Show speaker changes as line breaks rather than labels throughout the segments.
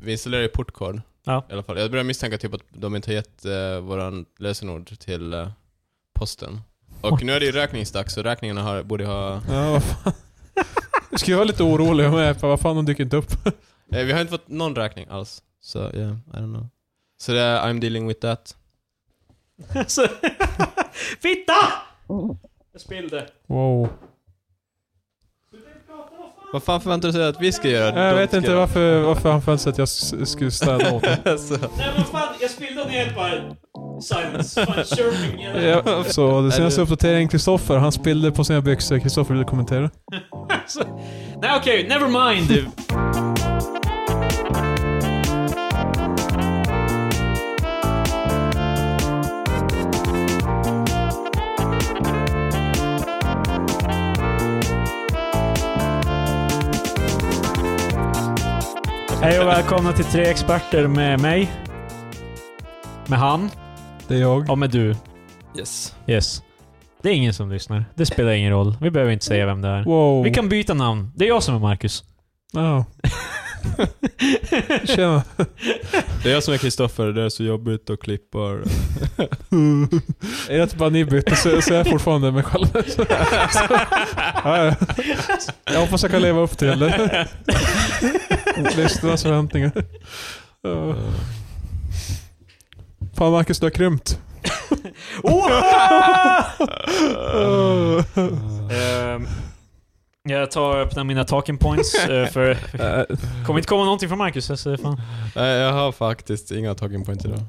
vi installerade ju portkod.
Ja.
I alla fall. Jag börjar misstänka typ att de inte har gett eh, våran lösenord till eh, posten. Och nu är det ju räkningsdags så räkningarna har, borde ha...
Ja, vad fan. Nu ska jag vara lite orolig om jag för vad fan de dyker inte upp.
Eh, vi har inte fått någon räkning alls. Så yeah, I don't know. Så det är I'm dealing with that.
Så- Fitta! Jag spillde.
Wow.
Vad fan förväntar du dig att vi ska göra?
Jag
De
vet
ska
inte
göra-
varför, varför han förväntade sig att jag s- skulle städa åt honom.
så,
Nej men fan, jag spillde ner bara silence. Fan, chirping.
ja, Så den senaste uppdateringen, Kristoffer, han spillde på sina byxor. Kristoffer ville kommentera.
Så- Nej okej, never mind. Hej och välkomna till Tre Experter med mig, med han
Det är jag.
och med du.
yes.
Yes. Det är ingen som lyssnar. Det spelar ingen roll. Vi behöver inte säga vem det är.
Wow.
Vi kan byta namn. Det är jag som är Marcus.
Ja. Tjena.
Det är jag som är Kristoffer, det är så jobbigt och klippar.
Är det att bara ni bytte så, så är jag fortfarande mig själv. Så, ja, ja. jag hoppas jag kan leva upp till det. Lyssnarnas förväntningar. Ja. Fan Marcus, du har krympt.
Ehm, jag tar och öppnar mina talking points, eh, för kommer inte komma någonting från Marcus. Alltså, fan.
Nej, Eh, jag har faktiskt inga talking points idag.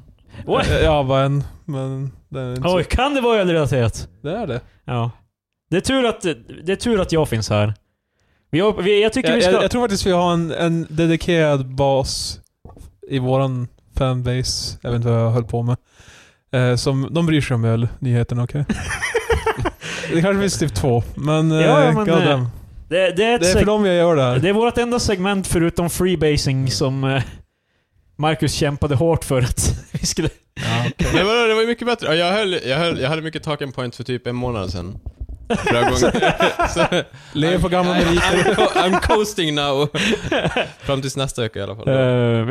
Oj.
Ja, bara en. Men den är inte
Oj,
så.
kan det vara ölrelaterat?
Det är det.
Alltså- Ja. Det är tur att, det är tur att jag finns här. Vi, har- vi, jag tycker
Jag,
vi ska...
jag, jag tror faktiskt vi har en, en dedikerad bas i våran fanbase. Jag vet inte vad jag höll på med. Eh, som, de bryr sig om ölnyheterna, okej? det kanske finns typ två, men... Eh,
Ja, ja, men,
god
eh,
damn.
det, det är, ett
Det är för
seg-
dem jag gör det här.
det är vårt enda segment förutom freebasing som eh, Marcus kämpade hårt för att vi skulle...
Nej vadå, det var ju mycket bättre. Ja, Jag, höll, jag, höll, jag hade mycket talking points för typ en månad sedan. Bra gång. Så-
Lev på gamla
I'm,
meriter.
I'm, co- I'm coasting now. Fram tills nästa vecka i alla fall.
Eh,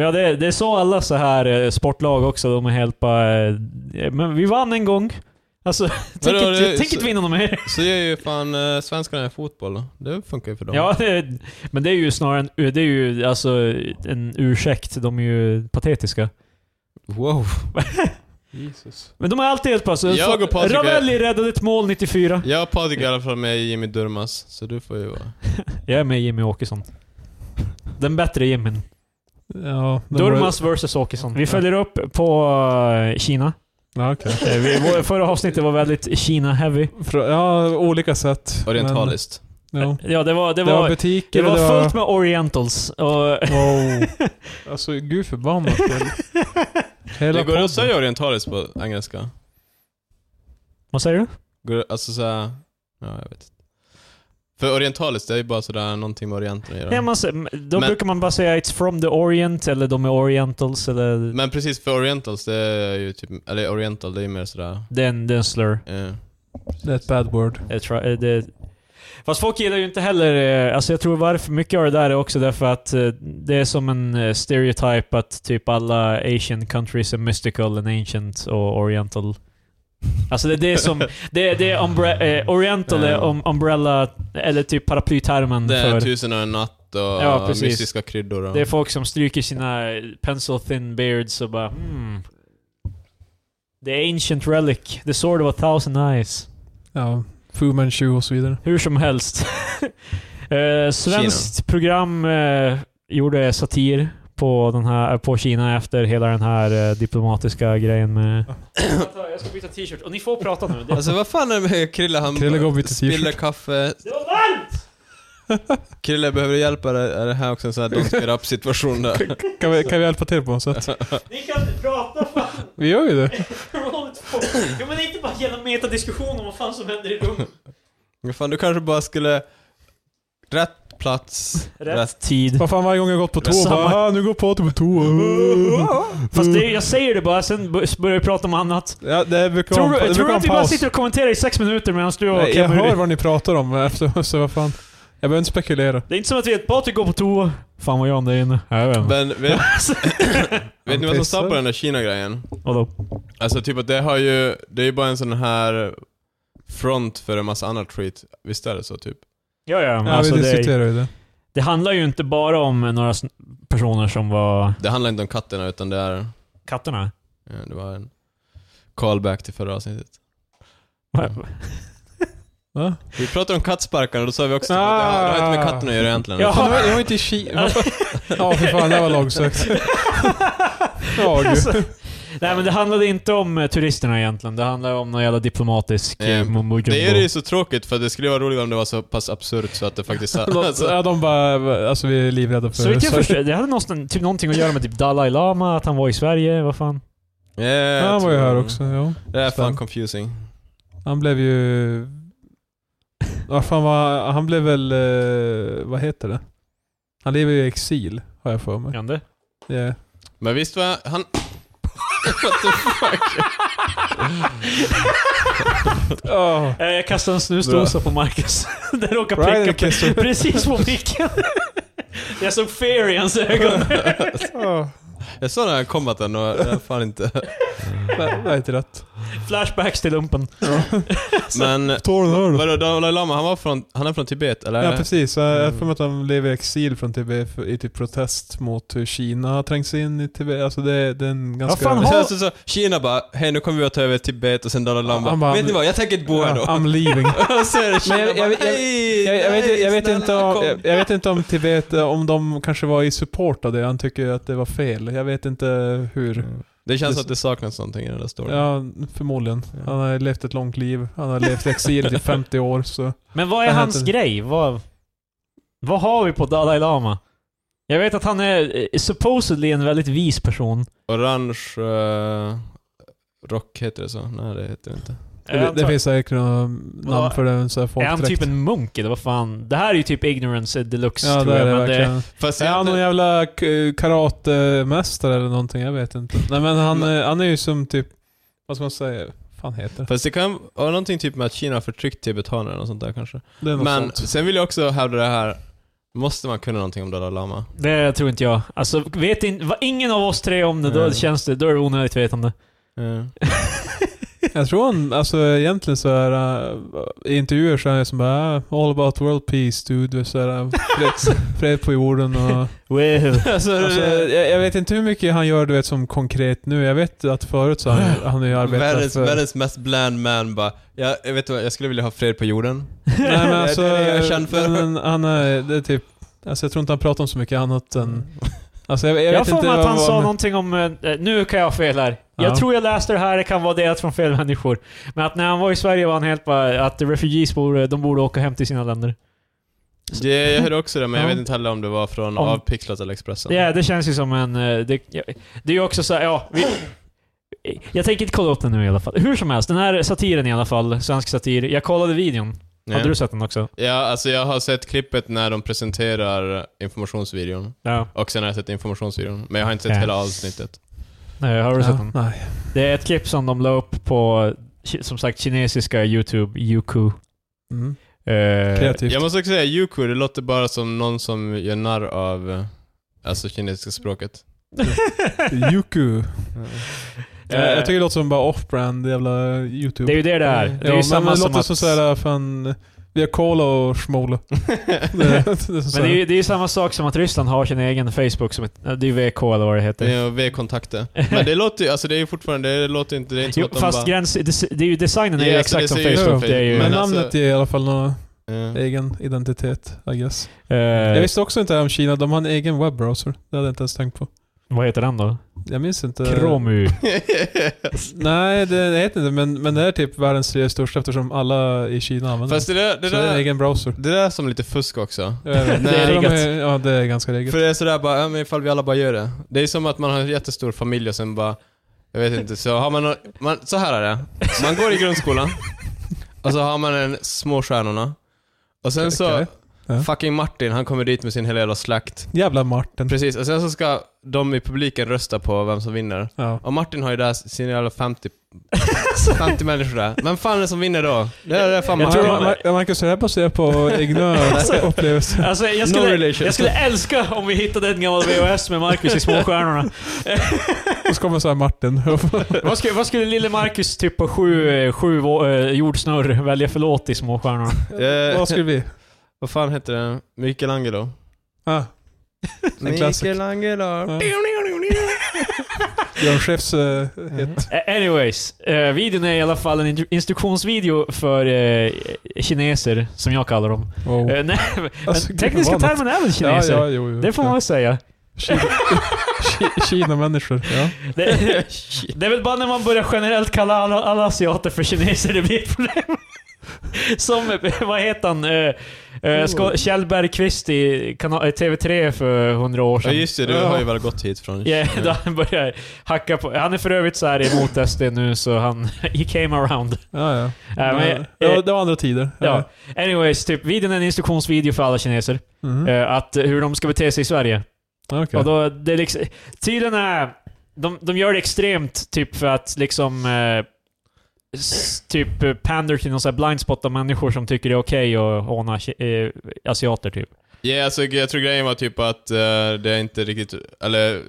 ja, det, det sa alla så här eh, sportlag också. De är helt bara... eh, men vi vann en gång. Alltså, tänk
Vadå,
inte
det-
tänk inte
så-
vinna något mer.
Så gör ju fan eh, svenskarna i fotboll. då. Det funkar ju för dem.
Ja, det, men det är ju snarare en, det är ju, alltså, en ursäkt. De är ju patetiska.
Wow.
Jesus.
Men de är alltid helt bara så...
Jag och Patrik är-
Ravelli räddade ett mål 94.
Jag och Patrik är i alla fall med i Jimmy Durmaz, så du får ju vara...
Jag är med Jimmy Åkesson. Den bättre Jimmyn.
Ja, det var-
Durmaz vs Åkesson. Vi följer upp på eh, Kina.
Ja, okej.
Eh, vi, vår- förra avsnittet var väldigt Kina-heavy.
Frå- ja, olika sätt.
Orientaliskt.
Men, ja.
Ja, det var...
Det var butiker,
Det var fullt med orientals. Och
Wow. Alltså, gud förbannat. Hela
Det går
podden.
att säga orientaliskt på engelska.
vad säger du?
Går, det- alltså såhär... Ja, jag vet inte. För orientaliskt, det är ju bara sådär någonting med orienten att göra.
Ja, man, sä- då
Men-
brukar man bara säga it's from the orient, eller de är orientals, eller...
Men precis, för orientals, det är ju typ... Eller oriental, det är ju mer sådär...
det, är en, det är en slur.
Eh,
Det är ett bad word.
Jag tror- eh, det, fast folk gillar ju inte heller... eh, Alltså jag tror varför mycket av det där är också därför att eh, det är som en eh, stereotyp att typ alla asian countries är mystical and ancient och oriental. Alltså det är det som... Det, det är umbre, eh, oriental är um, umbrella, eller typ paraplytermen
det är
för...
tusen och en natt och
Ja, precis.
mystiska kryddor och...
Det är folk som stryker sina pencil thin beards och bara hmm. The ancient relic, the sword of a thousand eyes.
Ja, Fu Manchu och så vidare.
Hur som helst. eh, svenskt program eh, gjorde satir på, den här, eh, på Kina efter hela den här eh, diplomatiska grejen med... jag ska byta t-shirt och ni får prata nu. Det,
Alltså vad fan är det med Krille? Han
Krille går och byter
spiller
t-shirt.
kaffe.
det var varmt!
Krille, behöver du hjälp eller är det här också en sån här don't get up situation där?
Kan vi, kan vi hjälpa till på något sätt?
Ni kan inte prata fan.
Vi gör ju det.
Jo men inte bara genom metadiskussion om vad fan som händer i rummet.
Men fan, du kanske bara skulle... Rätt plats,
Rätt,
rätt
tid.
Vad fan, varje gång jag gått på toa
Samma.
bara "Ah, nu går Patrik på toa.
Fast det, jag säger det bara, sen b- börjar vi prata om annat.
Ja, det brukar
Tror,
vara en-
du-
det brukar
tror du
vara
att
en
vi bara
paus.
sitter och kommenterar i sex minuter medan du och
Nej, jag
Kemmer...
hör vad ni pratar om efter, så vad fan. behöver inte spekulera.
Det är inte som att vi vet Patrik går på toa. Fan vad gör han där inne? Ja, Jag vet inte.
Men vet, vet ni vad som står på
pissar.
den där Kina-grejen?
Vadå?
Alltså typ att det har ju, det är ju bara en sån här front för en massa annat skit. Visst är det så typ?
Ja, ja. Men
Ja,
alltså
vi
det,
diskuterar ju det.
det handlar ju inte bara om några sn- personer som var
Det handlar inte om katterna utan det är,
katterna.
ja, det var en callback till förra avsnittet.
Va?
Vi pratade om kattsparkar och då sa vi också
Ah.
att det har, det har inte med katterna att göra egentligen.
Ja.
Fan, det var- det var inte i Kina. Ja, för fan. Det var långsökt. Ja, gud.
Alltså, nej men det handlade inte om eh, turisterna egentligen. Det handlade om någon jävla diplomatisk eh,
Eh,
mumbo jumbo.
Det är ju så tråkigt för det skulle vara roligare om det var så pass absurt så att det faktiskt... alltså,
Ja, de bara, alltså vi är livrädda för...
Så vitt jag förstår, det hade någonstans, typ någonting att göra med typ Dalai Lama, att han var i Sverige, vad fan.
eh, jag
Ja, han var ju
tror-
här också. Ja.
Det är fan
Spännande.
confusing.
Han blev ju... Vad fan var, han blev väl... eh, Vad heter det? Han lever ju i exil, har jag för mig.
Kan det?
Ja.
Men visst var han... What the fuck?
Oh.
Eh, Jag kastade en snusdosa på Marcus. Den råkade
Right in
pricka
the kisser.
pre- precis på micken. Jag såg fear i hans ögon.
Jag såg den här kombaten och jag fan inte...
Det var inte rätt.
Flashbacks till lumpen.
Men
Står den här då?
vadå Dalai Lama, han, var från, han är från Tibet eller?
Ja precis, jag jag får mig att han lever i exil från Tibet för- i typ protest mot hur Kina har trängt sig in i Tibet. Alltså det, det är en ganska...
fan
Det
har-
känns det så, Kina bara, hej nu kommer vi att ta över Tibet och sen Dalai Lama
Han
bara,
bara,
vet ni vad, jag tänker inte bo här
Ja,
då.
I'm leaving.
Och så är det Kina
Men jag- jag-
bara,
jag-
hej!
Jag, jag, vet,
nej,
jag, vet inte
snälla,
om,
kom."
jag, jag vet inte om Tibet, eh, om de kanske var i support av det. Han tycker att det var fel. Jag vet inte hur.
Mm,
Det känns
Det-
att det saknas någonting i den där storyn.
Ja, förmodligen. Han har levt ett långt liv. Han har levt i exil i 50 år. Så.
Men vad är
Jag
hans
hade-
grej? Vad, vad har vi på Dalai Lama? Jag vet att han är eh, supposedly en väldigt vis person.
Orange eh, rock heter det så? Nej det heter det inte.
Jag
Det,
antar-
det finns säkert några namn för det. Så här
typ- är han typ
folkdräkt.
en munk eller vad fan? Det här är ju typ ignorance deluxe
Ja, det
tror
är
jag.
det
men det,
verkligen.
Fast
Är han någon
jag,
jävla k- karatemästare eller någonting? Jag vet inte. Nej men han, eh, han är ju som typ, vad ska man säga? Vad fan heter det?
fast det kan ha någonting typ med att Kina har förtryckt tibetaner och sånt där kanske.
det är något
Men
sånt.
sen vill jag också hävda det här, måste man kunna någonting om Dalai Lama?
det tror inte jag. Alltså, vet in, vad ingen av oss tre om det, då
Nej.
känns det, då är det onödigt vetande.
Eh.
Jag tror han, alltså egentligen så är uh, i intervjuer så är han som bara "Ah, All about world peace dude. Så är han fred, fred på jorden och...
Wow.
alltså,
Alltså,
det-
jag, jag vet inte hur mycket han gör du vet som konkret nu. Jag vet att förut så har han, han har ju arbetat
Världens,
för...
världens mest bland man bara, jag, jag vet vad, jag skulle vilja ha fred på jorden.
Nej men alltså...
Det är det jag är känd för.
Men, han är, det är typ... Alltså jag tror inte han pratar om så mycket annat än... Alltså jag, jag,
Jag
vet
får
inte
mig att
vad-
han
vad-
sa någonting om... eh, Nu kan jag ha fel här. Jag
Ja.
tror jag läste det här, det kan vara delat från fel människor. Men att när han var i Sverige var han helt bara att refugees borde, de borde åka hem till sina länder.
Det, jag hörde också det, men jag
Ja.
vet inte heller om det var från
Om-
Avpixlat eller Expressen.
Ja, det känns ju som en... eh, Det, ja, det är ju också så här, ja... Vi, jag tänker inte kolla upp den nu i alla fall. Hur som helst, den här satiren i alla fall, svensk satir. Jag kollade videon.
Nej.
Hade du sett den också?
Ja, alltså jag har sett klippet när de presenterar informationsvideon.
Ja.
Och sen har jag sett informationsvideon. Men jag har inte sett
Ja.
hela avsnittet.
Nej, har du sett den?
Ja, nej.
Det är ett klipp som de la upp på, ki- som sagt, kinesiska YouTube, Youku.
Mm.
Eh,
Kreativt.
Jag måste också säga, Yuku, det låter bara som någon som gör narr av eh, alltså kinesiska språket.
Yuku.
Eh,
Jag, jag tycker det låter som bara off-brand jävla YouTube.
Det är ju det det är. Det är
ja,
ju
men
samma
det
som
låter
att,
som
alltså.
såhär, äh, fan, vi har cola och schmola. det, är- det är som
men
såhär-
det är, ju, det är ju samma sak som att Ryssland har sin egen Facebook som ett, det är VK eller vad det heter.
Det är V-kontakter. Men det låter ju, alltså det är ju fortfarande, det låter inte, det är inte som
Jo,
att de
fast
bara...
gräns, det, det är ju designen är ju
Ja, alltså, det
exakt som
ser ju ut som
Facebook. Det är
Facebook.
ju,
men
men alltså-
namnet ger i alla fall någon
Ja.
egen identitet, I guess.
eh,
Jag visste också inte om Kina, de har en egen webbrowser. Det hade jag inte ens tänkt på.
vad heter den då?
Jag minns inte.
Kromu.
Nej, det, det heter inte men, men det är typ världens tredje största eftersom alla i Kina använder
Fast det där, det
den. Så det är en
där,
egen browser.
det där är som lite fusk också.
Jag vet inte.
Det är
För de
riggat.
Ja, det är ganska riggat.
För det är sådär bara, ja, men ifall vi alla bara gör det. Det är som att man har en jättestor familj och sen bara, jag vet inte, så har man, nå- man så här är det. Man går i grundskolan och så har man en små stjärnorna. Och sen så,
Okej. Ja.
Fucking Martin, han kommer dit med sin hela jävla slakt.
Jävla Martin.
Precis, och sen så ska de i publiken rösta på vem som vinner.
Ja.
Och Martin har ju där sin jävla 50, 50 människor där. Vem fan är det som vinner då? Det är det är fan
Jag
Jag
Martin.
tror
tror
man, man, man kan säga baserat på egna
Alltså-
upplevelser.
Alltså, jag,
No
skulle,
relation.
jag skulle älska om vi hittade en gammal VHS med Marcus i Småstjärnorna.
Och så kommer så här Martin.
vad, skulle, vad skulle lille Marcus typ på sju, eh, sju eh, jordsnurr välja för låt i Småstjärnorna?
Eh,
Vad skulle vi?
Vad fan heter den? Michelangelo.
Ah, En klassiker.
Michelangelo.
Ja. Björn Skifs eh, hit.
Eh, Anyways, eh, videon är i alla fall en instru- instruktionsvideo för eh, kineser, som jag kallar dem.
Wow.
Eh, nej,
Alltså,
men
gud,
tekniska
vad vanligt.
termen är väl kineser?
Ja, ja, jo, jo.
Det får man väl säga.
Kina, Ki- Kina-människor. Ja.
Det, det är väl bara när man börjar generellt kalla alla, alla asiater för kineser det blir ett problem. Som, eh, vad heter han, uh, Kjell Bergqvist i kana- eh, TV3 för hundra år
Ja
sedan.
just det, du
Ja.
har ju väl gått hit från...
Ja, då han börjar hacka på... Han är för övrigt så här emot SD nu, så han... He came around.
Ja, ja.
Ja, men, eh,
Ja, det, var, det var andra tider.
Ja. Anyways, typ, videon är en instruktionsvideo för alla kineser.
Mm.
eh, att eh, hur de ska bete sig i Sverige.
Okej.
Och då, det är liksom, tydligen är... De, de gör det extremt, typ för att liksom... Eh, s, typ eh, pander till någon sån här blindspot av människor som tycker det är okej att håna ki- eh, asiater, typ.
Ja, alltså, jag tror grejen var typ att eh, det är inte riktigt, eller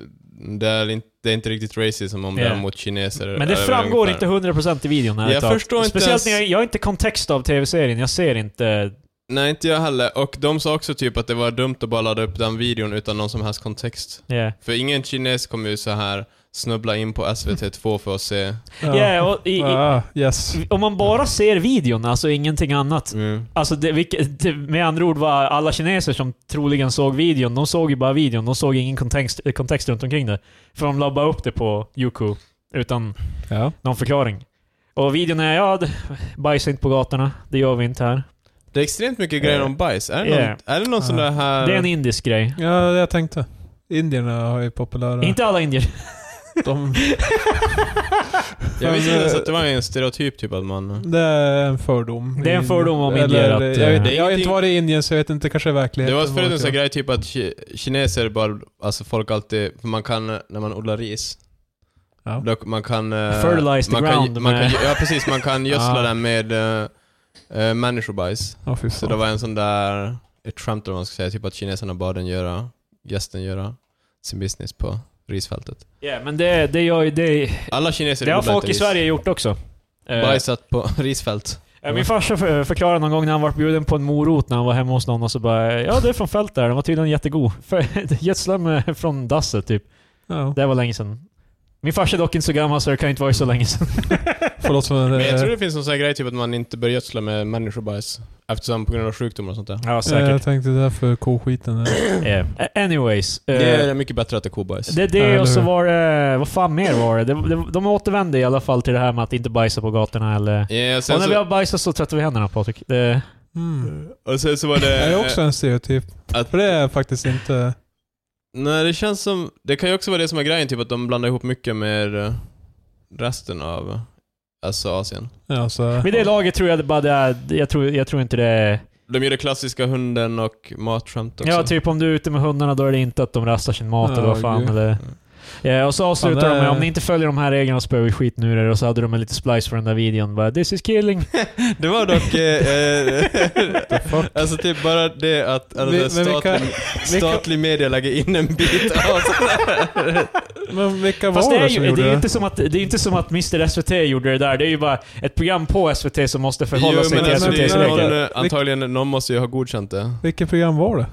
det är inte, det är inte riktigt racism om det
Ja.
är mot kineser.
Men det
eller
framgår
ungefär.
inte 100% i videon. här
Jag
ett tag.
förstår inte
Speciellt
ens-
när jag, jag har inte kontext av tv-serien. Jag ser inte...
Nej, inte jag heller. Och de sa också typ att det var dumt att bara ladda upp den videon utan någon som helst kontext.
Yeah.
För ingen kines kommer ju så här snubbla in på SVT2 för att se.
Ja.
Yeah, och i, i,
Ah, yes.
om man bara ser videon, alltså ingenting annat.
Mm.
Alltså det, vilket, det, med andra ord var alla kineser som troligen såg videon, de såg ju bara videon. De såg ingen kontext, eh, kontext runt omkring det. För de la bara upp det på Youku utan
Ja.
någon förklaring. Och videon är ja, det- bajsa inte på gatorna. Det gör vi inte här.
Det är extremt mycket grejer om bajs. Är det
Ja.
någon, är det någon sån
Ja.
där här...
Det är en indisk grej.
ja, det jag tänkte. Indierna har ju populära...
Inte alla indier.
de,
Jag visste inte ens att det var en stereotyp typ att man...
det är en fördom.
Det är en fördom om
Eller,
indier att,
jag, vet,
eh,
jag har inte
ingenting-
varit i Indien så jag vet inte kanske
Det
verkligheten.
var förut en sån
vad-
här grej typ att ki- kineser bara, alltså folk alltid, för man kan, eh, när man odlar ris,
Ja.
då, man kan... eh,
Fertilize the
man kan,
ground
man
med-
kan, Ja precis, man kan gödsla
Ah.
den med eh, eh, människobajs.
Ja, fy
Så
fan.
det var en sån där, ett skämt eller vad man ska säga, typ att kineserna bad den göra, gästen göra sin business på risfältet.
Ja, men det, det gör ju... Det,
Alla kineser
det har
odlar
folk
inte
i
ris.
Sverige gjort också. Eh,
Bajsat på risfält.
Ja, Min farsa för- förklarade någon gång när han var bjuden på en morot när han var hemma hos någon och så bara Ja, det är från fält där. Den var tydligen jättegod. För- Gödsla med från dasset typ.
Ja.
Det var länge sedan. Min farsa är dock inte så gammal så det kan inte vara så länge sedan.
Förlåt för
Eh.
den
Men jag tror
där...
det finns någon sån här grej typ att man inte bör gödsla med människobajs. Eftersom på grund av sjukdomar och sånt där.
Ja,
Jag tänkte det där för koskiten.
Eh, Anyways. eh,
Det är mycket bättre att det är kobajs.
det är
Ja,
det
eller
och så
hur?
var det... Vad fan mer var det? det, det de återvände i alla fall till det här med att inte bajsa på gatorna eller...
Ja, Eh, sen
Och när vi
så,
har bajsat så tvättar vi händerna Patrik. Det,
Mm.
och sen så var
Det
det...
är också en stereotyp.
Att-
För det är faktiskt inte...
Nej, det känns som... Det kan ju också vara det som är grejen, typ att de blandar ihop mycket med eh, resten av eh, alltså Asien.
Alltså,
vid det laget tror jag det bara det är... Jag tror, jag tror inte det är...
De gör det klassiska hunden och matskämt också.
Ja, typ om du är ute med hundarna då är det inte att de rastar sin mat
Ja,
eller vad fan.
gud.
Eller... Ja, och så avslutar
Fan, det
de
är-
med om ni inte följer de här reglerna så spöar vi skiten ur er. Och så hade de en liten splice för den där videon. Bara, This is killing.
Det var dock... Eh, eh, alltså typ bara det att alltså,
Vi- men
statlig,
vilka-
statlig media lägger in en bit av sådär.
men vilka
Fast
var
det är
det
ju
som
det
gjorde
är ju
det?
inte som att, det är ju inte som att Mr SVT gjorde det där. Det är ju bara ett program på SVT som måste förhålla
Jo,
sig
men
till
alltså, det
SVTs
är
regler.
någon, eh, antagligen någon måste ju ha godkänt det.
Vilket program var det?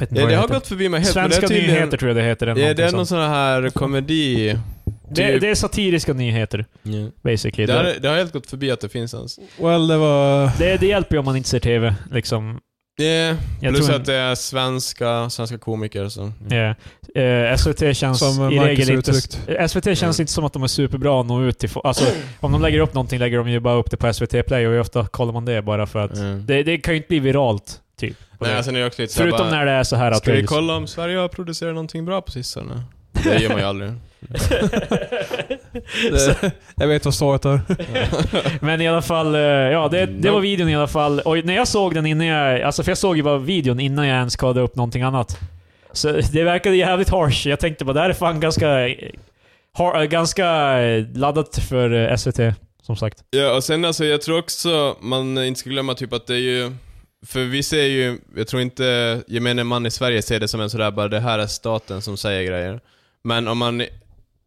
Vet inte
Ja,
vad
det har
heter.
gått förbi mig helt. men det
Svenska
är tydligen-
nyheter tror jag det heter. eller
Ja, det
någonting
är någon
sånt.
sån här komedi...
det,
typ-
det är satiriska nyheter, basically.
Det, har,
Det,
det har helt gått förbi att det finns ens.
Well, det var...
det, det hjälper ju om man inte ser TV. Liksom.
Yeah.
Jag
Plus
tror-
att det är svenska, svenska komiker så.
Ja. Eh, SVT känns
Som
i
Marcus
regel
har
inte...
uttryckt.
SVT känns inte som att de är superbra att nå ut till folk. Alltså, om de lägger upp någonting lägger de ju bara upp det på SVT Play och hur ofta kollar man det bara för att...
Mm.
Det, det kan ju inte bli viralt, typ.
Nej, alltså, sen är det också lite så här
Förutom
bara,
när det är så här att...
Ska vi
reels-
kolla om Sverige har producerat någonting bra på sistone? Det gör man ju aldrig.
Det, jag vet vad svaret är.
Men i alla fall, eh, ja det, det var
Nope.
videon i alla fall. Och när jag såg den innan jag... Alltså för jag såg ju bara videon innan jag ens kollade upp någonting annat. Så det verkade jävligt harsh. Jag tänkte bara det här är fan ganska... eh, Har, eh, ganska eh, laddat för eh, SVT, som sagt.
Ja, och sen alltså jag tror också man inte ska glömma typ att det är ju... För vi ser ju, jag tror inte gemene man i Sverige ser det som en sådär bara det här är staten som säger grejer. Men om man,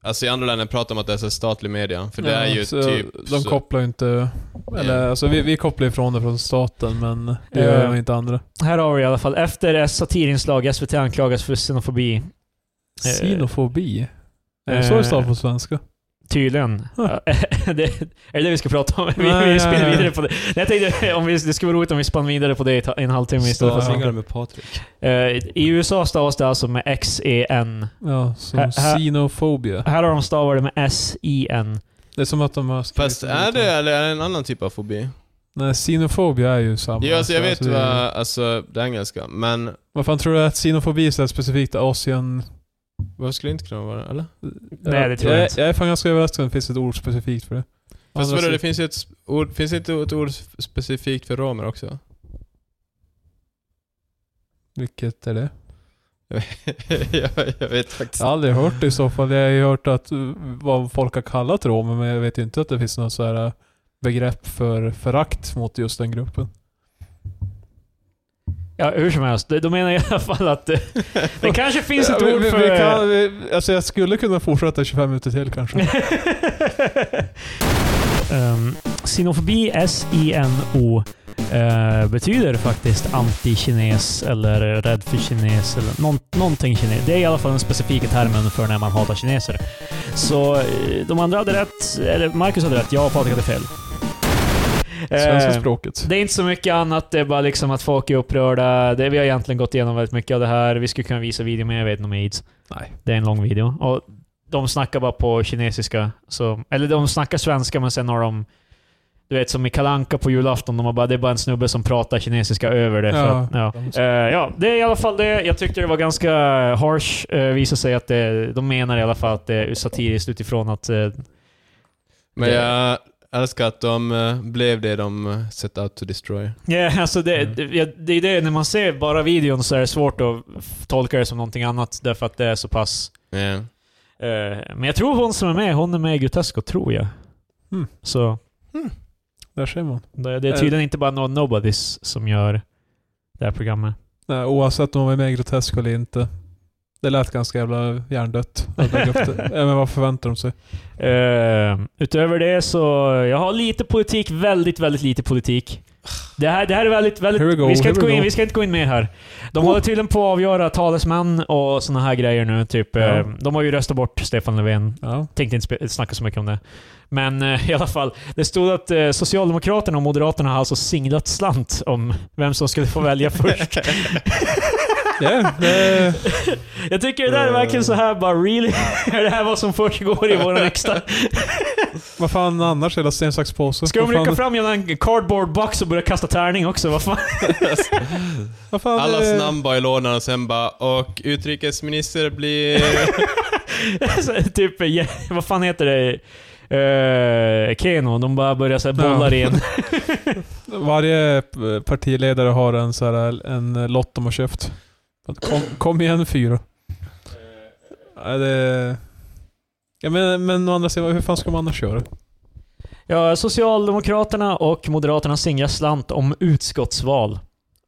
alltså i andra länder pratar man om att det är så statlig media, för det är ju
så
typ...
De
så-
kopplar ju inte... Eller alltså vi, vi kopplar ifrån det från staten men det gör
Eh.
nog inte andra.
Här har vi i alla fall. Efter ett satirinslag, SVT anklagas för xenofobi. Eh.
Xenofobi? Är det så
Eh.
det stavas på svenska?
Tydligen.
Huh.
det, är det det vi ska prata om? Vi,
Nej,
vi
nej,
spinner
nej.
vidare på det. Nej, Jag tänkte, om vi, det skulle vara roligt om vi spann vidare på det i ta- i en halvtimme istället för
Stavningar
med Patrik.
Eh, I USA stavas det alltså med X-E-N.
Ja, som
Här- här-
xenofobia.
Här har de stavat det med S-I-N.
Det är som att de har... skrivit
Fast
Mm.
är
ut
det, eller är det en annan typ av fobi?
Nej, xenofobia är ju samma.
Ja, alltså jag vet
det
vad,
är-
alltså det engelska, men
Vad fan tror du att xenofobi är så här specifikt Asien?
vad skulle det inte kunna vara, eller?
Nej, det tror jag
jag
inte.
Jag är fan ganska överraskad om det finns ett ord specifikt för det. Alltså,
Fast
Andra
vadå, det
sidan-
finns ju ett sp- ord, finns det inte ett ord sp- specifikt för romer också?
Vilket är det?
jag, jag vet faktiskt
Jag har aldrig hört det i så fall. Jag har ju hört att, uh, vad folk har kallat romer, men jag vet ju inte att det finns något så här uh, begrepp för förakt mot just den gruppen.
Ja, hur som helst. De- De menar i alla fall att eh, det kanske finns ett
Ja, vi,
ord
vi,
för...
vi kan, vi, alltså jag skulle kunna fortsätta 25 minuter till kanske.
Ehm, Xenofobi, S-I-N-O, eh, betyder faktiskt anti-kines eller rädd för kines eller nån, någonting kines. Det är i alla fall den specifika termen för när man hatar kineser. Så eh, de andra hade rätt, eller Marcus hade rätt, jag och Patrik hade fel.
Svenska
Ehm,
språket.
det är inte så mycket annat, det är bara liksom att folk är upprörda. Det, vi har egentligen gått igenom väldigt mycket av det här. Vi skulle kunna visa video, men jag vet inte om aids.
Nej.
Det är en lång video. Och de snackar bara på kinesiska. Så, eller de snackar svenska, men sen har de... Du vet, som i Kalanka på julafton, de har bara, det är bara en snubbe som pratar kinesiska över det. För
Ja.
att, ja. Eh, ja, det är i alla fall det. Jag tyckte det var ganska harsh. Uh, visar sig att det, de menar i alla fall att det är satiriskt utifrån att... eh,
Men
Det-
jag älskar att de eh, blev det de eh, set out to destroy.
Ja, alltså det,
Mm.
det, ja, det är det, när man ser bara videon så är det svårt att f- tolka det som någonting annat därför att det är så pass...
Yeah.
eh, men jag tror hon som är med, hon är med i Grotesco, tror jag.
Mm. Eh.
Så
Där ser man.
det, det är tydligen inte bara några nobodies som gör det här programmet.
Nej, oavsett om de är med i Grotesco eller inte. Det lät ganska jävla hjärndött. att lägga upp det. Eh, Ja, men vad förväntar de sig?
Eh, utöver det så, jag har lite politik, väldigt, väldigt lite politik. Det här, det här är väldigt,
Here we
väldigt...
go,
vi, ska
here
inte
we
gå in,
go.
vi ska inte gå in mer här. De håller tydligen på att avgöra talesmän och såna här grejer nu. Typ, eh,
Ja.
De har ju röstat bort Stefan Löfven
Ja.
Tänkte inte spe- snacka så mycket om det. Men eh, i alla fall, det stod att eh, Socialdemokraterna och Moderaterna har alltså singlat slant om vem som skulle få välja först.
Ja, det,
Jag tycker det där är verkligen så här bara really? Är det här vad som försiggår i vår riksdag?
vad fan annars? Hela sten, sax, påse?
Ska de
Vad fan-
rycka fram genom en cardboard box och börja kasta tärning också? Vad fan?
Vad fan,
Allas
eh,
namn bara i lådan och sen bara och utrikesminister blir...
Så, typ, eh, ja, vad fan heter det? Uh, Keno, de bara börjar så här
Ja.
bollar i en...
Varje eh, partiledare har en, så här, en eh, lott de har köpt. Kom, kom igen fyra.
Eh.
Ja, det, ja, men, men å andra sidan, hur fan ska man annars göra?
Ja, Socialdemokraterna och Moderaterna singlar slant om utskottsval.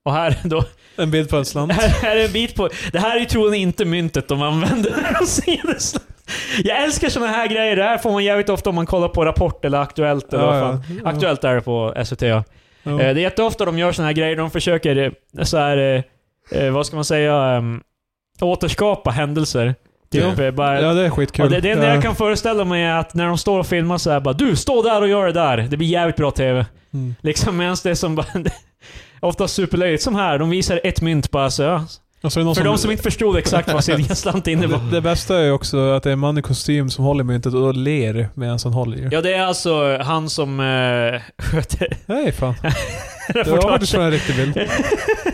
Och här då,
En bild på en slant?
Här, här är en bit på... Det här är ju troligen inte myntet de använder när de ser det slut. Jag älskar såna här grejer. Det här får man jävligt ofta om man kollar på Rapport eller Aktuellt. Eller vad fan.
ja.
Aktuellt är det på SVT ja.
Ja.
Eh, Det är jätteofta de gör såna här grejer. De försöker, eh, så här, eh, eh, vad ska man säga, ehm, återskapa händelser. Typ,
Ja.
eh, bara,
ja, det är skitkul.
och det, det enda
Ja.
jag kan föreställa mig är att när de står och filmar så här bara Du, stå där och gör det där. Det blir jävligt bra TV.
Mm.
Liksom medan det är som bara... Ofta superlöjligt. Som här, de visar ett mynt bara så ja,
Och så är det någon
för de som inte förstod exakt vad sin slant innebar.
det, det bästa är ju också att det är en man i kostym som håller myntet och då ler medan han håller i det.
Ja, det är alltså han som eh, sköter
Nej fan. Det var faktiskt
reportaget.
en riktig bild.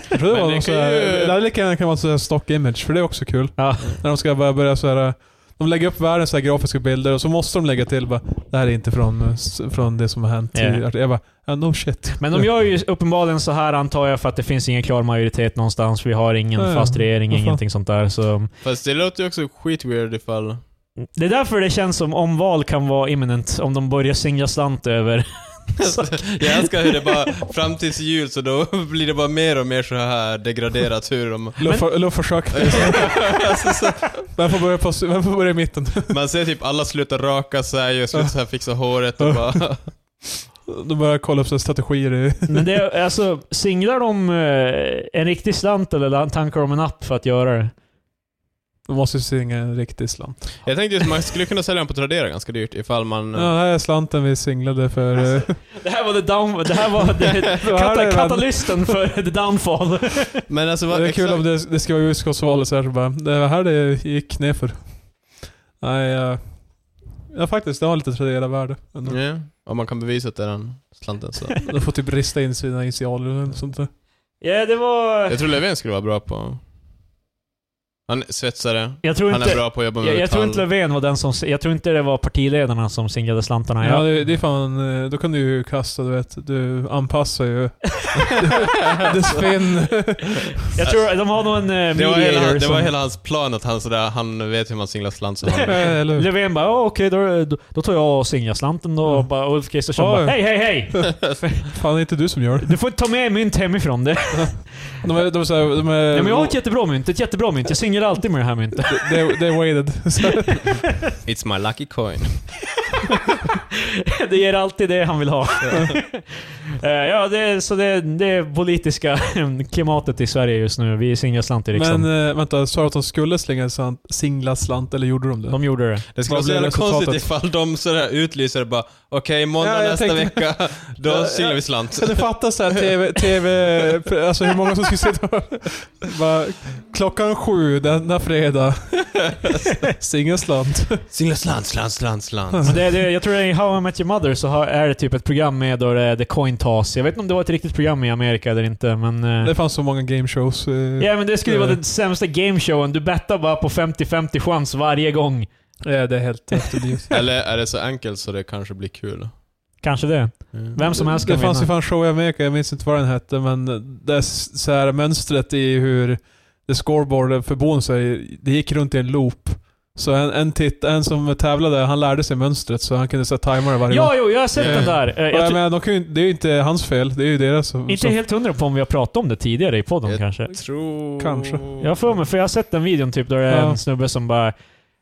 Jag tror
Men det
det, var någon
kan
så här,
ju-
det hade lika gärna kunnat vara en sån här stock image, för det är också kul.
Ja.
När de ska bara börja så här De lägger upp världens så här grafiska bilder och så måste de lägga till bara, det här är inte från, eh, s- från det som har hänt
Ja.
tidigare. Jag bara, "Ah, no shit.
Men de gör ju uppenbarligen så här antar jag för att det finns ingen klar majoritet någonstans. Vi har ingen
Ja, ja.
fast regering,
Vad fan.
ingenting sånt där. Så
Fast det låter ju också skitweird ifall...
det är därför det känns som omval kan vara imminent om de börjar singla slant över.
Jag älskar hur det bara, fram tills jul så då blir det bara mer och mer så här degraderat hur de...
Eller för- eller försök.
Alltså, så-
Vem får börja, på, vem får börja i mitten?
Man ser typ alla slutar raka sig och slutar så här fixa håret och bara...
De börjar kolla upp sina strategier. i-
Men det, är- alltså, singlar de eh, en riktig slant eller tankar de en app för att göra det?
De måste ju singa en riktig slant.
Jag tänkte just man skulle kunna sälja den på Tradera ganska dyrt ifall man...
Ja, det här är slanten vi singlade för... eh,
Det här var, the down, det här var det,
Det här är
kata,
den.
katalysten för the downfall.
Men alltså vad...
det är kul
exakt-
om det, det ska vara utskottsval så här så bara, det var här det gick ner för. Nej, jag... Ja faktiskt, det har lite tradera värde. ändå.
Ja, om man kan bevisa att det är den slanten så.
De får typ rista in sina initialer eller något sånt där.
Ja, det var...
Jag tror Löfven skulle vara bra på... Han är svetsare.
Jag tror
Han är
inte...
bra på att jobba med
Jag, jag tror
metall.
inte Löfven var den som... Jag tror inte det var partiledarna som singlade slantarna.
Ja,
Jag,
det, det är fan, eh, då kan du ju kasta, du vet. Du anpassar ju. det spinn.
jag tror de har nog en eh,
det, var
mediator
hela, det
som...
var hela hans plan att han sådär, han vet hur man singlar slant så han...
Eller hur?
Löfven bara "Ja, okej, då, då, då tar jag och singlar slanten då. Och
Mm.
bara, Ulf Kristersson
Ja,
bara
ja.
hej, hej, hej!
Fan, det är inte du som gör det.
Du får inte ta med mynt hemifrån. Det.
De är, de är, så här, de är
Ja, men jag har ett jättebra mynt. Ett jättebra mynt. Jag singlar alltid med det här myntet.
det, är- det är weighted. Så här,
It's my lucky coin.
Det ger alltid det han vill ha. Eh, ja, det, är- så det, det är politiska klimatet i Sverige just nu. Vi singlar slant i riksdagen.
Men eh, vänta, sa du att de skulle slänga slant, singla slant eller gjorde de det?
De gjorde det.
Det skulle
Vad
vara så
blir
jävla konstigt
resultatet?
ifall de sådär utlyser bara okej, måndag
Ja, jag
nästa
tänkte-
vecka, då
Ja, ja.
singlar vi slant.
Kan du fatta så här TV, TV, alltså hur många som skulle sitta och- bara, Klockan sju denna fredag. Singelslant.
Singla slant, slant, slant, slant.
Men det, det. Jag tror i How I Met Your Mother så har, är det typ ett program med då det är The Coin Toss. Jag vet inte om det var ett riktigt program i Amerika eller inte, men... eh,
Det fanns så många game shows. eh,
Ja men det skulle ju vara
Eh.
den sämsta gameshowen. Du bettar bara på 50-50 chans varje gång.
Ja, eh, det är helt efterblivet.
Eller är det så enkelt så det kanske blir kul?
Kanske det. Vem som helst
Det
kan vinna.
fanns ju fan show i Amerika, jag minns inte vad den hette, men det är s- så här mönstret i hur det scoreboardet för bonusar, det gick runt i en loop. Så en, en, titt, en som tävlade, han lärde sig mönstret så han kunde så här, tajma det varje gång.
Ja, jo, jag har sett
Ja.
den där. Eh,
Och
Jag
jag
tror,
menar, de kan ju, det är ju inte hans fel, det är ju deras. Som,
inte
som,
helt hundra på om vi har pratat om det tidigare i podden
Jag-
kanske.
Tror...
Kanske.
Jag har för mig, för jag har sett den videon typ där det är
Ja.
en snubbe som bara...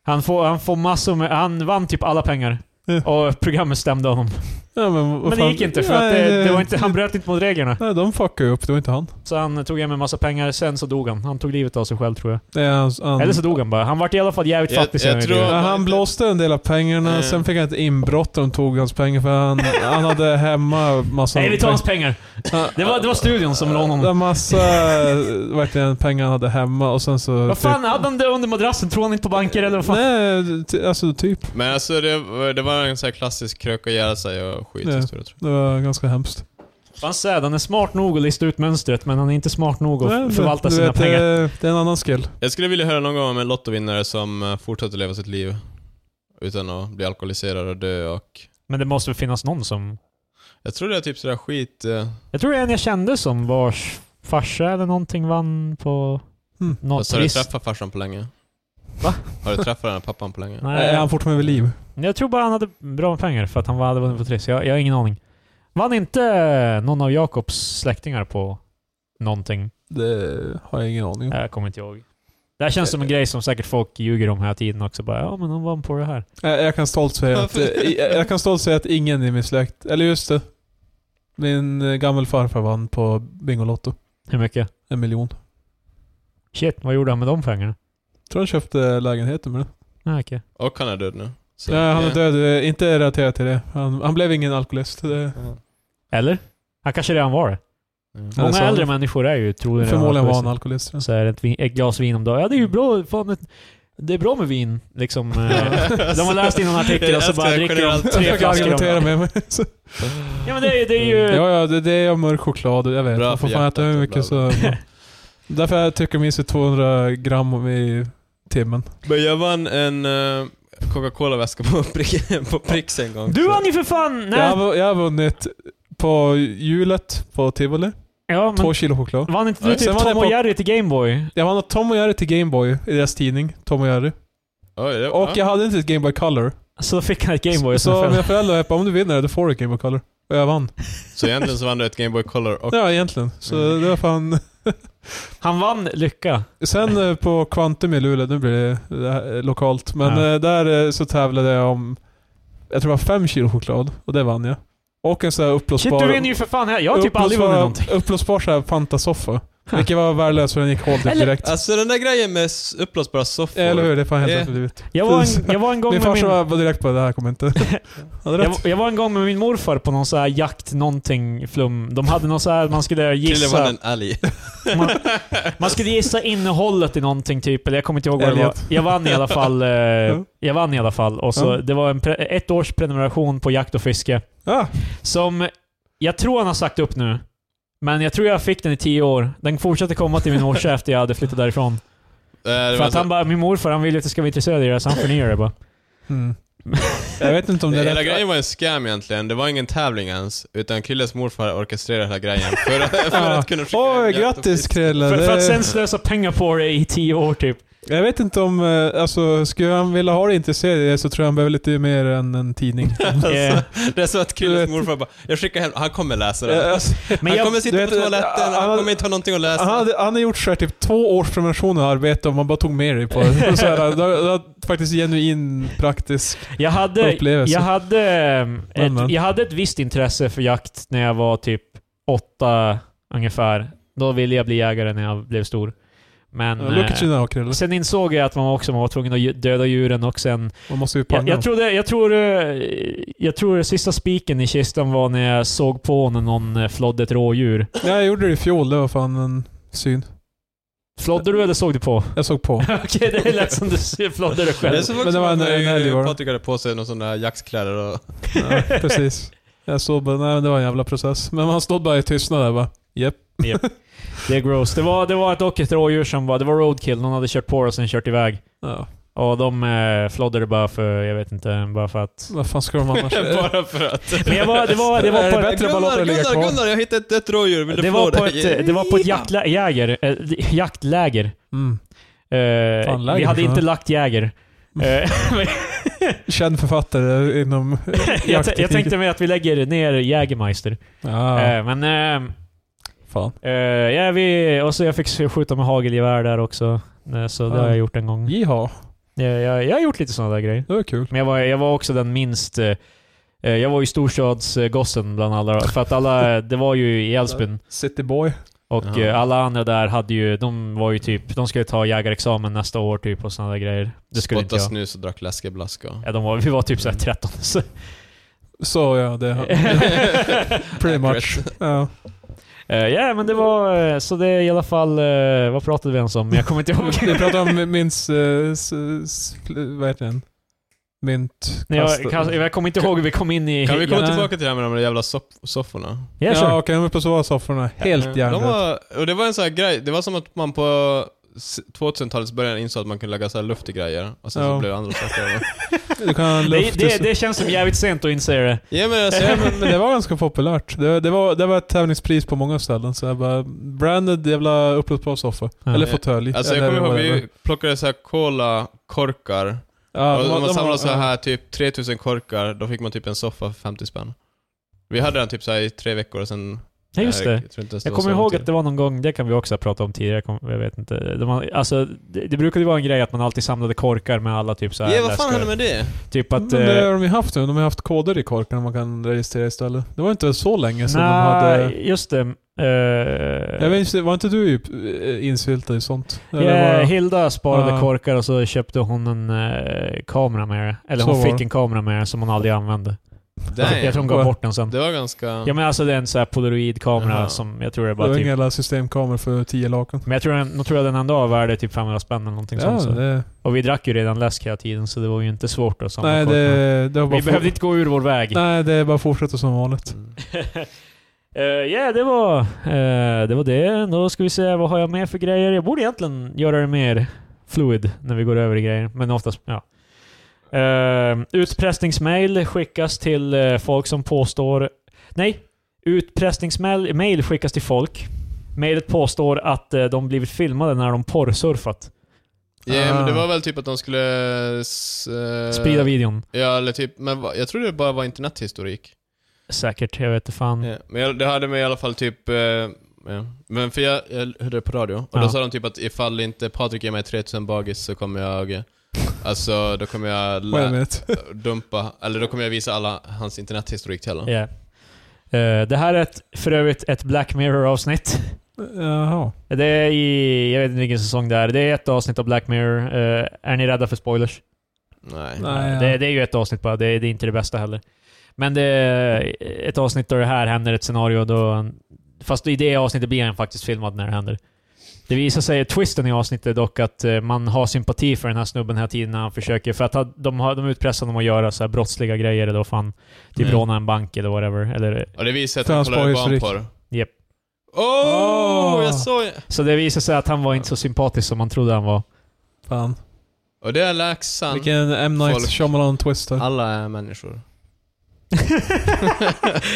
Han får, han får massor med... Han vann typ alla pengar.
Ja.
Och programmet stämde honom.
Ja, men, vad
Men det
fan.
gick inte för att
Nej,
det, det var inte, han bröt inte mot reglerna.
Nej, de fuckade ju upp, det var inte han.
Så han tog hem en massa pengar, sen så dog han. Han tog livet av sig själv tror jag.
Det är hans, han,
Eller så dog han bara. Han vart i alla fall jävligt
Jag-
fattig
jag
sen. i
tror-
livet.
Ja, han blåste en del av pengarna,
Eh.
Mm.
sen fick han ett inbrott och de tog hans pengar för han, han hade hemma massa...
Nej, vi tar hans pengar.
Han-
Det var, det var studion som lånade
Det var
honom.
massa eh, verkligen, pengar han hade hemma och sen så...
Vad fan, hade han det under madrassen? Tror han inte på banker eller vad
Typ,
fan?
nej, ty, alltså typ.
Men alltså det, var- det var en sån här klassisk kröka ihjäl sig och skithistoria tror
Det var ganska hemskt.
Fan sad, han är smart nog att lista ut mönstret, men han är inte smart nog att
Nej, men
förvalta
du
sina
vet,
pengar.
eh, Det är en annan skill.
jag. Jag skulle vilja höra någon gång om en lottovinnare som eh, fortsätter leva sitt liv utan att bli alkoholiserad och dö och...
Men det måste väl finnas någon som...
Jag tror det är typ sådär skit... eh,
Jag tror det är en jag kände som vars farsa eller någonting vann på
Mm.
något
Fast har du
trist.
träffat farsan på länge?
Va?
Har du träffat den här pappan på länge?
Eh, Är
Nej,
han fortfarande vid liv?
jag tror bara han hade bra med pengar för att han hade vunnit på Triss. Jag, jag har ingen aning. Vann inte någon av Jakobs släktingar på någonting?
Det har jag ingen aning om.
Jag kommer inte ihåg. Det här känns som en grej som säkert folk ljuger om hela tiden också. Bara, ja men han vann på det här.
Jag, jag kan stolt säga att, eh, i- jag kan stolt säga att ingen i min släkt, eller just det. Min eh, gammelfarfar vann på Bingolotto.
Hur mycket?
En miljon.
Shit, vad gjorde han med de pengarna?
Tror han köpte lägenheten med det.
Ah, okej.
Och han är död nu. Så,
Nej, han är
ja.
död. eh, Inte relaterat till det. Han, han blev ingen alkoholist. Det,
Eller? Han kanske redan var det.
Ja.
Ja,
Många
så-
äldre människor är ju troligen redan
förmodligen var han
alkoholister.
alkoholist.
Så är det ett, vin, ett glas vin om dagen. Ja, det är ju bra. Fan, ett, det är bra med vin. Liksom, eh, de har läst in en artikel och så bara
Jag älskar
dricker de
generellt.
tre
Jag
Jag
flaskor om
argumentera
dagen.
med mig.
Ja men det, är- det är ju...
Ja, ja, det, det är mörk choklad. Jag vet.
Bra
Man får
för
fan
hjärtat
äta hur
och
mycket
bla,
så... Därför jag tycker jag minst 200 gram om i timmen.
Men jag vann en eh, Coca-Cola-väska på, prick, på Pricks en gång.
Du vann ju för fan!
Jag har,
Nej.
vu- jag har vunnit på hjulet på Tivoli.
Ja,
Två
men
kilo choklad.
vann inte du
Nej.
typ
Sen vann jag
Tom och
på-
Jerry till Gameboy?
Jag vann åt Tom och Jerry till Gameboy i deras tidning. Tom och Jerry.
Oj, det,
Och
ja.
jag hade inte ett Gameboy Color.
Så då fick han ett Gameboy
Så,
så,
mina föräldrar jag bara, om du vinner då får du ett Gameboy Color. Och jag vann.
Så egentligen så vann du ett Game Boy Color och...
Ja, egentligen. Så
Mm.
det var fan...
Han vann lycka.
Sen eh, på Quantum i Luleå, nu blir det, det här, eh, lokalt, men
Ja.
eh, där eh, så tävlade jag om, jag tror det var fem kilo choklad, och det vann jag. Och en sån här
Shit, du vinner
uppblåsbar...
ju för fan här. Jag har typ aldrig vunnit någonting.
Uppblåsbar så här Fanta-soffa. Vilket var värdelöst för den gick hål typ
Eller-
direkt.
Alltså den där grejen med s- uppblåsbara soffor.
Eller hur? Det är fan helt
Eh.
rätt
Jag var en, jag var en gång
Min
med
farsa
min...
var var direkt på det här kommer inte... Han hade
Jag,
rätt.
jag var en gång med min morfar på någon så här jakt någonting flum. De hade någon så här, man skulle
Killen vann
gissa,
en älg. Eh,
man, man skulle gissa innehållet i någonting typ, eller jag kommer inte ihåg vad det var.
Elliot.
Jag vann i alla fall. Eh, jag vann i alla fall. Och så,
Mm.
Det var en pre, ett års prenumeration på jakt och fiske.
Ah,
Som jag tror han har sagt upp nu. Men jag tror jag fick den i tio år. Den fortsatte komma till min morsa efter jag hade flyttat därifrån.
Eh, det
För
var
att han
så,
bara, min morfar han vill ju att jag ska vara intresserad i det här, så han förnyar det bara.
mm. Jag vet inte om det är
hela
rätt.
grejen var en scam egentligen. Det var ingen tävling ens. Utan Krilles morfar orkestrerade hela grejen för, att- för
Ja.
att kunna skicka
Oj,
hem jakt och
grattis
fisk.
Krille.
För, för att
Det-
sen slösa pengar på det i tio år typ.
Jag vet inte om, eh, alltså skulle han vilja ha det intresserad i det så tror jag han behöver lite mer än en tidning.
Eh,
Det är så att
Du
Krilles
vet-
morfar bara, jag skickar hem, han kommer läsa
Eh,
det.
alltså,
Men
han
jag,
kommer sitta
du vet,
på toaletten, han,
han-
kommer inte ha någonting att
alltså,
läsa.
han, hade, han hade gjort så här, typ två års prenumeration och arbete om man bara tog med dig på det. Så här, det, var- det var faktiskt genuin praktisk. eh,
jag, hade,
Upplevelse.
jag, hade, ehm,
Men, men.
ett, jag hade ett visst intresse för jakt när jag var typ åtta ungefär. Då ville jag bli jägare när jag blev stor. Men
Look at you
eh,
now Krille.
sen insåg jag att man också var tvungen att ju- döda djuren och sen
Man måste ju
Jag,
panga
jag,
dem.
trodde, jag, tror, eh, jag tror det sista spiken i kistan var när jag såg på när någon eh, flodde ett rådjur.
Ja, jag gjorde det i fjol, det var fan en syn.
Flodde du eller såg du på?
Jag såg på.
Okej, det lät som du ser- flodde dig
det är
själv.
så
Men
också
det var en-
att,
en
eh,
älg var det.
Patrik hade på sig någon sån där jaktkläder och...
Ja, precis. Jag såg bara, nej men det var en jävla process. Men man stod bara i tystnad där bara, japp.
Det är gross. Det var, det var ett och ett rådjur som var... Det var roadkill. Någon hade kört på det och sen kört iväg.
Ja,
Och de eh, floddade bara för... Jag vet inte, bara för att...
vad fan ska de annars?
Bara för att.
Men jag var, det var, det var
Är
på,
det bättre att bara låta
Gunnar,
det ligga
Gunnar,
kvar?
Gunnar, jag hittade ett dött rådjur. Vill du
det
få
var på
det?
ett, det var på ett jaktlä, jäger, eh, jaktläger.
Mm.
Eh,
Fan, läger,
vi hade
fan.
inte lagt jäger. Eh, men-
Känd författare inom
jag, t-
jaktteknik.
jag tänkte mig att vi lägger ner Jägermeister.
Ja,
Eh, men... ehm,
fan.
eh, ja, vi, och så jag fick skjuta med hagelgevär där också. Eh, Så det har jag
Fan.
gjort en gång.
Jiha,
Eh, jag, jag har gjort lite sådana där grejer.
det var kul.
Men jag var, jag var också den minst... eh, eh, Jag var ju storstadsgossen bland alla. För att alla... Det var ju i Älvsbyn.
Cityboy.
Och
Jaha.
eh, alla andra där hade ju... De var ju typ... De skulle ta jägarexamen nästa år typ och sådana där grejer. Det skulle inte
Spottade
jag.
snus och drack läskeblaska.
Ja, de var, vi var typ
Mm.
såhär 13. Så.
Så ja, det pretty much. Ja.
Eh, Ja, men det var... eh, Så det är i alla fall... eh, Vad pratade vi ens om? Jag kommer inte ihåg.
Vi pratade om minns... eh, s- s- Vad heter den? Mynt...
Nej,
kast-
jag, kast, jag kommer inte ihåg hur vi kom in i...
Kan vi komma
Ja.
tillbaka till det här med de där jävla soff- sofforna?
Ja,
Ja,
sure.
okej, de är på så sofforna. Helt
Ja. de
hjärndött.
var, och Det var en sån här grej, det var som att man på s- 2000-talets början insåg att man kunde lägga så här luft i grejer, och sen så
Ja.
blev det andra saker.
Du kan ha en
det,
luft...
det, det känns som jävligt sent att inse det.
ja men alltså,
Ja, men, men det var ganska populärt. Det, det, var, det var ett tävlingspris på många ställen. Så jag bara, branded jävla upplösbar soffa.
Ja.
Eller fåtölj.
alltså jag
eller
kommer ihåg
whatever.
vi plockade så här cola-korkar,
Ja,
och
de-
om
de
man
var-
samlade så
ja.
här typ 3000 korkar, då fick man typ en soffa för 50 spänn. Vi hade den typ så här i tre veckor och sen...
Ja, just det.
tror inte ens
Jag
var så
kommer ihåg
lång
att det var någon gång, det kan vi också ha pratat om tidigare, jag, kom, jag vet inte. Det, var, alltså, det, det brukade vara en grej att man alltid samlade korkar med alla typ
tid.
såhär...
Ja, vad fan hände med det?
Typ att...
men det
eh,
har de ju haft nu. De har haft koder i korkarna man kan registrera istället. Det var inte så länge sedan de
nej,
hade...
just det. eh,
Jag vet, inte, var inte du eh, insyltad i sånt? Eller
Eh, ja,
var-
Hilda sparade
Ja.
korkar och så köpte hon en eh, kamera med det. Eller
Så
hon
var
fick
det.
en kamera med det som hon aldrig använde. Alltså, Jag tror hon
Damn.
gav bort den sen.
Det var ganska...
Ja men alltså det är en sån här polaroidkamera
Jaha.
som jag tror det är
det var
bara typ
inga jävla systemkameror för 10 lakan. liksom,
Men jag tror, den, nog tror jag den ändå var värd typ 500 spänn eller någonting
Ja,
sånt. Så.
det,
Och vi drack ju redan läsk hela tiden så det var ju inte svårt att samla
nej,
korkarna.
det, det var bara
Vi behövde
for,
inte gå ur vår väg.
Nej, det är bara att fortsätta som vanligt.
Mm.
Eh, Ja, det var eh, det. var det. Då ska vi se, vad har jag mer för grejer? Jag borde egentligen göra det mer. fluid när vi går över i grejer. Men oftast, ja. Uh, utpressningsmail skickas till eh, folk som påstår... Nej! Utpressningsmail mail skickas till folk. Mailet påstår att eh, de blivit filmade när de porrsurfat.
Ja, men det var väl typ att de skulle... S, eh,
Ah. Sprida videon.
Ja, eller typ, men va- jag tror det bara var internethistorik.
Säkert, jag vet inte fan.
Ja, men jag, det hade mig i alla fall typ... Eh, ja. Men för jag, jag hörde det på radio, och
Ja.
då sa de typ att ifall inte Patrik ger mig 3000 bagis så kommer jag... eh, Alltså, då kommer jag
Wait a
lä-
minute.
dumpa, eller då kommer jag visa alla hans internethistorik till honom.
Ja. Eh, det här är ett, för övrigt ett Black Mirror-avsnitt.
Jaha.
Det är i... Jag vet inte vilken säsong det är. Det är ett avsnitt av Black Mirror. Eh, är ni rädda för spoilers?
Nej.
Nej,
det,
ja.
det är ju ett avsnitt bara, det, det är inte det bästa heller. Men det är ett avsnitt där det här händer, ett scenario då... han- Fast i det avsnittet blir han faktiskt filmad när det händer. Det visar sig, twisten i avsnittet är dock, att eh, man har sympati för den här snubben hela tiden när han försöker, för att ha- de, har, de utpressar honom att göra så här brottsliga grejer eller vad fan, typ
Mm.
råna en bank eller whatever. Eller,
Och det visade att
För
han
hans
kollade
baghistorik.
barnporr.
Japp.
Åh,
Åh!
jag såg...
så det visar sig att han var inte så sympatisk som man trodde han var.
Fan.
Och det är läxan.
Vilken M. Night
Folk.
Shyamalan-twist här.
Alla är människor.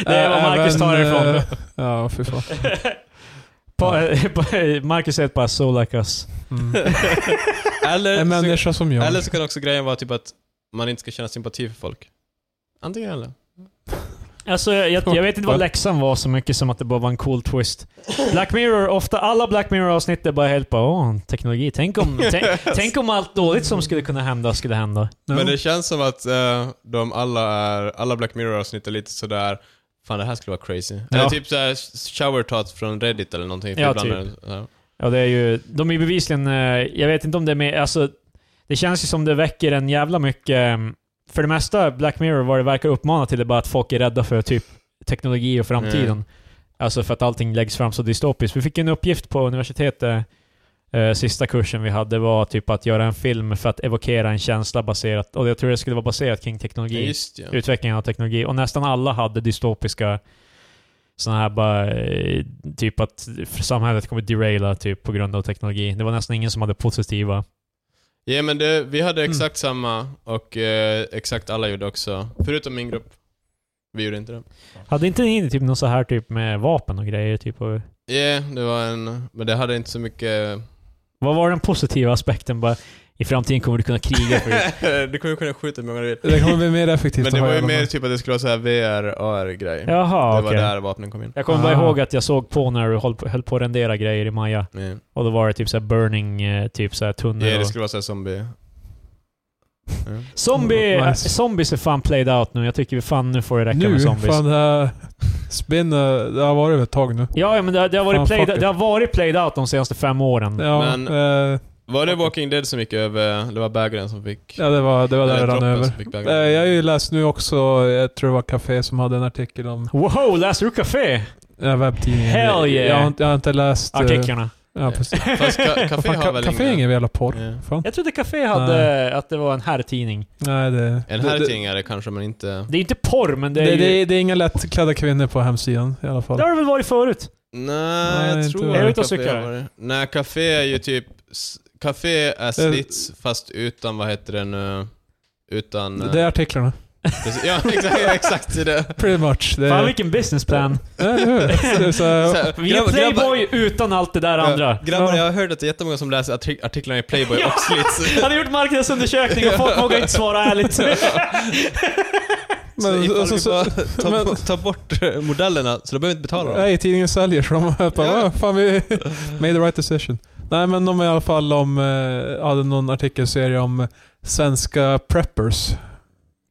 det är vad Marcus tar
Även,
ifrån.
eh, Ja, fy fan.
Pa- Marcus är bara so like us.
Mm.
eller,
En
så,
människa som jag.
eller så kan också grejen vara typ att man inte ska känna sympati för folk. Antingen eller.
Alltså, jag, jag, jag vet inte vad läxan var så mycket som att det bara var en cool twist. Black Mirror, ofta alla Black Mirror-avsnitt är bara helt bara åh, teknologi. Tänk om, tänk, tänk om allt dåligt som skulle kunna hända skulle hända.
No.
Men det känns som att eh, de alla är, alla Black Mirror-avsnitt är lite sådär Fan det här skulle vara crazy. Eller typ såhär shower thoughts från Reddit eller någonting. för
Ja,
ibland
typ.
är det så här.
Ja, det är ju... De är ju bevisligen... eh, Jag vet inte om det är med... Alltså, det känns ju som det väcker en jävla mycket... eh, För det mesta, Black Mirror, vad det verkar uppmana till är bara att folk är rädda för typ teknologi och framtiden.
Mm.
Alltså för att allting läggs fram så dystopiskt. Vi fick ju en uppgift på universitetet, eh, sista kursen vi hade, var typ att göra en film för att evokera en känsla baserat... Och jag tror det skulle vara baserat kring
Ja,
teknologi
just ja.
utvecklingen av teknologi. Och nästan alla hade dystopiska sådana här bara, eh, typ att samhället kommer deraila typ på grund av teknologi. Det var nästan ingen som hade positiva.
Ja men det, vi hade
Mm.
exakt samma och eh, exakt alla gjorde också. Förutom min grupp. Vi gjorde inte det.
Hade inte ni typ något så här typ med vapen och grejer? Typ, och,
Ja, det var en... Men det hade inte så mycket...
vad var den positiva aspekten? Bara, I framtiden kommer du kunna kriga för det.
du kommer kunna skjuta hur många du vill.
Det kommer bli mer effektivt
Men det
att ha
var ju
i alla
mer
fall.
typ att det skulle vara så här VR, AR-grej.
Jaha,
det var
okej.
där vapnen kom in.
Jag kommer bara
Ah.
ihåg att jag såg på när du höll på, höll på att rendera grejer i Maja.
Mm.
Ja, yeah.
Och då var det typ så här burning, eh, typ så här tunnel.
det
och-
skulle vara såhär zombie... Ja.
Zombie,
Mm,
Nice.
Zombies är fan played out nu. Jag tycker fan nu får det räcka
Nu,
med zombies.
fan det här... Spinn, eh, det har varit ett tag nu.
Ja, ja, men det, har- det, har
Fan,
varit played,
fuck it.
det har varit played out de senaste fem åren.
Ja,
Men-
eh,
Var det Walking Dead som gick över, det var bägaren som fick...
ja det var, det var där
eller
det rann
droppen
över.
som fick
Eh,
bägaren.
Jag har ju läst nu också, jag tror det var Café som hade en artikel om
Wow, läser du Café?
äh, webbtidningen.
Hell yeah. Ah,
Jag har, inte- jag har inte läst... eh,
Artiklarna.
Ja, precis.
Fast ka-
Vad
Café
fan,
har
ka-
väl
Café är ingen jävla porr.
Ja.
Fan.
Jag trodde Café hade att det var en herrtidning.
Nej, det...
En
det- det-
herrting är det kanske, men inte...
Det är inte porr, men det är
det,
ju...
det, är- det är inga lättklädda kvinnor på hemsidan i alla fall.
det har det väl varit förut?
Nej,
Nej,
jag
inte
tror
det.
aldrig
Är du ute och
Café
cyklar?
har varit- Nej, Café är ju typ... s- Café är slits fast utan, vad heter det nu? Utan... eh,
Det är artiklarna.
Precis, Ja, exakt, exakt det. är det.
Pretty much. Det är,
Fan vilken businessplan.
Ja, eller hur? Det är så här-
Så här,
Vi är
grabbar-
Playboy utan allt det där andra.
Ja, grabbar,
Ja.
jag har hört att det är jättemånga som läser artik- artiklarna i Playboy
Ja.
och Slits.
Han har gjort marknadsundersökning och folk vågar inte svara ärligt.
Men, så
men,
ifall
och så,
vi bara
så,
tar,
men-
tar bort eh, modellerna så då behöver vi inte betala dem.
nej, tidningen säljer så de bara,
Ja.
"Ah, fan vi made the right decision. Nej men de är i alla fall om, eh, hade någon artikelserie om svenska preppers.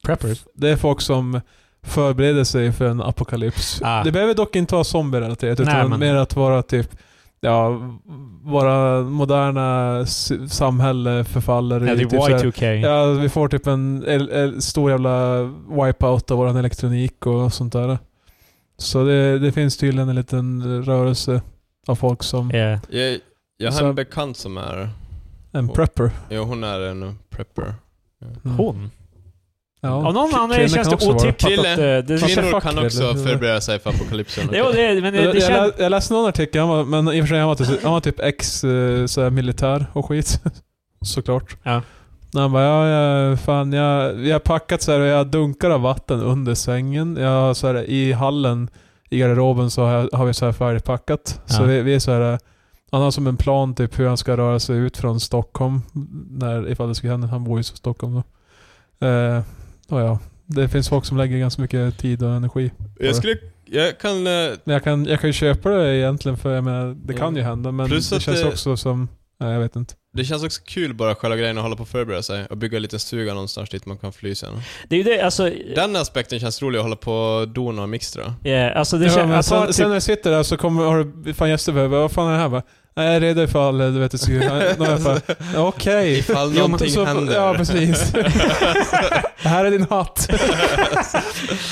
Preppers?
Det är folk som förbereder sig för en apokalyps.
Ah.
Det behöver dock inte vara zombie-relaterat,
Nej,
utan
men-
mer att vara typ Ja, våra moderna s- samhälle förfaller
Ja, det är
typ så här-
Y2K.
Ja, vi får typ en el, el, stor jävla wipeout av våran elektronik och sånt där. Så det, det finns tydligen en liten rörelse av folk som...
Ja.
Jag, jag har
Så-
en bekant som är...
En prepper.
Jo, hon är en prepper.
Mm.
Hon?
Ja.
Av någon anledning
Killen kan
känns det
också vara.
otippat
Kille.
att... eh, Det
Kille.
känns...
Kvinnor
fuck
kan
det,
också
eller?
förbereda sig för apokalypsen.
Det var det, men det,
Jag,
det
jag,
känns...
lä- jag läste någon artikel, han var, men i och för sig han var, typ, han var typ ex eh, så här, militär och skit. såklart.
Ja.
När han bara, ja, jag, fan, jag, jag har packat så här och jag dunkar av vatten under sängen. Jag har så här, I hallen, i garderoben, så har, jag, har vi så här färdigpackat. Så
Ja.
vi, vi är så här, han har som en plan typ hur han ska röra sig ut från Stockholm. När, ifall det skulle hända. Han bor ju i Stockholm då. Eh, och ja, det finns folk som lägger ganska mycket tid och energi.
Jag skulle... Jag kan... eh,
Men jag kan, jag kan ju köpa det egentligen för jag menar, det kan
Ja.
ju hända men
Mm. Plus
det
att
känns
det-
också som... Nej, jag vet inte.
Det känns också kul bara själva grejen att hålla på och förbereda sig och bygga en liten stuga någonstans dit man kan fly sen.
Det är ju det, alltså...
Den aspekten känns rolig att hålla på och dona och mixtra.
Yeah, alltså det
ja,
kän-
men
att
sen,
ha typ-
sen när jag sitter där så kommer, har du, fan gäster behöver, vad fan är det här? Bara, Nej, jag är redo ifall du vet, det skulle... Någon jag bara, Okej.
Ifall
Jo, men
någonting
så-
händer.
Ja, precis. det här är din hatt. Jag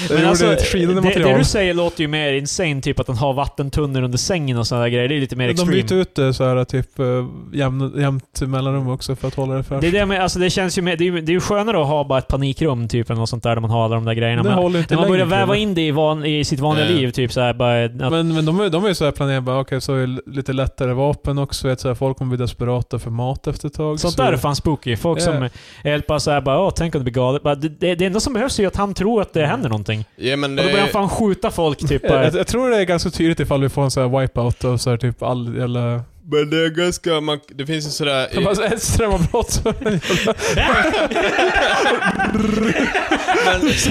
Men
gjorde
alltså,
ett skinande
det,
material.
det du säger låter ju mer insane, typ att han har vattentunnor under sängen och sådana där grejer. Det är lite mer
De byter
extreme.
ut det så här typ eh, jämn, jämnt mellanrum också för att hålla det fräscht.
Det, är det, med, alltså, det känns ju mer, det, är, ju- det är ju skönare att ha bara ett panikrum typ, än något sånt där, där man har alla de där grejerna.
Det
Men
håller ju inte
när man
längre,
börjar väva
tror jag.
in det i, van, i sitt vanliga
Eh.
liv, typ såhär bara... Att,
Men, men de är, de är ju såhär planerade, bara, okej så är det lite lättare vapen också, vet, så här, folk kommer bli desperata för mat efter ett tag.
Sånt
så,
där är fan spooky. Folk
Ja.
som är helt bara såhär bara åh, tänk om det blir galet. Bara, Det, det, det enda som behövs är ju att han tror
Mm.
att det händer någonting.
Ja, men
Och
det
då börjar han
är,
fan skjuta folk
jag,
typ. Bara,
jag, jag tror det är ganska tydligt ifall vi får en sån här wipeout och så här typ all jävla...
men det är ganska... Man, det finns ju sådär...
Jag bara, så här, ett strömavbrott.
men,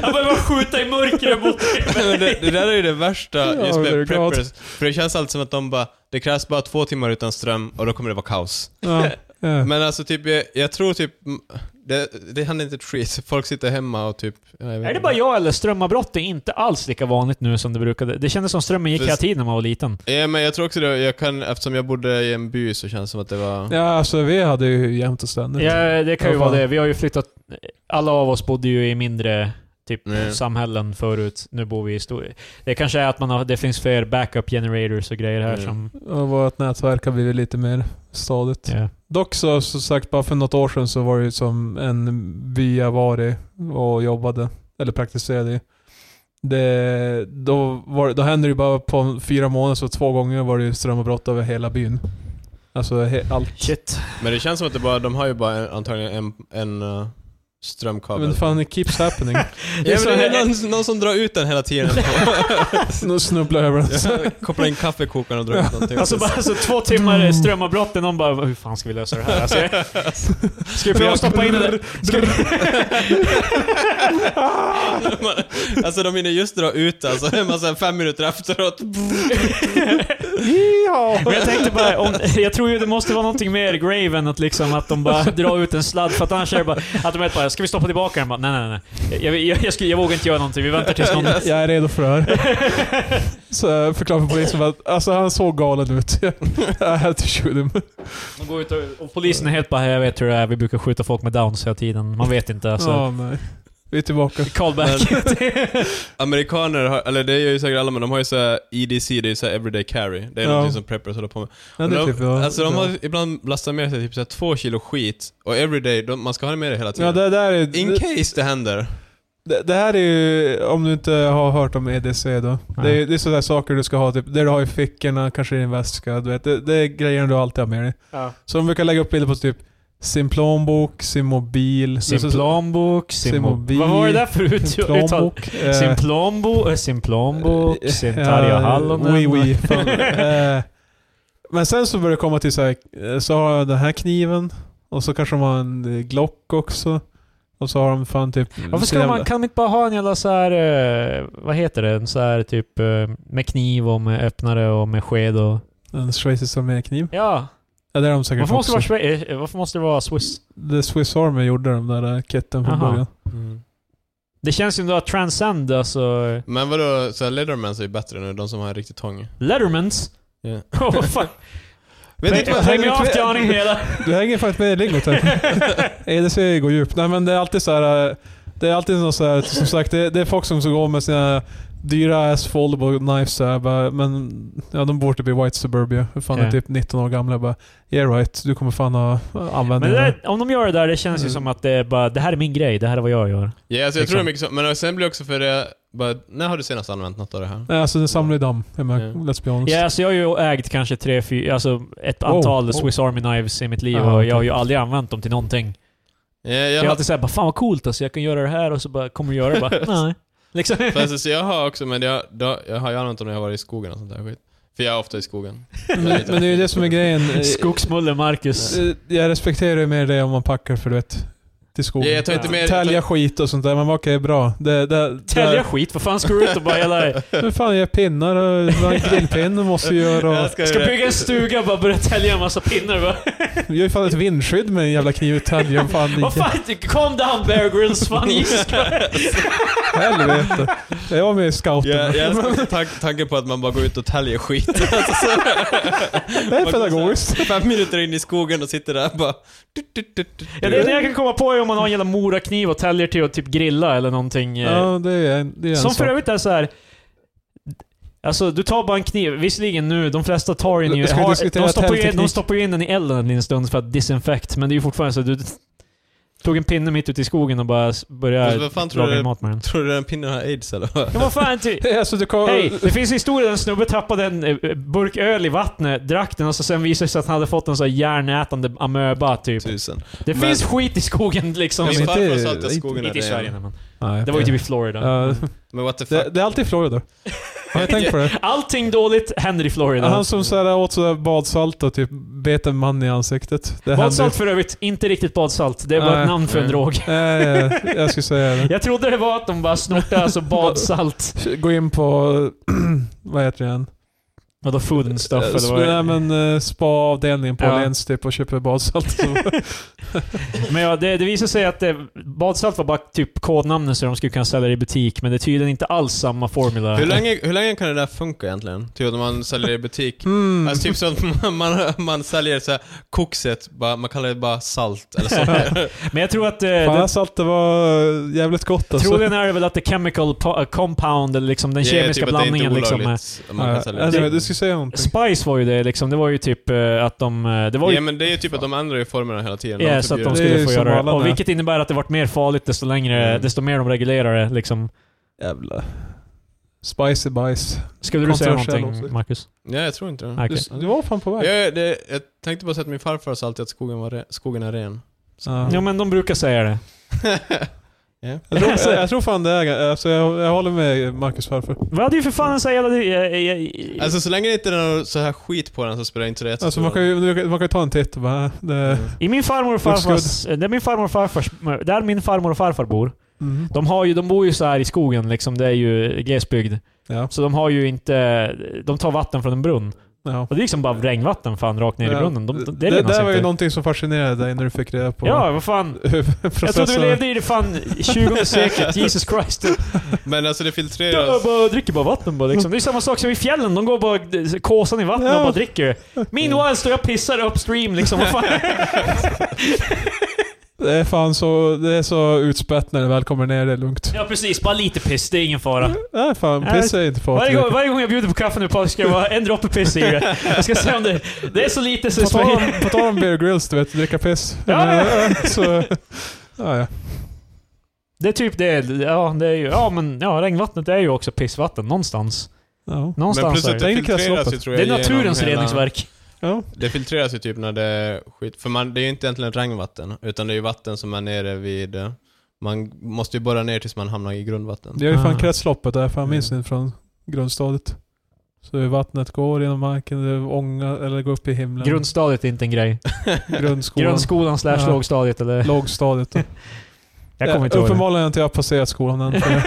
han behöver skjuta i mörkret mot
men det, det där är ju det värsta
Ja,
just med
det är klart.
preppers. För det känns alltid som att de bara, det krävs bara två timmar utan ström och då kommer det vara kaos.
ja, ja.
Men alltså typ, jag, jag tror typ, mm, det, det händer inte ett skit. Folk sitter hemma och typ... ja, jag vet
Är det
inte.
bara jag eller strömavbrott är inte alls lika vanligt nu som det brukade? Det kändes som strömmen gick
Fast-
hela tiden när man var liten.
Ja, men jag tror också det, jag kan, eftersom jag bodde i en by så känns det som att det var...
ja, alltså vi hade ju jämt och ständigt.
Ja, det kan ju
Ja,
vara
fan.
det. Vi har ju flyttat... Alla av oss bodde ju i mindre typ
Mm.
samhällen förut. Nu bor vi i stor... Det kanske är att man har, det finns fler backup generators och grejer här
Mm.
som...
Och vårt nätverk har blivit lite mer stadigt.
Ja.
Dock så, som sagt, bara för något år sedan så var det ju som en by jag var i och jobbade, eller praktiserade i. Det, då, var, det- då hände det ju bara på fyra månader, så två gånger var det ju strömavbrott över hela byn. Alltså he, allt.
Shit.
Men det känns som att det bara, de har ju bara en, antagligen en, en eh, strömkabel.
Men fan, it keeps happening.
ja, men det
så-
är någon, någon som drar ut den hela tiden.
Nu snubblar jag över den.
Kopplar in kaffekokaren och drar ut någonting.
Alltså bara alltså, två timmar strömavbrott och någon bara Hur fan ska vi lösa det här? Alltså, jag- ska vi prova att stoppa in det där? Ska vi...
alltså de hinner just dra ut alltså, är man så här fem minuter efteråt.
Men jag tänkte bara, om, jag tror ju det måste vara någonting mer grave än att liksom att de bara drar ut en sladd för att annars är det bara, att de är bara, ska vi stoppa tillbaka den? Bara, Nej, nej, nej. Jag, jag, jag, skulle, jag vågar inte göra någonting, vi väntar tills någon...
Jag är redo för det här. Så jag förklarade för polisen att alltså, han såg galen ut. I had to shoot him.
De går ut och, och polisen är helt bara, jag vet hur det är, vi brukar skjuta folk med downs hela tiden. Man vet inte alltså.
Ja, nej. Vi är tillbaka.
Callback.
Amerikaner har, eller det gör ju säkert alla, men de har ju så här EDC, det är ju så här everyday carry. Det är
Ja.
någonting som preppers håller på med.
Ja, det
Men
är
de,
typ, ja,
alltså de
ja.
har ibland lastat med sig typ så här två kilo skit, och everyday, de, man ska ha det med det hela tiden.
Ja, det, där är,
In case det händer.
det, det här är ju, om du inte har hört om EDC då. Det är, det är sådana saker du ska ha, typ, det du har i fickorna, kanske i din väska. Du vet, det, det är grejer du alltid har med dig. Så de brukar lägga upp bilder på typ sin plånbok, sin mobil.
Sin plånbok, sin,
Sin
mo-
mobil,
Vad var det där för ut-
sin
uttal?
plånbok.
Sin
eh,
plånbok, eh, sin plånbok, sin
Ja,
Tarja Hallonen.
Oui, oui. Fan. Eh, Men sen så börjar det komma till så här, eh, så har jag den här kniven och så kanske de har en eh, Glock också. Och så har de fan typ...
Varför ska
sin
man,
jävla-
kan man inte bara ha en jävla så här, eh, vad heter det, en så här typ eh, med kniv och med öppnare och med sked och...
En schweizisk armékniv?
Ja,
Ja det är de säkert
varför måste,
också.
det vara, Schwe- eh, varför måste det vara Swiss?
The Swiss Army gjorde de där eh, kitten från
Aha.
början.
Det känns ju ändå att transcend, alltså...
Men vadå, så här Leathermans är ju bättre nu, de som har en riktig tång.
Lettermans?
Ja.
Åh, vad fan.
Vet inte vad
jag-
Häng av till aning hela.
Du hänger faktiskt med i lingot här. EDC går djupt. Nej men det är alltid så här. eh, Det är alltid något så här, som sagt, det, det är folk som så går med sina dyra ass foldable knives så här, bara, men ja, de bor typ i White Suburbia. Hur fan
Ja.
är typ 19 år gamla. Jag bara, yeah right, du kommer fan ha
Men
användning
det
av
där, om de gör det där, det känns ju
Mm.
som att det är bara, det här är min grej, det här är vad jag gör.
Ja, alltså jag tror
Liksom.
det är mycket så. Men sen blir det också för det, But, när har du senast använt något av det här?
Nej, alltså den samlar ju damm. Jag
Ja.
menar, Let's be honest.
Ja, alltså jag har ju ägt kanske tre, fyra, alltså ett
Wow.
antal
Oh.
Swiss Army Knives i mitt liv
Ah,
och jag har
okej.
ju aldrig använt dem till någonting.
Jag, jag,
Jag har
har,
alltid såhär bara 'Fan vad coolt alltså, jag kan göra det här' och så bara kommer jag göra det bara, nej. Liksom.
fast, alltså, jag har också, men jag, då, jag har ju använt dem när jag har varit i skogen och sånt där skit. För jag är ofta i skogen.
Men, men det är ju det som är grejen. Eh,
Skogsmulle Marcus.
eh, Jag respekterar ju mer det om man packar för du vet, till skogen.
Ja, jag tar inte med-
Tälja skit och sånt där. Man bara okej, bra. Det, det,
Tälja skit, vad fan ska du ut och bara hela...
det, Men fan, jag gör pinnar och grillpinnar måste jag göra. Och,
Jag ska,
Ska bygga en stuga och bara börja tälja en massa pinnar bara.
jag gör ju fan ett vindskydd med en jävla kniv och tälja. Fan,
Vad
i
fan, calm down Bear Grylls, fan Jesus
helvete. Jag var med i scouten.
jag, jag älskar också tank, tanken på att man bara går ut och täljer skit. Alltså, så,
Det är pedagogiskt.
fem minuter in i skogen och sitter där och bara...
Ja, det enda jag kan komma på är om man har en jävla morakniv och täljer till att typ grilla eller någonting. eh,
Ja, det är en, det är en
som för
sak.
övrigt är så här. Alltså du tar bara en kniv, visserligen nu, de flesta tar ju nu,
Ska vi
har,
diskutera
de, stoppar ju, de
täljteknik?
stoppar ju in den i elden en liten stund för att disinfekt, men det är ju fortfarande så att du tog en pinne mitt ute i skogen och bara s-
Fast
började
vad fan tror du
laga
det-
mat med den.
Tror du den pinnen har aids eller vad?
Ja, vad fan, ty-
Alltså, du kan...
Hej! Det finns en historia där en snubbe tappade en eh, burk öl i vattnet, drack den och så sen visade det sig att han hade fått en sån här järnätande amöba typ.
Tusen.
Det
Men-
finns skit i skogen liksom.
Ja,
Min
men inte-
farfar sa att jag
inte-
skogen
Inte i
är
Sverige
ren.
men.
Nej,
Det var ju typ i
Ja.
Florida. Mm.
Men what the fuck?
det, det är alltid Florida. Har jag tänkt på det?
Allting dåligt händer i Florida.
Han som så här åt sådär badsalt och typ bet en man i ansiktet. Det
badsalt för övrigt, inte riktigt badsalt. Det är bara
Nej.
ett namn för en
Nej.
drog.
Nej, Eh, jag, jag skulle säga det.
Jag trodde det var att de bara snortade alltså badsalt.
Gå in på, vad heter den?
Vadå food and stuff
Eh,
eller
sp-
vad
Nej men eh, spa-avdelningen på
Ja.
Åhléns typ och köper badsalt. Så.
Men ja, det, det visade sig att det, badsalt var bara typ kodnamnet så de skulle kunna sälja det i butik, men det är tydligen inte alls samma formula.
Hur länge, hur länge kan det där funka egentligen? Typ att man säljer i butik?
Mm.
Alltså typ så att man, man, man säljer så här kokset, bara, man kallar det bara salt eller så.
Men jag tror att... Eh, det,
Fan, saltet var eh, jävligt gott alltså.
troligen är det väl att the chemical po- eh, compound, eller liksom den
Det är
kemiska
typ att det inte är
blandningen liksom. är-
olagligt om Man
Ja,
kan sälja
alltså,
det.
du skulle säga någonting.
Spice var ju det liksom, det var ju typ eh, att de... eh, Det var ju
Ja men det är ju typ att de ändrar ju formerna hela tiden.
Ja, så att de
förbjuder-
Det är
skulle
ju
få
som
göra det.
alla
Och
där.
vilket innebär att det varit mer farligt desto, längre,
Mm.
desto mer de reglerar det. Liksom.
Jävla... Spicy bajs.
Skulle du säga
Kontroversiell
någonting,
åsikt.
Marcus?
Ja, jag tror inte det.
Nej,
Du,
okej.
du var fan på väg.
Jag, det, jag tänkte bara säga att min farfar sa alltid att skogen, var re, skogen är ren.
Ja.
Jo, men de brukar säga det.
Jag, tror, jag, jag tror fan det är... Alltså, jag, jag håller med Marcus farfar.
Vi hade ju för fan en sån jävla... eh, eh, eh,
Alltså så länge det inte är någon så här skit på den så spelar inte det jättestor
Alltså, man, kan
roll.
ju, man kan ju ta en titt och bara... eh, Det,
Mm.
I min farmor och
Looks
farfars... eh, Där min farmor och farfars... Där min farmor och farfar bor.
mm.
De, har ju, de bor ju så här i skogen liksom. Det är ju glesbygd.
Ja.
Så de har ju inte... De tar vatten från en brunn.
ja.
Och det är liksom bara regnvatten fan rakt ner i
Ja.
brunnen. De, de, det
det
renas
där var ju
inte.
någonting som fascinerade dig när du fick reda på
Ja, vad fan. Jag trodde vi
processen.
levde i det fan 20 seklet. Jesus Christ.
Men alltså det
Jag
filtreras.
bara dricker bara vatten bara liksom. Det är samma sak som i fjällen. De går bara kåsan i vattnet och
Ja.
bara dricker. Meanwhile står jag och pissar upstream liksom. Vad fan?
Det är fan så, det är så utspätt när det väl kommer ner, det är lugnt.
Ja precis, bara lite piss. Det är ingen fara.
Nej fan,
Nej.
piss är inte
Varje gång,
farligt.
varje gång jag bjuder på kaffe nu Patrik ska jag vara en droppe piss i det. Jag ska se om det... Det är så lite så
På
det
tal om-
spelar...
På tal om Bear Grylls, du vet, dricka piss.
Ja, ja.
Eh, Så, ja, ja.
Det är typ det. Ja, det är ju... Ja men ja, regnvattnet är ju också pissvatten någonstans.
ja.
Men
Någonstans
plus
är
att
det.
det
Tänk
filtreras ju
kretsloppet.
tror
Det
jag
är naturens
genom hela-
reningsverk.
ja.
Det filtreras ju typ när det är skit. För man, det är ju inte egentligen regnvatten. Utan det är ju vatten som är nere vid... eh, Man måste ju borra ner tills man hamnar i grundvatten.
Det är ju
Ah.
fan kretsloppet där, fan minns
Mm.
ni från grundstadiet? Så vattnet går genom marken, det ångar, eller går upp i himlen.
Grundstadiet är inte en grej.
Grundskolan.
Grundskolan slash
Ja.
lågstadiet eller...
Lågstadiet.
Jag kommer inte
Eh,
ihåg. det.
Uppenbarligen har inte jag passerat skolan än. för jag-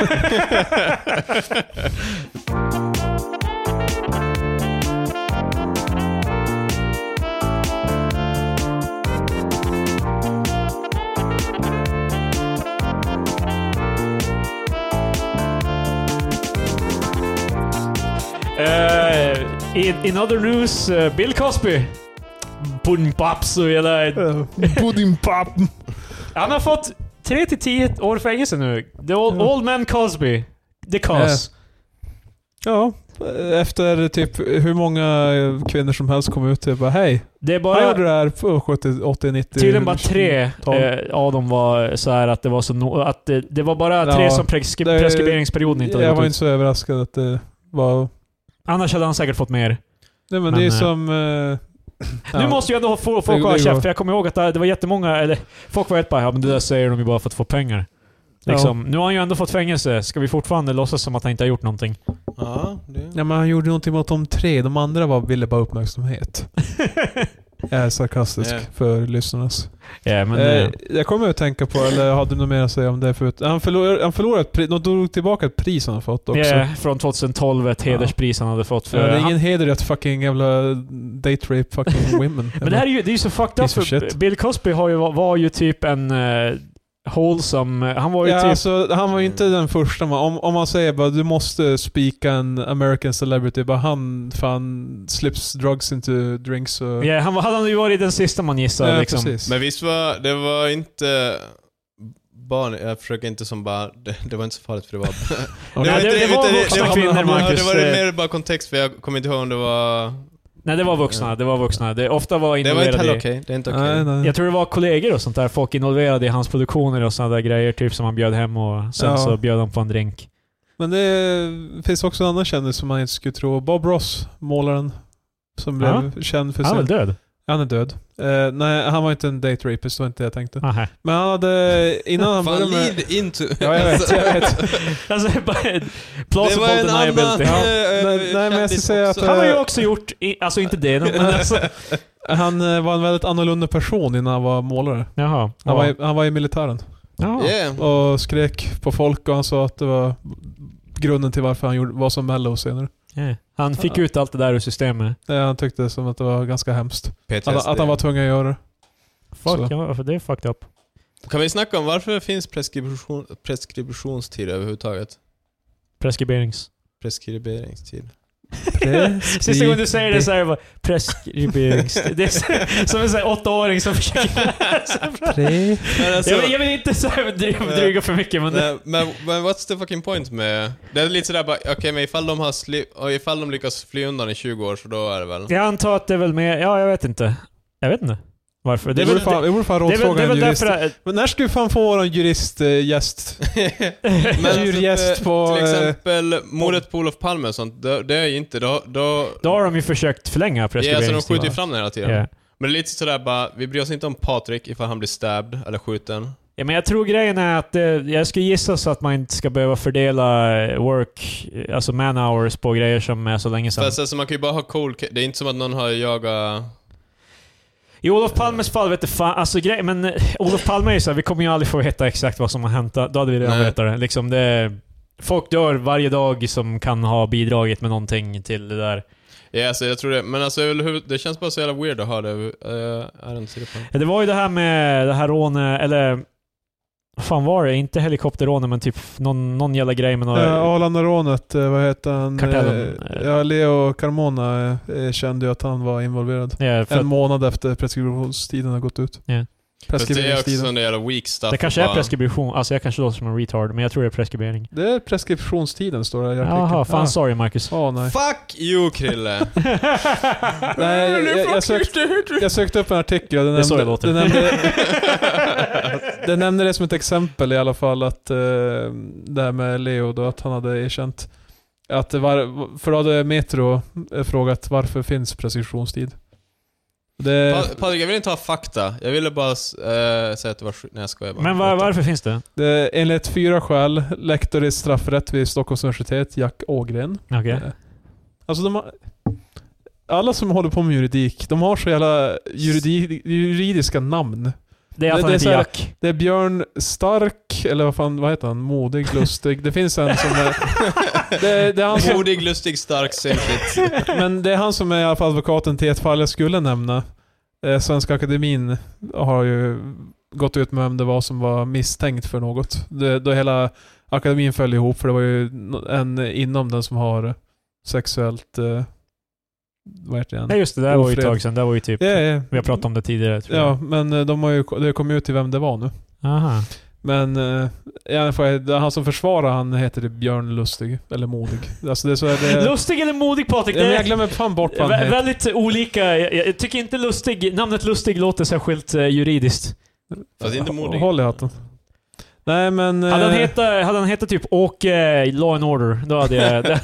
Uh, in, in other news, eh, Bill Cosby. Pudding Pops och hela...
Eh, Pudding pop.
Han har fått 3 till 10 år fängelse nu. The old,
Ja.
old man Cosby. The Cos.
Ja, efter typ hur många kvinnor som helst kom ut och bara hej,
Det är
han
bara...
gjorde det här på 70, 80, 90...
Tydligen bara tre
tal.
eh, av dem var så här att det var så no, att det, det var bara tre
Ja,
som preskri
det-
preskriberingsperioden inte hade
Jag var
gått
inte
ut.
så överraskad att det var...
Annars hade han säkert fått mer.
Nej men,
Men,
det är
eh,
som... eh,
Nu
ja.
måste ju ändå få
Det-
folk
det
hålla
går.
käft, för jag kommer ihåg att det det var jättemånga, eller folk var helt bara ja men det där säger de ju bara för att få pengar. Liksom. Nu har han ju ändå fått fängelse, ska vi fortfarande låtsas som att han inte har gjort någonting?
Ja, det...
Ja men han gjorde någonting mot de tre, de andra var, ville bara uppmärksamhet. Jag är sarkastisk
Ja.
för lyssnarnas.
Ja, men,
eh,
eh,
jag kommer att tänka på, eller jag hade nog mer att säga om det förut. Han förlorade, han förlorade ett pris, de drog tillbaka ett pris han fått också.
ja, från 2012, ett
Ja.
hederspris han hade fått.
Ja, det
För
är
Eh, han,
ingen heder i att fucking jävla date rape fucking women.
men det här är ju, det är ju så fucked up,
Piece of shit.
för Bill Cosby har ju, var ju typ en uh, wholesome, han var ju
ja,
typ
alltså, han var ju inte den första. Man, om, om man säger bara du måste spika en American celebrity, bara han fan slips drugs into drinks och...
Ja, han var- hade han ju varit den sista man gissar.
Ja,
liksom.
precis.
Men visst var det var inte barn, jag försöker inte som bara, det, det var inte så farligt för det var...
Okej.
Nej, det- det var
utan
vuxna
det-
kvinnor,
det-
Marcus.
Det var mer bara kontext för jag kommer inte ihåg om det var...
Nej, det var vuxna. Det var vuxna. Det, ofta var
Det var inte
involverade
heller
i...
okej. Det är inte okej.
Nej, nej.
Jag tror det var kollegor och sånt där. Folk involverade i hans produktioner och såna där grejer. Typ som han bjöd hem och sen
Ja.
så bjöd han på en drink.
Men det finns också en annan kändis som man inte skulle tro. Bob Ross, målaren. Som
Ja.
blev känd för
Han är väl
sin...
död?
Han är död. Eh, nej, han var inte en date rapist, det var inte det jag tänkte.
Aha.
Men han hade... Innan han
Fan,
började med...
lead into...
Ja, jag vet, jag vet.
Alltså, bara-
Det
plausible
var en annan...
deniability.
eh,
nej, nej, men jag
kändis
ska säga
också.
att, eh,
Han har ju också gjort, i, alltså inte det, men alltså...
Han eh, var en väldigt annorlunda person innan han var målare.
Jaha.
Han, var, i, han var i militären
Ja.
Yeah.
och skrek på folk och han sa att det var grunden till varför han gjorde, var som Mello senare.
Ja. Han fick ut allt det där ur systemet.
Eh, Han tyckte som att det var ganska hemskt.
PTSD.
Att, att han var tvungen att göra det.
Fuck,
Så.
ja, för det är fucked up.
Kan vi snacka om varför finns preskription, preskriptionstid överhuvudtaget?
Preskriberings...
Preskriberingstid.
Sista gången du säger det så är det bara preskriberings... Det är så- som en sån här åttaåring som försöker lära sig
Pre-
Men, alltså,
jag, vill, jag vill inte så här dry- dryga för mycket men...
nej, men, men what's the fucking point med... Det är lite sådär bara, okej men ifall de har sli, och ifall de lyckas fly undan i 20 år så då är det väl...
Jag antar att det är väl mer... Ja, jag vet inte. Jag vet inte. Varför?
Det
Det är väl,
vore
det,
fan, det vore fan
det är väl, det
rådfråga
är
en
väl
jurist.
därför... att-
Men när ska vi fan få vår eh, juristgäst?
Men
Djurgäst
typ, eh,
på,
Till
eh,
exempel mordet på Olof Palme och sånt, det, det är ju inte... Då... då
Då har de ju försökt förlänga
ja, alltså de
preskriberingstiden.
skjuter ju fram den hela tiden.
Ja.
Men det är lite sådär bara, vi bryr oss inte om Patrik ifall han blir stabbed eller skjuten.
ja, men jag tror grejen är att... Eh, jag skulle gissa så att man inte ska behöva fördela eh, work, eh, alltså man hours på grejer som är så länge sedan.
Fast alltså, man kan ju bara ha cool ca- Det är inte som att någon har jagat...
I Olof Palmes fall vet du fan, alltså grej, men eh, Olof Palme är ju såhär, vi kommer ju aldrig få veta exakt vad som har hänt. Då hade vi redan
Nej.
vetat det. Liksom det. Folk dör varje dag som kan ha bidragit med någonting till det där.
Ja, alltså, jag tror det. Men alltså, överhuvud- det känns bara så jävla weird att ha det. eh, är det inte säker på.
Det var ju det här med det här rånet, eller... Vad fan var det? Inte helikopterrånet, men typ någon, någon jävla grej med några...
Eh, Arlandarånet, eh, vad heter han?
Kartellen.
Eh, Ja, Leo Carmona eh, eh, kände ju att han var involverad.
Ja, för
En
att
månad efter preskriptionstiden har gått ut.
Ja.
Fast det är också
Preskriberingstiden.
sån där jävla weak stuff.
det kanske
att
är
bara-
preskribution. Alltså jag kanske låter som en retard, men jag tror det är preskribering.
Det är preskriptionstiden står det i artikeln.
Jaha, fan
Ah.
sorry Marcus.
Åh nej.
Fuck you Krille!
nej jag, jag, jag, sökte, jag sökte upp en artikel och den
Det är så
nämnde,
det låter.
den, nämnde, den nämnde det som ett exempel i alla fall att eh, det här med Leo då, att han hade erkänt att det var, för då hade Metro eh, frågat varför finns preskriptionstid? Det,
Pa- Patrik, jag vill inte ha fakta. Jag ville bara eh, säga att det var skit. Nej jag skojar bara.
Men var, varför finns det?
det enligt fyra skäl, lektor i straffrätt vid Stockholms universitet, Jack Ågren.
Okej.
Eh, Alltså de har, alla som håller på med juridik, de har så jävla juridi, juridiska namn.
Det är
Det-
att han
det är
inte
så
är
här-
Jack.
Det är Björn Stark, eller vad fan vad heter han? Modig, lustig. Det finns en som är... Det, det är han som,
Modig, lustig, stark, simpligt.
men det är han som är i alla fall advokaten till ett fall jag skulle nämna. Eh, Svenska Akademin har ju gått ut med vem det var som var misstänkt för något. Det, då hela akademin föll ihop för det var ju no- en inom den som har sexuellt... Eh, vad heter det?
Nej just det, där var ju ett
Ofred.
tag sedan. Det var ju typ...
Ja, ja.
Vi har pratat om det tidigare tror jag.
Ja, men eh, de har ju, det har kommit ut till vem det var nu.
Aha.
Men eh, i alla fall, han som försvarar han heter det Björn Lustig. Eller Modig. Alltså det är så här, det,
Lustig eller modig Patrik?
ja, men
Det
jag
är
glömmer fan bort vad han
vä-
heter.
väldigt olika. Jag, jag tycker inte lustig, namnet Lustig låter särskilt eh, juridiskt.
Fast inte modig.
Håll i hatten. Nej men... eh,
Hade han hetat, hade han hetat typ Åke eh, Law and Order, då hade jag... det-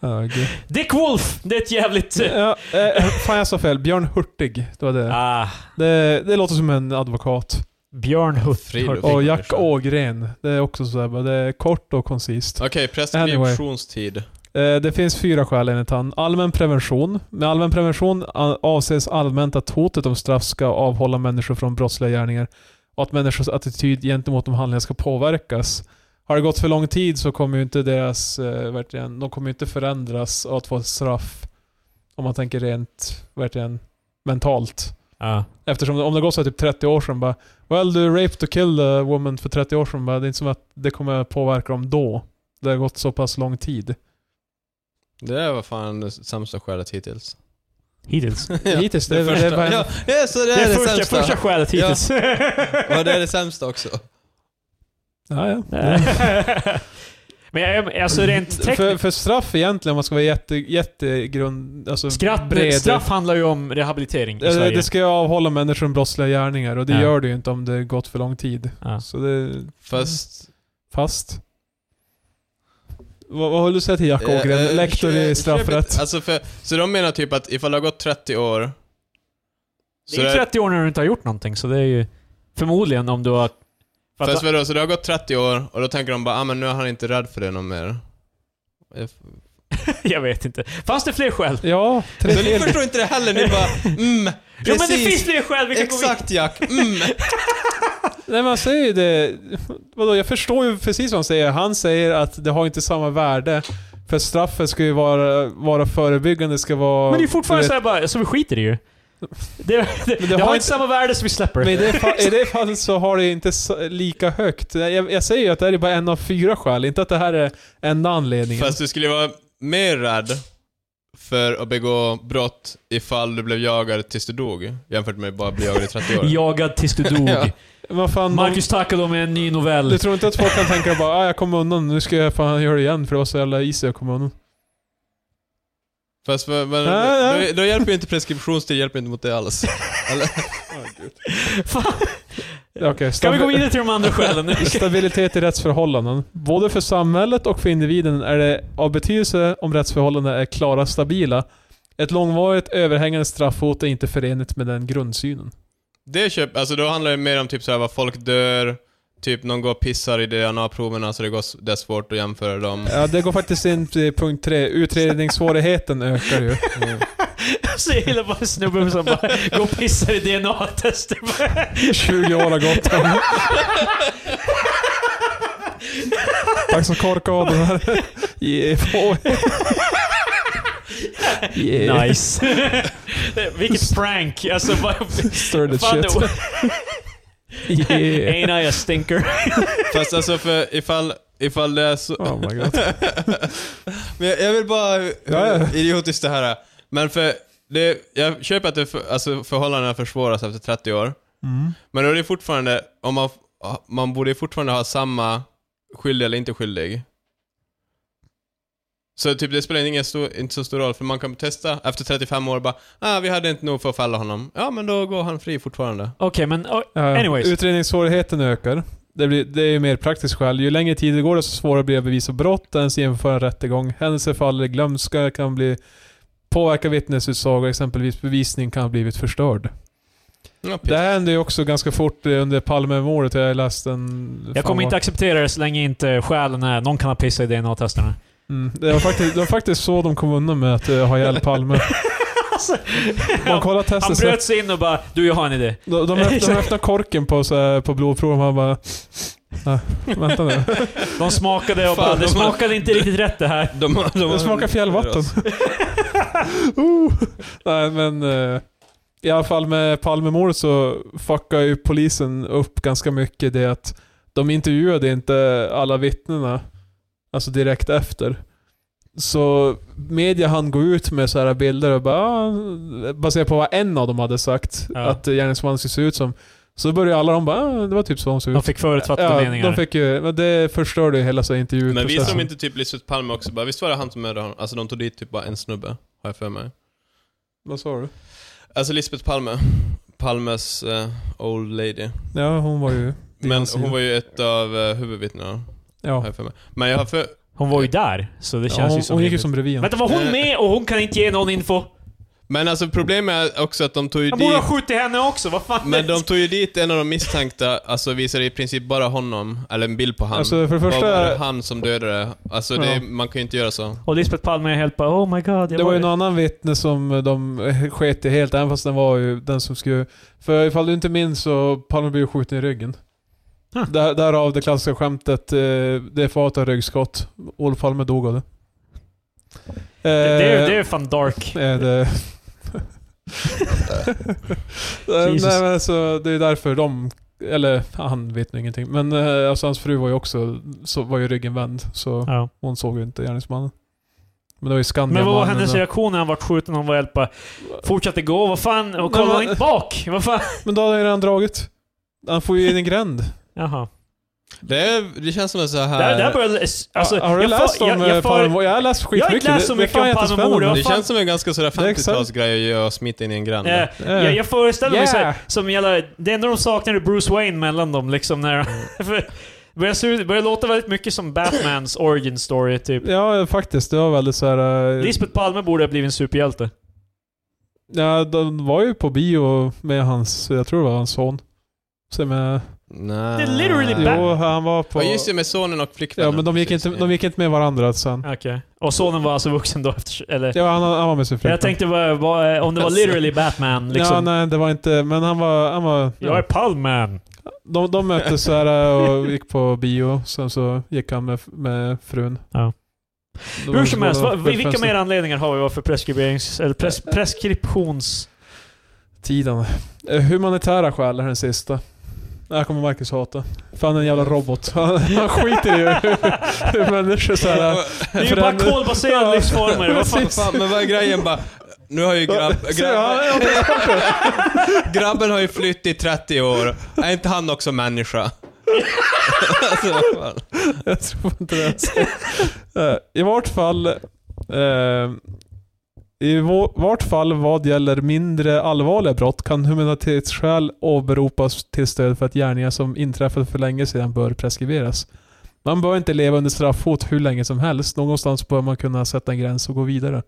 ja, gud.
Dick Wolf! Det är ett jävligt... eh,
Ja, eh, fan jag sa fel. Björn Hurtig. Det var det.
Ah,
Det, det låter som en advokat.
Björn Huff.
Fridolf.
Hör-
Och Jack
Fick man
Ågren. Det är också sådär bara, det är kort och koncist.
Okej, preskriptionstid.
Eh, Det finns fyra skäl enligt han. Allmän prevention. Med allmän prevention a- avses allmänt att hotet om straff ska avhålla människor från brottsliga gärningar och att människors attityd gentemot de handlingar ska påverkas. Har det gått för lång tid så kommer ju inte deras, eh, verkligen, de kommer ju inte förändras av att få ett straff. Om man tänker rent, verkligen, mentalt.
Ja.
Eftersom det- om det går så här typ 30 år sedan bara Well du raped och killed a woman för 30 år sedan bara, det är inte som att det kommer påverka dem då. Det har gått så pass lång tid.
Det där var fan det sämsta skälet hittills.
Hittills.
Hittills, det,
Det
är- det, är
första.
bara en,
Ja, ja, så det
Det
är det
är första, första
sämsta.
skälet
Ja.
hittills.
Ja, det är det sämsta också.
ja, ja.
Men jag, alltså rent
För,
tekniskt...
för straff egentligen, om man ska vara jätte, jättegrund... Alltså
Skratt, straff handlar ju om rehabilitering i
Ja, Det,
Sverige.
det ska ju avhålla människor från brottsliga gärningar och det
Ja.
gör det ju inte om det gått för lång tid.
Ja.
Så det...
Fast...
Fast... Vad, vad vill du säga till Jack
Eh, eh,
Ågren? Lektor
köp-
i straffrätt.
köp- Alltså för, så de menar typ att ifall det har gått 30 år...
Det är ju 30 år när du inte har gjort någonting, så det är ju förmodligen om du har... För
Fast
att,
vadå, så det har gått 30 år och då tänker de bara ah, men nu är han inte rädd för det någon mer. Jag f-
jag vet inte. Fanns det fler skäl?
Ja, tre
Så ni
fel.
förstår inte det heller, ni bara mm,
Jo men det finns
precis,
fler skäl, vi kan gå vidare.
exakt Jack, mm.
Nej man säger ju det, vadå jag förstår ju precis vad han säger. Han säger att det har inte samma värde. För straffet ska ju vara, vara förebyggande, ska vara...
Men det är fortfarande
du vet.
såhär bara, så vi skiter i det ju. Det, det, det,
har
har
inte-
inte samma värde så vi släpper
Men i
det.
det, fall, i det fallet så har det inte så- lika högt. Jag, jag säger ju att det här är bara en av fyra skäl, inte att det här är enda anledningen.
Fast du skulle vara mer rädd för att begå brott ifall du blev jagad tills du dog. Jämfört med att bara bli jagad i 30 år.
Jagad tills du dog.
Ja.
Men vad fan,
Marcus Takalo med en ny novell.
de, du tror inte att folk kan tänka bara ah, jag kommer undan, nu ska jag fan göra det igen för det var så jävla easy att komma undan.
Fast vad- vad-
Ja, ja.
Då, då hjälper ju inte preskriptionstid, hjälper inte mot det alls. Eller?
Fan.
Ja, okej,
Ska vi gå
stabi-
vidare till de andra skälen nu?
Stabilitet i rättsförhållanden. Både för samhället och för individen är det av betydelse om rättsförhållandena är klara och stabila. Ett långvarigt överhängande straffhot är inte förenligt med den grundsynen.
Det köp, alltså då handlar det mer om typ såhär vad folk dör, typ någon går och pissar i DNA-proverna så det, går, s- det är svårt att jämföra dem.
Ja, det går faktiskt in till punkt tre. Utredningssvårigheten ökar ju.
Så jag gillar bara snubben som bara går och pissar i DNA-tester.
20 år har gått. Dags att korka av den här. Yeah, boy. Yeah.
Nice. Vilket prank. Alltså bara...
Stirred
Fan,
shit. Yeah.
ain't I a stinker?
Fast alltså för ifall, ifall det är så...
Oh my god.
Men jag, jag vill bara... Hur
Ja, ja.
idiotiskt det här är. Men för... Det, jag köper att det för, alltså förhållandena försvåras efter 30 år.
Mm.
Men då är det fortfarande... Om man, man borde ju fortfarande ha samma skyldig eller inte skyldig. Så typ det spelar ingen stor, inte så stor roll, för man kan testa efter 35 år bara ah, vi hade inte nog för att fälla honom. Ja, men då går han fri fortfarande.
Okej, men... oh,
Ja,
Anyways.
Utredningssvårigheten ökar. Det, blir, det är ju mer praktiskt skäl. Ju längre tid det går desto svårare blir det att bevisa brott, ens genomföra en rättegång. Händelser faller i glömska, kan bli påverka vittnesutsagor, exempelvis bevisning kan ha blivit förstörd.
Ja,
Det här hände ju också ganska fort eh, under Palmemordet, jag läste en...
Jag kommer inte acceptera det så länge inte skälen är någon kan ha pissat i DNA-testerna.
Mm, det var faktiskt, det var faktiskt så de kom undan med att eh, ha ihjäl Palme. Man kollar
Han
testet så...
bröt sig in och bara “Du, jag har en idé”.
De, de, öpp- de öppnar korken på, så här, på blodproven och man bara... Nej, vänta nu.
De smakade och
Fan,
bara “Det
de har-
smakade inte riktigt rätt det här”.
De, de,
Det smakar fjällvatten. oh. Nej men... eh, I alla fall med Palmemordet så fuckar ju polisen upp ganska mycket det att de intervjuade inte alla vittnena. Alltså direkt efter. Så media han gå ut med så här bilder och bara, ah, baserat på vad en av dem hade sagt
Ja.
att gärningsmannen skulle se ut som. Så började alla de bara, ah, det var typ så de såg
De
ut.
fick förutfattade meningar.
de fick ju, men det förstörde ju hela så här
Men visade
intervjuprocessen.
de inte typ Lisbeth Palme också bara, visst var det han som mördade honom? Alltså de tog dit typ bara en snubbe, har jag för mig.
Vad sa du?
Alltså Lisbeth Palme. Palmes eh, old lady.
Ja, hon var ju...
Men
hans
hon
sida.
var ju ett av uh, huvudvittnena, har
Ja.
jag för mig. Men jag har för...
Hon var ju där, så det
ja
känns
hon,
ju som
hon gick ju
rimligt.
som bredvid honom.
Vänta, var hon med och hon kan inte ge någon info?
Men alltså problemet är också att de tog ju
Jag borde
dit...
ha skjutit henne också, vad fan?
Men de tog ju dit en av de misstänkta, alltså visade i princip bara honom, eller en bild på han.
Alltså för
Vad
det
var det
första,
han som dödade? Alltså det,
Ja.
man kan ju inte göra så.
Och Lisbeth Palme är helt bara oh my god. Jag
det var ju någon annan vittne som de eh, sket i helt, även fast den var ju den som skulle... För ifall du inte minns så Palme blev ju skjuten i ryggen.
Huh.
Där, därav det klassiska skämtet, eh, det är fatat av ryggskott. Olof Palme dog av det.
det, det, är-
Eh,
det är fan dark.
Är det... Nej
Jesus.
men alltså, det är därför de... Eller han vet nu ingenting. Men eh, alltså, hans fru var ju också... Så var ju ryggen vänd. Så
Ja.
hon såg ju inte gärningsmannen. Men det var ju eh,
Men
Skandiamannen.
vad var hennes
och-
reaktion när han vart skjuten? Hon var helt bara fortsatte gå, vad fan? Och kollade
Nej,
hon
men-
inte bak? Vad fan?
Men då hade han redan dragit. Han får ju in en gränd.
Jaha.
Det, är, det känns som en så här...
Där, där började... Alltså,
Eh, har du
jag
läst
fa-
om
jag- jag
eh,
fa-
Palmemordet? Jag har läst skitmycket.
Jag har inte läst så
Det- det är
mycket
fan
om
jättespännande.
Palmemordet.
det
fan-
känns som en ganska sådär
Det är exakt.
50-talsgrej att göra och smita in i en granne.
Eh,
Eh.
jag, jag föreställer mig
Yeah.
såhär, som gäller, det enda de saknar är Bruce Wayne mellan dem liksom. När, för, börjar, se ut- börjar låta väldigt mycket som Batmans origin story typ.
Ja, faktiskt. Det var väldigt så här. eh,
Lisbeth Palme borde ha blivit en superhjälte.
Ja, de var ju på bio med hans, jag tror det var hans son. Så med,
Nej.
Det är literally Ba-
jo, han var på...
Ja just det, med sonen och flickvännen.
Ja, men de gick, inte, de gick inte med varandra sen.
Okej. Och sonen var alltså vuxen då efter... Eller,
Ja, han, han var med sin flickvän.
jag tänkte bara, vad- om det var literally Batman liksom.
Alltså- Ja, nej, det var inte... Men han var... Han var
Jag är Palman.
de, de möttes så här eh, och gick på bio. Sen så gick han med, med frun.
Ja.
Det var
Hur som
båda
helst, vad,
väldigt
vilka
fönster.
mer anledningar har vi varför preskriberings... Eller pres, preskriptions...
Tiden. Eh, Humanitära skäl är den sista. Det här kommer Marcus hata. För han är en jävla robot. Han, han skiter i hur- hur människor så här...
Det är ju bara
förändrar-
kolbaserade
Ja.
livsformer. Vad fan?
Precis.
Fan, men vad är grejen bara? Nu har ju grabb,
Så, ja,
grabb,
ja,
grabben har ju flytt i 30 år. Är inte han också människa? alltså, vad fan.
Jag tror inte det. Eh, I vart fall... Eh, I vå- vart fall vad gäller mindre allvarliga brott kan humanitetsskäl åberopas till stöd för att gärningar som inträffat för länge sedan bör preskriberas. Man bör inte leva under straffhot hur länge som helst. Någonstans bör man kunna sätta en gräns och gå vidare.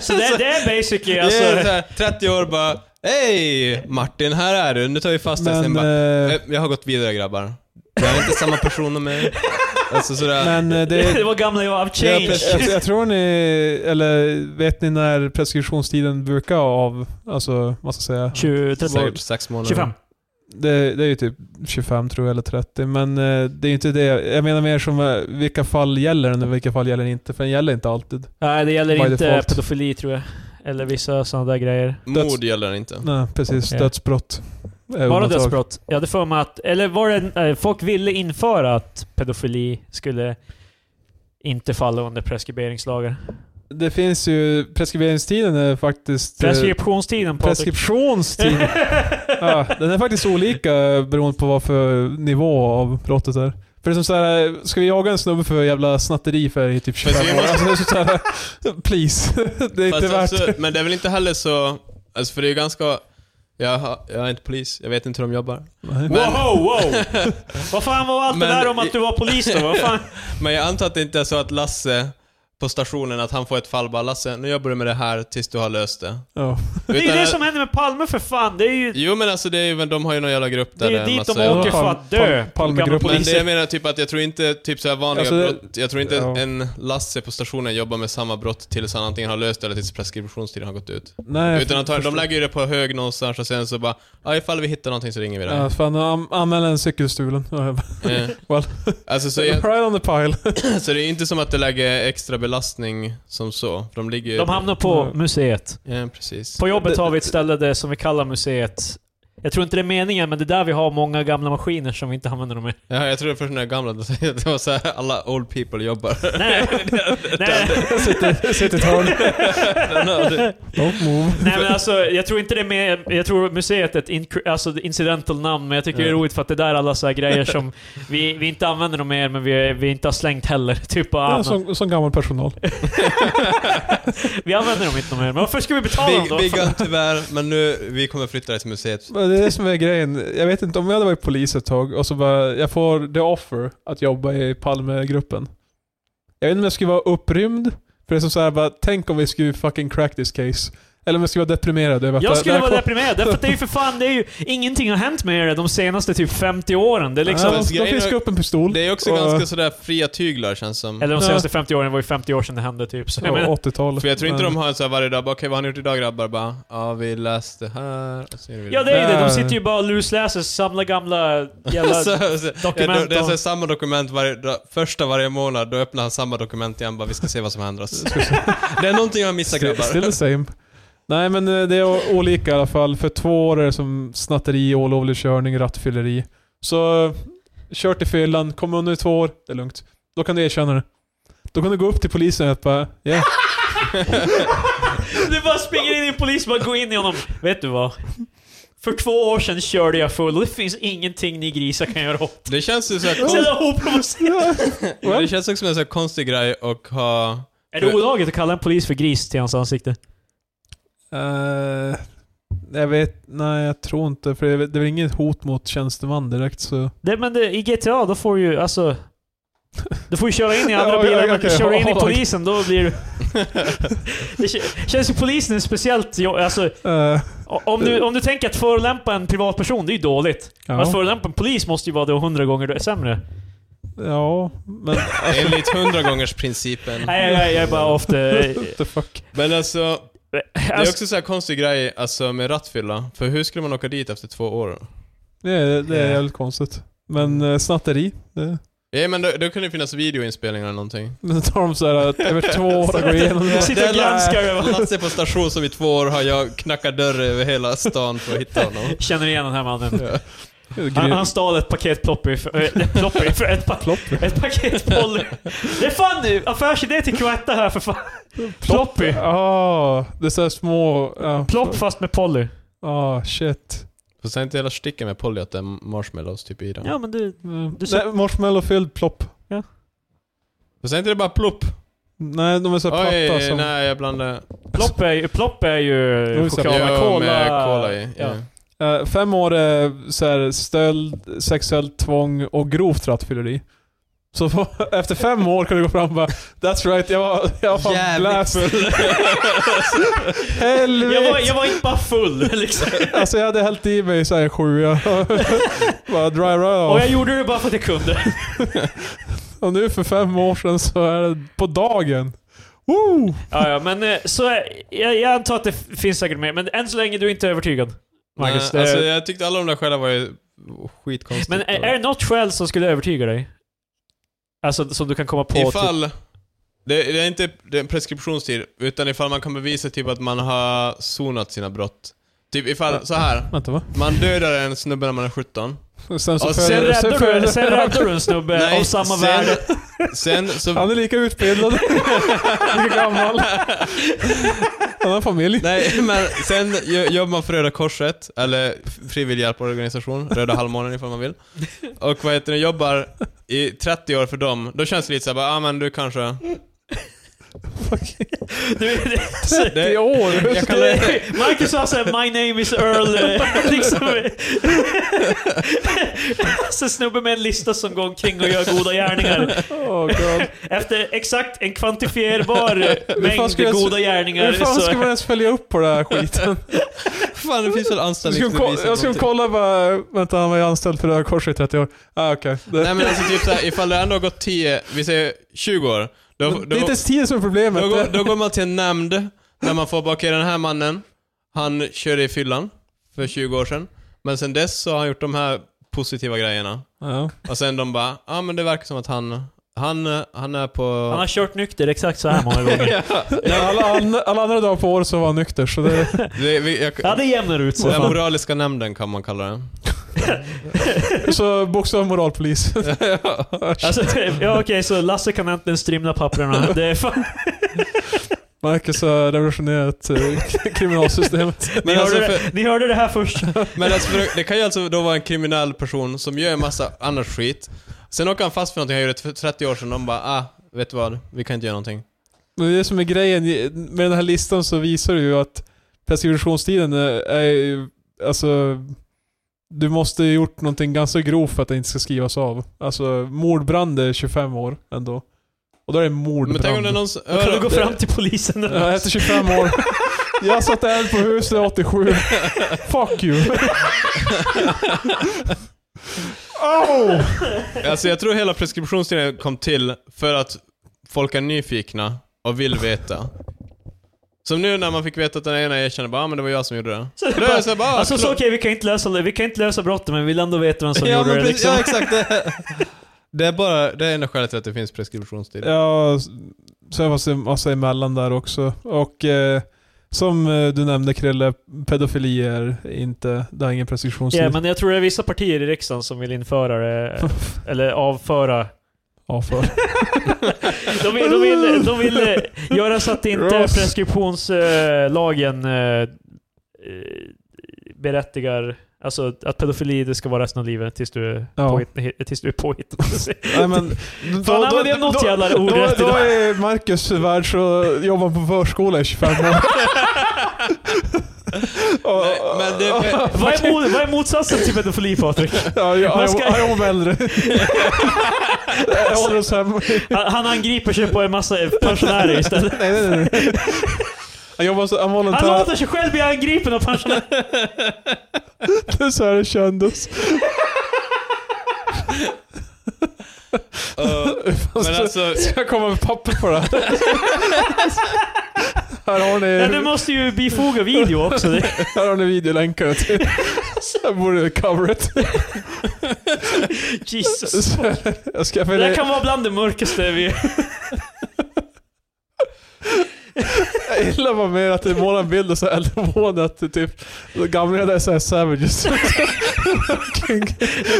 Så det, det är basically
Det är så
alltså...
här, 30 år bara, hej Martin, här är du. Nu tar vi fast dig. Sen
Men,
bara,
eh,
"Eh, jag har gått vidare grabbar. Jag är inte samma person som mig. Alltså sådär.
men eh, det...
Det var gamla jag, I've
Jag,
changed.
jag, jag tror ni, eller vet ni när preskriptionstiden brukar av, alltså vad ska jag säga?
20, 30 år.
Säkert sex månader.
25.
Det, det är ju typ 25 tror jag, eller 30. Men eh, det är ju inte det. Jag menar mer som eh, vilka fall gäller den och vilka fall gäller den inte. För den gäller inte alltid.
Nej, det
By
gäller inte
default.
pedofili tror jag. Eller vissa sådana där grejer.
Mord gäller inte.
Nej, precis.
Okej.
Dödsbrott. är
Bara
undantag.
dödsbrott. Jag hade för mig att... Eller var det... eh, Folk ville införa att pedofili skulle inte falla under preskriberingslagar.
Det finns ju, preskriberingstiden är faktiskt... eh,
Preskriptionstiden Patrik.
Preskriptionstid. ja, den är faktiskt olika eh, beroende på vad för nivå av brottet är. För det är som såhär, eh, ska vi jaga en snubbe för jävla snatteri för i typ 25
vi
år?
måste-
Alltså, det är så här, please. Det är inte
Fast
värt
alltså, men det är väl inte heller så... Alltså för det är ju ganska... Jag, har, jag är inte polis, jag vet inte hur de jobbar.
Nej.
Men-
Wow, wow! Vad fan var allt
Men-
det där om att du var polis då? Vad fan?
Men jag antar att det inte är så att Lasse på stationen, att han får ett fall bara Lasse, nu jobbar du med det här tills du har löst det.
Ja.
Det är ju
Utan-
det som händer med Palme för fan. Det är ju
Jo men alltså det är ju, men de har ju någon jävla grupp
det
där alltså.
är ju
en
dit de
massa-
åker för att dö.
Pal- Palmegruppen.
Gamla
Men det
poliser.
jag menar typ att jag tror inte, typ såhär vanliga
Alltså, det-
brott, jag tror inte
ja.
en Lasse på stationen jobbar med samma brott tills han antingen har löst det eller tills preskriptionstiden har gått ut.
Nej,
Utan antagligen, de
förstår.
lägger ju det på hög någonstans och sen så bara, ja ifall vi hittar någonting så ringer vi dig.
Ja, fan, an- anmäl en cykelstulen.
Eh.
Well.
Alltså så, jag,
right on the pile.
så det är inte som att det lägger extra belastning som så, för de ligger ju...
De hamnar på
Mm.
museet.
Ja, precis.
På jobbet
Det-
har vi ett ställe där som vi kallar museet. Jag tror inte det är meningen, men det är där vi har många gamla maskiner som vi inte använder dem i.
Ja, jag trodde först när jag gamla, det var så här, alla old people jobbar.
Nej, nej,
Sitter, sitter i ett hörn. Don't move.
nej men alltså, jag tror inte det är med, Jag tror museet är ett inkr- alltså, ett incidental namn, men jag tycker det är roligt för att det där är alla så här grejer som vi, vi inte använder dem mer, men vi, vi inte har slängt heller. Typ bara,
Ja,
ah, men-
som, som gammal personal.
Vi använder dem inte mer, men varför ska vi betala dem
Big,
då?
biggan tyvärr, men nu, vi kommer flytta dig till museet.
Men det är det som är grejen. Jag vet inte, om jag hade varit polis ett tag och så bara, jag får the offer att jobba i Palmegruppen. Jag vet inte om jag skulle vara upprymd, för det är som såhär bara, tänk om vi skulle fucking crack this case. Eller om jag skulle vara deprimerad över att
Jag
det- det
skulle
här
vara
kom-
deprimerad, därför att det är ju för fan, det är ju, ingenting har hänt med er de senaste typ 50 åren. Det är liksom...
Ja, de- de fiskar upp en pistol.
Det är också
Och-
ganska sådär fria tyglar känns som.
Eller de
Ja.
senaste 50 åren, det var ju 50 år sedan det hände typ. Så jag menar,
Ja, 80-talet.
För jag tror inte de har en så här varje dag, bara, okej vad har ni gjort idag grabbar? Bara, ja vi läste här, och så gör vi
ja det är ju det, de
Nej.
sitter ju bara och lusläser, samlar gamla jävla...
så, så,
dokument
ja, Alltså, det är så här
och-
samma dokument varje dag, första varje månad, då öppnar han samma dokument igen bara vi ska se vad som händer oss. det är någonting jag missar
Still- Still
grabbar.
the same. Nej men eh, det är o- olika i alla fall. För två år är det som snatteri, olovlig körning, rattfylleri. Så eh, kör till fyllan, kom under i två år, det är lugnt. Då kan du erkänna det. Då kan du gå upp till polisen och bara yeah.
Du bara springer in i en polis och bara går in i honom. Vet du vad? För två år sedan körde jag full och det finns ingenting ni grisar kan göra åt.
Det känns ju så här,
Så
konst,
jävla oprovocerat.
det känns också som en så här konstig grej och ha...
Är det olagligt att kalla en polis för gris till hans ansikte?
Eh, jag vet, nej jag tror inte. För det är, väl- det är väl inget hot mot tjänsteman direkt så...
Det, men det, i GTA, då får ju alltså... Du får ju köra in i andra
Ja,
bilar,
ja,
men
okej.
kör du in i
Ja,
polisen då blir du... det kä- känns ju polisen är speciellt jo- alltså,
Eh,
o- om, du, om du tänker att förolämpa en privatperson, det är ju dåligt. Att
ja,
förolämpa en polis måste ju vara det hundra gånger sämre.
ja, men
Enligt hundragångersprincipen.
Nej, jag, jag, jag är bara ofta...
what the fuck.
Men alltså, det är
Alltså,
också så här konstig grej alltså, med rattfylla. För hur skulle man åka dit efter två år?
Det är, det är
Ja.
jävligt konstigt. Men eh, snatteri, det...
Ja men då, då kan det finnas videoinspelningar eller någonting.
Men så tar de såhär att över två år och går igenom det.
Sitter och
Det är
granskar över-
Lasse på station som i två år har jag knackat dörr över hela stan för att hitta honom.
Känner igen den här mannen. Han,
Gry-
han stal ett paket ploppy för, äh, ploppy för ett, pa-
Plopp.
ett paket Polly. Det är fan nu affärsidé till Cloetta här för fan. Ploppy.
Ah, det är såhär små... Ja,
Plopp fast med Polly.
Ah, shit.
Fast är inte hela sticken med Polly att det är marshmallows typ i den?
Ja men du...
Mm.
Du sa-
Nej, marshmallow fylld plopp.
Fast är inte det bara plopp?
Nej, de är såhär platta
Oj,
som...
nej jag blandade...
Plopp är ju, plopp är ju
Oj, så-
choklad med
Ja,
cola.
Med cola i.
Ja.
Ja.
Eh, fem år är såhär stöld, sexuellt tvång och grovt rattfylleri. Så efter fem år kan du gå fram och bara That's right, jag var, jag var fan
Jävligt
blast.
full.
Helvete!
Jag, var, jag var inte bara full liksom.
Alltså jag hade hällt i mig såhär en sjua. bara dry run
Och jag gjorde det bara för att jag kunde.
Och nu för fem år sedan så är det på dagen. Woo!
Ja, ja, men eh, så... är- Jag, jag antar att det f- finns säkert mer, men än så länge du inte är övertygad. Marcus,
nej,
det-
alltså, jag tyckte alla de där skälen var ju skitkonstigt.
Men eh, är, är det något skäl som skulle övertyga dig? Alltså som du kan komma på? typ-
Ifall... Det, det är inte det är en preskriptionstid, utan ifall man kan bevisa typ att man har sonat sina brott. Typ ifall, så här.
Vänta va?
Man dödar en snubbe när man är 17.
Sen så
Och
Sen
föder, sen
räddar, du,
föder,
sen räddar du en snubbe av samma
sen,
värde.
Sen så...
Han är lika utbildad. lika gammal. Han har familj.
Nej, men sen jo- jobbar man för Röda Korset, eller frivillig hjälporganisation, Röda Halvmånen ifall man vill. Och vad heter det, jobbar i 30 år för dem, då känns det lite såhär bara, ah, men du kanske...
Du, det, så,
I
Det,
år.
jag kan,
det, Marcus sa såhär 'My name is Earl' eh, liksom. Så snubbe med en lista som går omkring och gör goda gärningar.
Oh, God.
Efter exakt en kvantifierbar
fan ska jag
mängd
s-
goda gärningar
Hur fan ska man
så...
ens följa upp på den här skiten?
fan det finns väl
Jag ska, ko-
anställningsbevis? eller
jag ska
någonting.
kolla bara, vänta han var ju anställd för Röda Korset i 30 år. Ah, okej. Det,
Nej men alltså typ såhär, ifall det ändå har gått 10, vi säger 20 år. Då,
det
då,
är inte ens tiden som är problemet.
då, går, då går man till en nämnd, där man får bara, okej den här mannen, han körde i fyllan för 20 år sedan. Men sen dess så har han gjort de här positiva grejerna.
ja.
Och sen de bara, ja ah, men det verkar som att han Han, eh, han är på...
Han har kört nykter exakt så här många gånger.
ja,
Alla, an, alla andra dagar på året så var han nykter, så det...
det, vi, jag,
Ja, det jämnar ut sig.
den
fan.
moraliska nämnden kan man kalla den.
Så bokstav moralpolis.
Alltså, ja okej, så Lasse kan äntligen strimla papperna. Det är fan...
Marcus har revolutionerat eh, k- kriminalsystemet.
ni,
Men
hörde
alltså,
det,
för,
ni hörde det här först.
Men alltså, för, det kan ju alltså då vara en kriminell person som gör en massa annat skit. Sen åker han fast för någonting han gjorde för 30 år sedan och de bara ah, vet du vad? Vi kan inte göra någonting.
Men det som är grejen, med den här listan så visar det ju att preskriptionstiden är- är ju- alltså... Du måste ju gjort någonting ganska grovt för att det inte ska skrivas av. Alltså, mordbrand är 25 år ändå. Och då är det mordbrand.
Men tänk om det är någon som...
Då kan du gå
det-
fram till polisen.
Ja, efter 25 år. Jag satte eld på huset 87. Fuck you. oh!
Alltså jag tror hela preskriptionstiden kom till för att folk är nyfikna och vill veta. Som nu när man fick veta att den ena erkände bara ah, men det var jag som gjorde det.
Så det
Då är
bara-
det så här, bara, ah,
Alltså så
förlåt.
okej, vi kan inte lösa det. Vi kan inte lösa brottet, men vi vill ändå veta vem som
ja,
gjorde
men
det
precis, ja
liksom.
exakt. Det, det är bara, det är enda skälet till att det finns preskriptionstid.
Ja, sen fanns det en massa emellan där också. Och eh, som eh, du nämnde Krille, pedofili är inte, det har ingen preskriptionstid.
Ja, men jag tror det är vissa partier i riksdagen som vill införa det, eller avföra.
ja, för.
De vill, de vill, de vill eh, göra så att inte
Ross.
preskriptionslagen eh, eh, berättigar Alltså att pedofili det ska vara resten av livet tills du är
Ja.
påhitt- tills du är påhittad.
Nej, men,
Fan, använder jag något jävla ord
då,
rätt
då
idag?
är Marcus värd så jobbar på förskola i 25 år. Och-
Nej, men det,
Vad är, mo- vad är motsatsen till pedofili Patrik?
Ja, jag,
Man ska-
jag, jag mår äldre. jag håller oss hemma.
Han han angriper sig på en massa pensionärer istället.
Nej, nej, nej, nej. Jag jobbar som
Han
volontär.
låter sig själv bli angripen av pensionärer.
Så här det kändes.
eh, men alltså,
Ska jag komma med papper på det här? här, har
Nej, du
ni,
måste ju bifoga video också. Det-
här har ni videolänkarna till. Så här borde cover it.
Jesus.
Så Jag ska
Det
följa,
där kan vara bland det mörkaste vi...
Jag gillar bara mer att det målar en bild och så här äldreboende att det typ gamlingar där är såhär savages.
Du,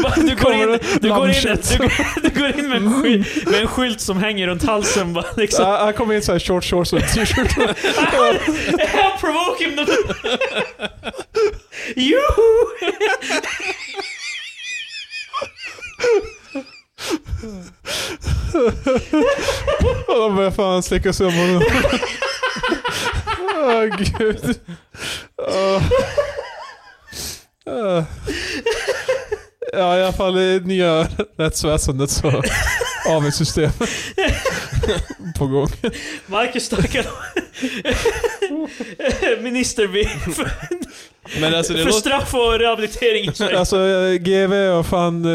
bara, du, går,
Kommer
in,
det
du, går, in,
lammkött?
du, går, du går in med en, sky, med en skylt som hänger runt halsen bara liksom.
Ja, Han kommer in såhär short shorts och t-shirt.
I'll provoke him! Juhu!
Och de börjar fan slicka sig om honom. Åh gud. Åh. Äh. Ja i alla fall eh, i nya rättsväsendet så har vi ett system på gång.
Marcus Stackarn. Minister B. För,
men alltså det
för
låter...
straff och rehabilitering i Sverige.
Alltså eh, GV och fan,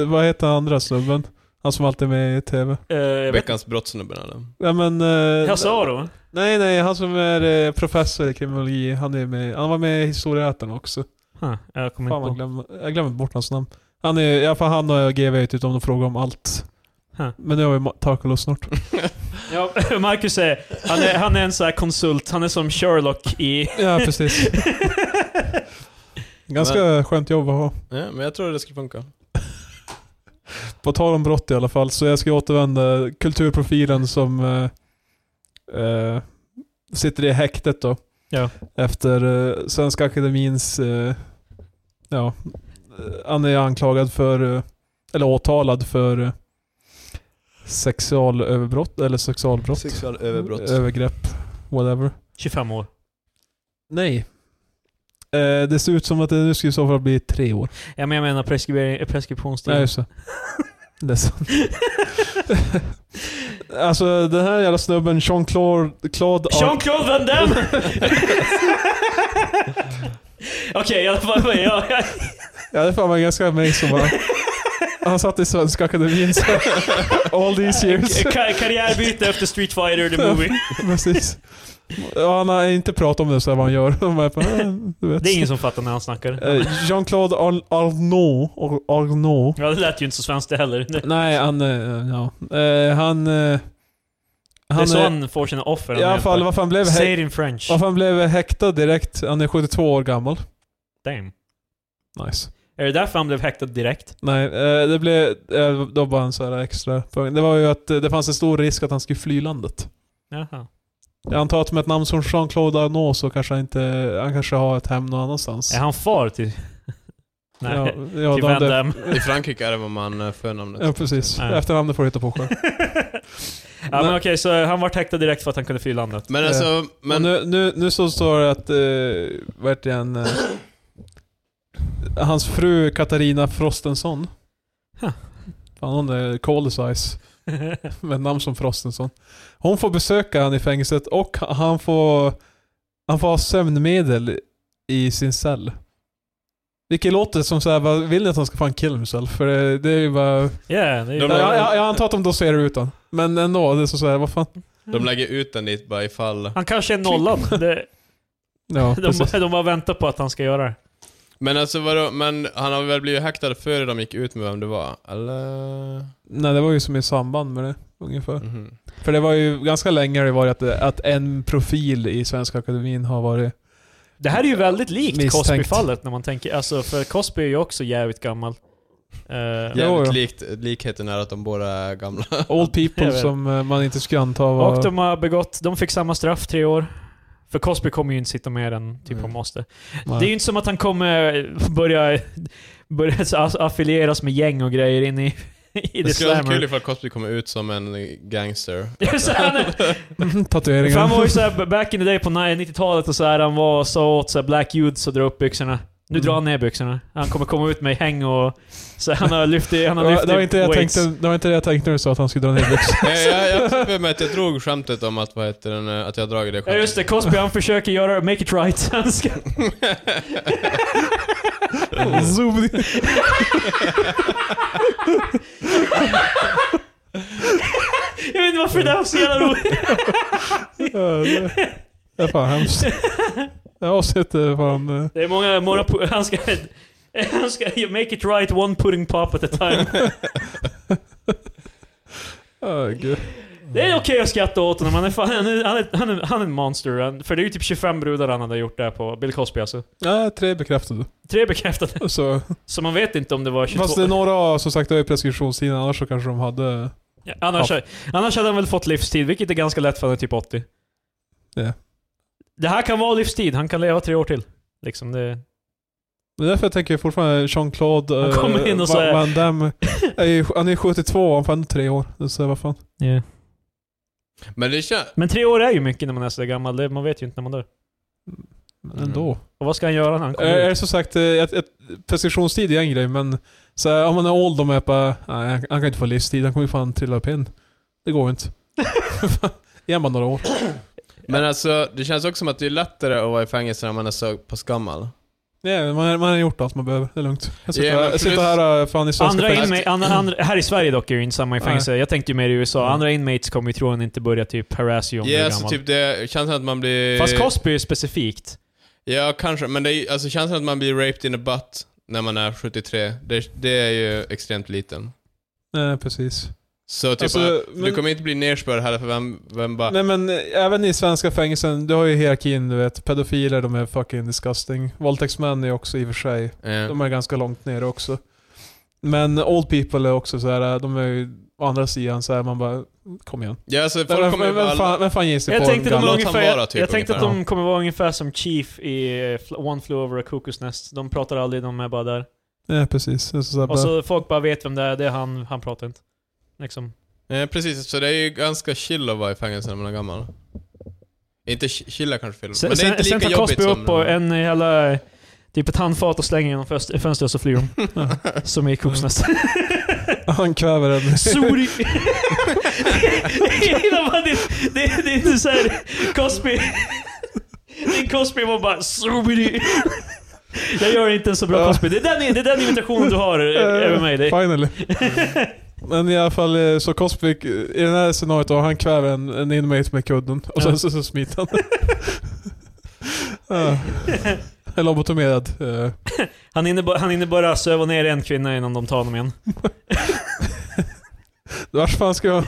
eh, vad heter han andra snubben? Han som alltid är med i TV.
Eh, jag vet
Veckans brottssnubben eller?
Nej men... eh,
inte. Hasse Aro?
Nej nej, han som är eh, professor i kriminologi, han är med, han var med i Historieätarna också.
Huh, jag kommer
Fan,
inte
man
på.
glömmer, jag glömmer bort hans namn. Han är, i alla fall han och GV vet utom de frågar typ om allt.
Huh.
Men nu har vi Ma- Tarkalo snart.
Ja, Marcus är, han är, han är en sån här konsult, han är som Sherlock i...
ja, precis. Ganska skönt jobb att ha.
Ja, men jag tror det skulle funka.
På tal om brott i alla fall, så jag ska återvända kulturprofilen som eh, eh, sitter i häktet då.
Ja.
Efter eh, Svenska Akademins... Eh, ja, eh, han är anklagad för... Eh, eller åtalad för eh, sexualöverbrott, eller sexualbrott.
Sexuell överbrott.
Övergrepp. Whatever.
25 år.
Nej. Eh, det ser ut som att det nu ska i så fall bli tre år.
Ja, men jag menar preskribering-
Nej,
preskriptionstid.
just det. Det är sant. alltså den här jävla snubben, Jean-Claude... Claude Ar-
Jean-Claude Van Damme! Okej, i alla fall. Jag, jag,
Ja, det är fan var ganska amazing bara. han satt i Svenska Akademin så all these years.
Ka- Karriärbyte efter Street Fighter the Movie.
Precis. Ja, han har inte pratat om det så här vad han gör. Han bara, "Eh, du vet.
Det är ingen som fattar när han snackar.
Eh, Jean-Claude Ar- Arnault. Ar- Arnault.
Ja, det lät ju inte så svenskt det heller. Det
Nej, han... eh, Ja. Eh, Han...
är
eh,
så
eh,
han får sina offer.
I alla fall, varför han blev,
Say
hä-
it in French.
varför han blev häktad direkt. Han är 72 år gammal.
Damn.
Nice.
Är det därför han blev häktad direkt?
Nej, eh, det blev... eh, Då bara en så här extra poäng. Det var ju att eh, det fanns en stor risk att han skulle fly landet.
Jaha.
Jag antar att med ett namn som Jean-Claude Arnault så kanske han inte... Han kanske har ett hem någon annanstans.
Är han far till... Nej.
ja, ja,
till
då
Van
hade-
Damme.
I Frankrike är det vad man eh, för namnet.
Ja, precis.
Ja.
Efternamnet får du hitta på själv.
Ja, men okej, så han vart häktad direkt för att han kunde fly landet.
Men alltså,
Men
men...
nu, nu, nu så står det att, eh, vad heter den, eh, hans fru Katarina Frostenson.
Huh.
Fan hon är cold size. Med namn som Frostenson. Hon får besöka han i fängelset och han får, han får ha sömnmedel i sin cell. Vilket låter som såhär, vad vill ni att han ska fan kill himself? För det, det är ju bara...
Yeah, det är
De-
Jag, jag, jag antar att de doserar ut honom. Men ändå, det är så såhär, vad fan.
De lägger ut den dit bara ifall.
Han kanske är nollad. Det,
Ja, precis.
de, de bara väntar på att han ska göra det.
Men alltså vadå, men han har väl blivit häktad före de gick ut med vem det var? Eller?
Nej, det var ju som i samband med det, ungefär.
Mhm.
För det var ju ganska länge det varit att, att en profil i Svenska Akademin har varit...
Det här är ju väldigt likt
Misstänkt.
Cosby-fallet när man tänker... Alltså, för Cosby är ju också jävligt gammal. Eh,
Jo,
Jävligt
jo.
likt, likheten är att de båda är gamla.
Old
Jag
people
vet.
som eh, man inte skulle anta var...
Och de har begått... De fick samma straff, tre år. För Cosby kommer ju inte sitta mer än typ
Mm.
han måste.
Nej.
Det är ju inte som att han kommer börja, börja så aff- affilieras med gäng och grejer in i,
Det
i det
skulle vara så kul
slammer.
ifall Cosby kommer ut som en gangster.
Så han är-
Mhm,
För han var
Tatueringar.
ju såhär back in the day på 90-talet och så här, han var så åt så här, black youths och dra upp byxorna. Nu drar han
Mm.
ner byxorna. Han kommer komma ut med häng och... Så han har lyft i, han har
Ja,
lyft
Det var, inte det jag
weights.
tänkte, det var inte det jag tänkte när du sa att han skulle dra ner byxorna.
jag, Eh, jag, jag har för mig att jag drog skämtet om att, vad heter den, eh, att jag dragit det
Ja
skämtet.
just det, Cosby han försöker göra make it right. Han ska,
Zoom.
jag vet inte varför det här var så jävla roligt.
Ja, det- Det är fan hemskt. Det här avsnittet är fan... eh,
Det är många, många pu- han ska... Han ska make it right one pudding pop at a time.
ah, gud.
Det är okej att skratta åt honom, han är, fan, han är, han är, han är, han är en monster. Han, för det är ju typ 25 brudar han hade gjort där på Bill Cosby alltså.
Nej, tre bekräftade.
Tre bekräftade.
Så.
Så man vet inte om det var 22.
Fast det är några, som sagt, det är preskriptionstiden, annars så kanske de hade...
Ja, annars, annars hade han väl fått livstid, vilket är ganska lätt för han är typ 80.
Ja.
Det här kan vara livstid, han kan leva tre år till. Liksom det,
Det är därför jag tänker fortfarande Jean-Claude eh,
Han kommer in och så här-
Van Damme. Är ju, han är 72, han får ändå tre år. Så vad fan.
Men det känns...
Men tre år är ju mycket när man är så där gammal, det, man vet ju inte när man dör.
Mm.
Men ändå.
Och vad ska han göra när han
Är,
kommer
är
ut?
det som sagt, eh, att, att preskriptionstid är en grej, men så här, om man är old och är bara, nej, han kan inte få livstid, han kommer ju fan trilla upp in. Det går ju inte. Ge han bara några år.
Men alltså, det känns också som att det är lättare att vara i fängelse när man är så pass gammal.
Nej, man, man har gjort allt man behöver, det är lugnt. Jag sitter,
Ja, men
här, jag sitter
plus-
här eh, fan i svenska
Andra
fängelser.
inma- an- andra, här i Sverige dock är ju inte samma i
Nej.
fängelse. Jag tänkte ju mer i USA.
Mm.
Andra inmates kommer ju troligen inte börja typ harass you om
Ja,
du är
alltså
gammal.
typ det, känns som att man
eh,
blir...
Fast Cosby är specifikt.
Ja, kanske. Men det är, alltså känns som att man blir raped in the butt när man är 73. Det, det är ju extremt liten.
Nej, precis.
Så typ,
Alltså,
att du
men-
kommer inte bli nerspörd heller för vem, vem bara...
Nej men eh, även i svenska fängelsen, du har ju hierarkin du vet. Pedofiler de är fucking disgusting. Våldtäktsmän är också i och för sig,
eh,
de är ganska långt nere också. Men old people är också så här. eh, de är ju å andra sidan så här, man bara kom igen.
ja, alltså folk
Vem,
kommer ju
vem, vem,
bara...
fan, vem fan ger sig
Jag
på
tänkte,
en
de
gammal?
var
gammal
ungefär,
Tamara
jag,
typ
jag tänkte att
ungefär.
de kommer vara ungefär som Chief i eh, Fl- One Flew Over a Cuckoo's Nest. De pratar aldrig, de är bara där.
Ja precis. Det är Så här, bara,
Och så folk bara vet vem det är, det är han, han pratar inte. Liksom.
Eh, precis, så det är ju ganska chill att vara i fängelse när man är gammal. Inte chi- chilla kanske fel,
Sen,
men det är inte
sen,
lika
sen tar
jobbigt
Cosby
som...
upp och en jävla... Typ ett handfat och slänger genom fönst- fönstret och så flyr de. Som i Cuckoo's Nest.
han kväver en.
Sorry! Jag gillar bara det, det, det är inte såhär Cosby... Din Cosby var bara Sorry! Jag gör inte en så bra
Ja.
Cosby. Det är den, det är den imitationen du har eh, över mig. Det,
Finally. Men i alla fall, eh, så Cosby, eh, i det här scenariot då, han kväver en, en inmate med kudden och sen
Ja.
så, så smiter han. ja. En Ah. Lobotomerad. eh,
han, hinner bara, han hinner bara söva ner en kvinna innan de tar honom igen.
Vart fan ska jag...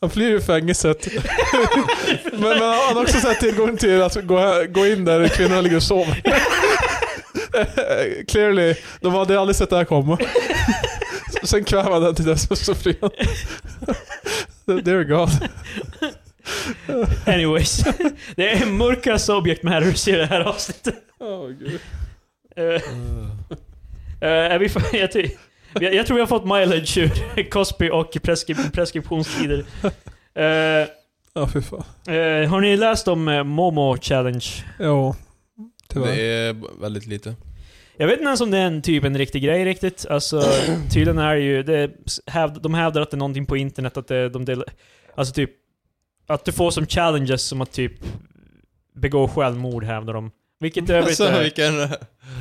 Han flyr ju fängelset. men, men han har också så här tillgång till att gå, gå in där kvinnorna ligger och sover. Eh, Clearly, de hade aldrig sett det här komma. Sen kvävade han den till dess och så flyr han. Dear God.
Anyways. Det är mörka subject matters i det här avsnittet.
Oh, gud.
Eh, eh, är vi för, jag, ty, jag, jag tror vi har fått mileage ur Cosby och preskri, preskriptionstider. Eh,
Ja, fy fan.
eh, har ni läst om eh, Momo Challenge?
Jo, tyvärr.
Det är b- väldigt lite.
Jag vet inte ens om det är en typ en riktig grej riktigt. Alltså, tydligen är det ju, det, hävd, de hävdar att det är någonting på internet, att det, de delar, alltså typ, att du får som challenges som att typ begå självmord hävdar de. Vilket i övrigt
Alltså
är,
vilken...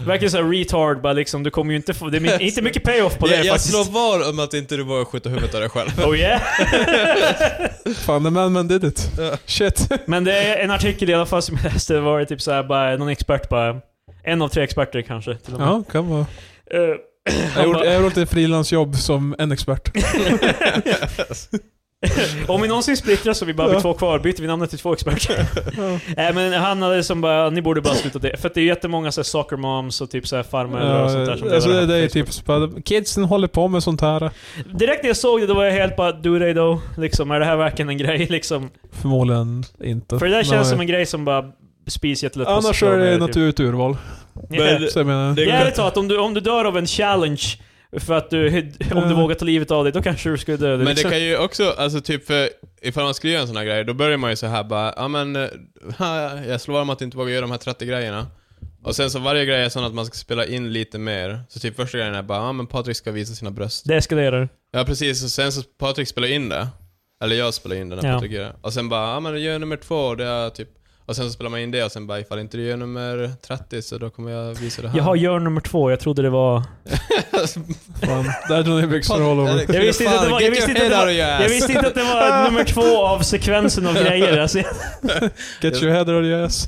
verkar såhär retard bara liksom, du kommer ju inte få, det är min- inte mycket payoff på det
Jag, jag
faktiskt.
slår var om att inte du vågar skjuta huvudet av dig själv.
Oh yeah.
Fan, the man man did it.
Ja.
Shit.
Men det är en artikel i alla fall som jag läste, var det typ såhär bara, någon expert bara, en av tre experter kanske till och med.
Ja, kan vara.
Eh,
Jag har gjort- jag har gjort ett frilansjobb som en expert.
Om vi någonsin splittras så vi bara blir
Ja.
två kvar, byter vi namnet till två experter. Nej men han hade som bara, ni borde bara sluta det. För att det är ju jättemånga så här, soccer moms och typ så här farmödrar och sånt där som
Ja, alltså
delar
det,
på
det är
Facebook.
typ så bara, kidsen håller på med sånt här.
Direkt när jag såg det då var jag helt bara, do they though? Liksom, är det här verkligen en grej liksom?
Förmodligen inte.
För det där känns
Nej.
som en grej som bara spiser jättelätt på
Annars
sociala
är det
medier,
naturligt urval.
Typ. Yeah.
Men-
Så jag menar,
Det-
Det är ärligt talat, om du, om du dör av en challenge för att du, om du
Ja.
vågar ta livet av dig, då kanske du skulle dö.
Men det
liksom.
kan ju också, alltså typ för ifall man skulle göra en sån här grej, då börjar man ju så här bara, ja men, eh, ha, jag slår om att inte våga göra de här 30 grejerna. Och sen så varje grej är sån att man ska spela in lite mer. Så typ första grejen är bara, ja men Patrik ska visa sina bröst.
det eskalerar.
Ja precis, och sen så Patrik spelar in det. Eller jag spelar in det när
Ja.
Patrik gör det. Och sen bara, ja men gör nummer två, och det är typ och sen så spelar man in det och sen bara ifall inte du gör nummer 30 så då kommer jag visa det här.
Jag har gör nummer två, jag trodde det var...
fan. Där tror jag byxor all over.
Jag visste inte att det var... Jag visste inte att det var...
Jag visste inte att det var nummer två av sekvensen av grejer. Alltså,
Get your head out of your ass.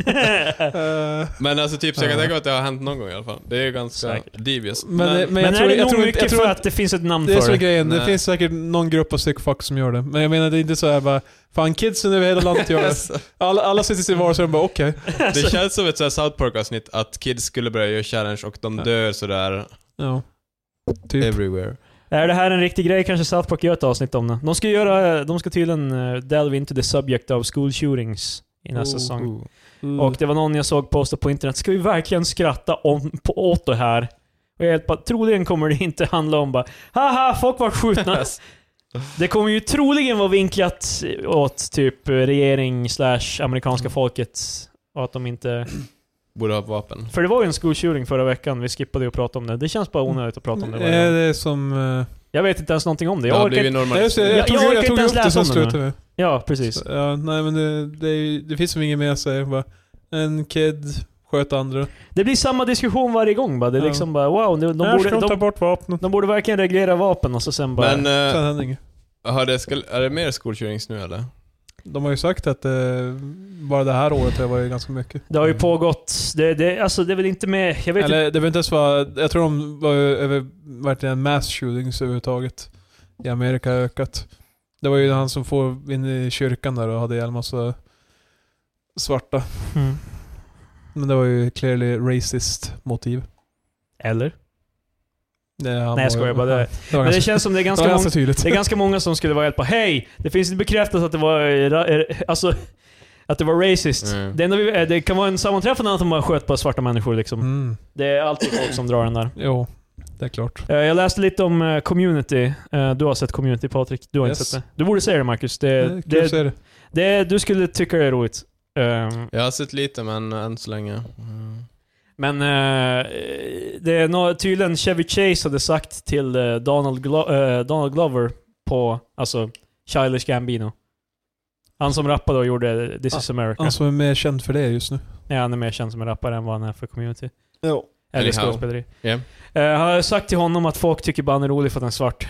Eh,
Men alltså typ, så jag kan
Ja.
tänka mig att det har hänt någon gång i alla fall. Det är ju ganska
Säkert.
devious.
Men, men,
Men,
jag
är
tror,
det
jag
nog
tror,
mycket
inte- jag tror
för
att
att det finns ett namn
det är
för
så
det?
grejen. Det
Nej.
finns säkert någon grupp av sickfucks som gör det. Men jag menar det är inte så här bara, fan kidsen över hela landet gör det. Alla, alla sitter i sin vardag och bara okej.
Det känns som ett så här South Park-avsnitt att kids skulle börja göra challenge och de
Ja.
dör sådär
Ja. Typ.
everywhere.
Är det här en riktig grej kanske South Park gör ett avsnitt om det. De ska, göra, de ska tydligen eh, delve into the subject of school shootings i
Oh,
nästa säsong.
Mm.
Och det var någon jag såg posta på internet, ska vi verkligen skratta om, på, åt det här? Och jag helt bara, troligen kommer det inte handla om bara, haha, folk var skjutna. det kommer ju troligen vara vinklat åt typ regering slash amerikanska folket. Och att de inte...
Borde ha vapen.
För det var ju en school shooting förra veckan, vi skippade ju att prata om det. Det känns bara onödigt att prata om det.
Eh,
varje gång.
det är som... eh,
Jag vet inte ens någonting om
Det
det. Jag
har
orkar
blivit
inte...
Ja, just det.
normaliserat.
typ- Jag-
Jag tog
jag orkar
jag tog
inte ens
upp det,
läsa
sen
om den här.
slutade vi.
Ja, precis.
Ja, nej men det, det, är ju- det finns ju inget mer att säga. Bara, en kid sköt andra.
Det blir samma diskussion varje gång bara. Det är
Ja.
liksom bara, wow, de, de, borde, de,
bort vapnen.
de borde verkligen reglera vapen och så sen bara...
Men
Sen
eh,
hände inget.
har det, ska, är det mer school shootings nu eller?
De har ju sagt att eh, bara det här året har det varit ganska mycket.
Det har ju pågått. Det, det, alltså det är väl inte med... Jag vet
Mm. Eller det behöver inte ens vara... Jag tror de var ju över, verkligen mass shootings överhuvudtaget. I Amerika har ökat. Det var ju han som får in i kyrkan där och hade ihjäl massa svarta.
inte. Mm.
Men det var ju clearly racist motiv.
Eller?
Nej, han
Nej jag
var ju-
skojar bara. Det,
Det var
men det
ganska,
känns som det är
det
ganska
var
många...
ganska tydligt.
Det är ganska många som skulle vara helt på Hej! Det finns inte bekräftat att det var... eh, ra- eh, Alltså... Att det var racist.
Mm.
Det, enda vi, eh, det kan vara en sammanträffande att de bara sköt på svarta människor liksom.
Mm.
Det är alltid folk som drar den där.
Jo, det är klart.
Eh, Jag läste lite om eh, community. Eh, Du har sett community Patrik, du har inte
Yes.
sett det. Du borde se det Marcus. Det,
Det, kul att
det,
se det.
det, du skulle tycka det är roligt. Eh,
Jag har sett lite men än så länge. Mm.
Men eh, det är nå tydligen Chevy Chase hade sagt till eh, Donald, Glo eh, Donald Glover på, alltså, Childish Gambino. Han som rappade och gjorde This is America.
Han som är mer känd för det just nu.
Ja, han är mer känd som en rappare än vad han är för community.
Ja.
Eller
Anyhow.
skådespeleri.
Ja.
Eh, jag har sagt till honom att folk tycker bara han är rolig för att han är svart.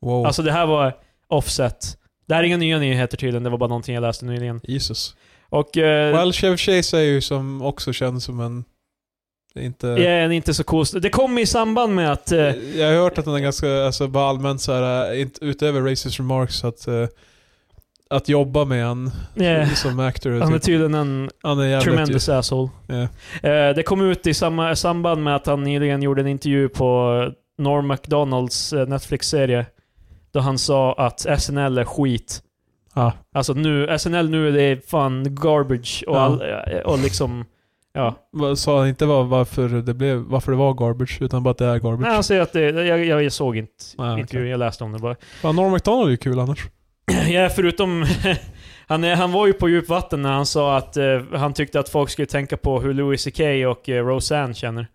Wow.
Alltså det här var offset. Det här är inga nya nyheter tydligen, det var bara någonting jag läste nyligen.
Jesus.
Och... eh,
Well, Chevy Chase är ju som också känns som en... Inte...
Ja, den är inte så cool. Det kom i samband med att... eh,
Jag har hört att den är ganska, alltså bara allmänt så här, eh, inte utöver racist remarks, att, eh, att jobba med han
eh,
som actor.
han är
typ.
tydligen en
han är jävligt...
tremendous asshole.
Ja.
Eh, det kom ut i samma, samband med att han nyligen gjorde en intervju på Norm MacDonalds eh, Netflix-serie. Då han sa att SNL är skit.
Ja.
Alltså nu, SNL nu är det fan garbage och,
Ja.
all, och liksom... Ja.
Vad- Sa han inte var, varför, det blev, varför det var garbage, utan bara att det är garbage.
Nej, han säger att det, jag, jag såg inte
Ja, okej.
intervjun, jag läste om det bara.
Fan, Norm MacDonald är ju kul annars.
Ja, förutom... han, är- han var ju på djupt vatten när han sa att eh, han tyckte att folk skulle tänka på hur Louis CK och eh, Roseanne känner.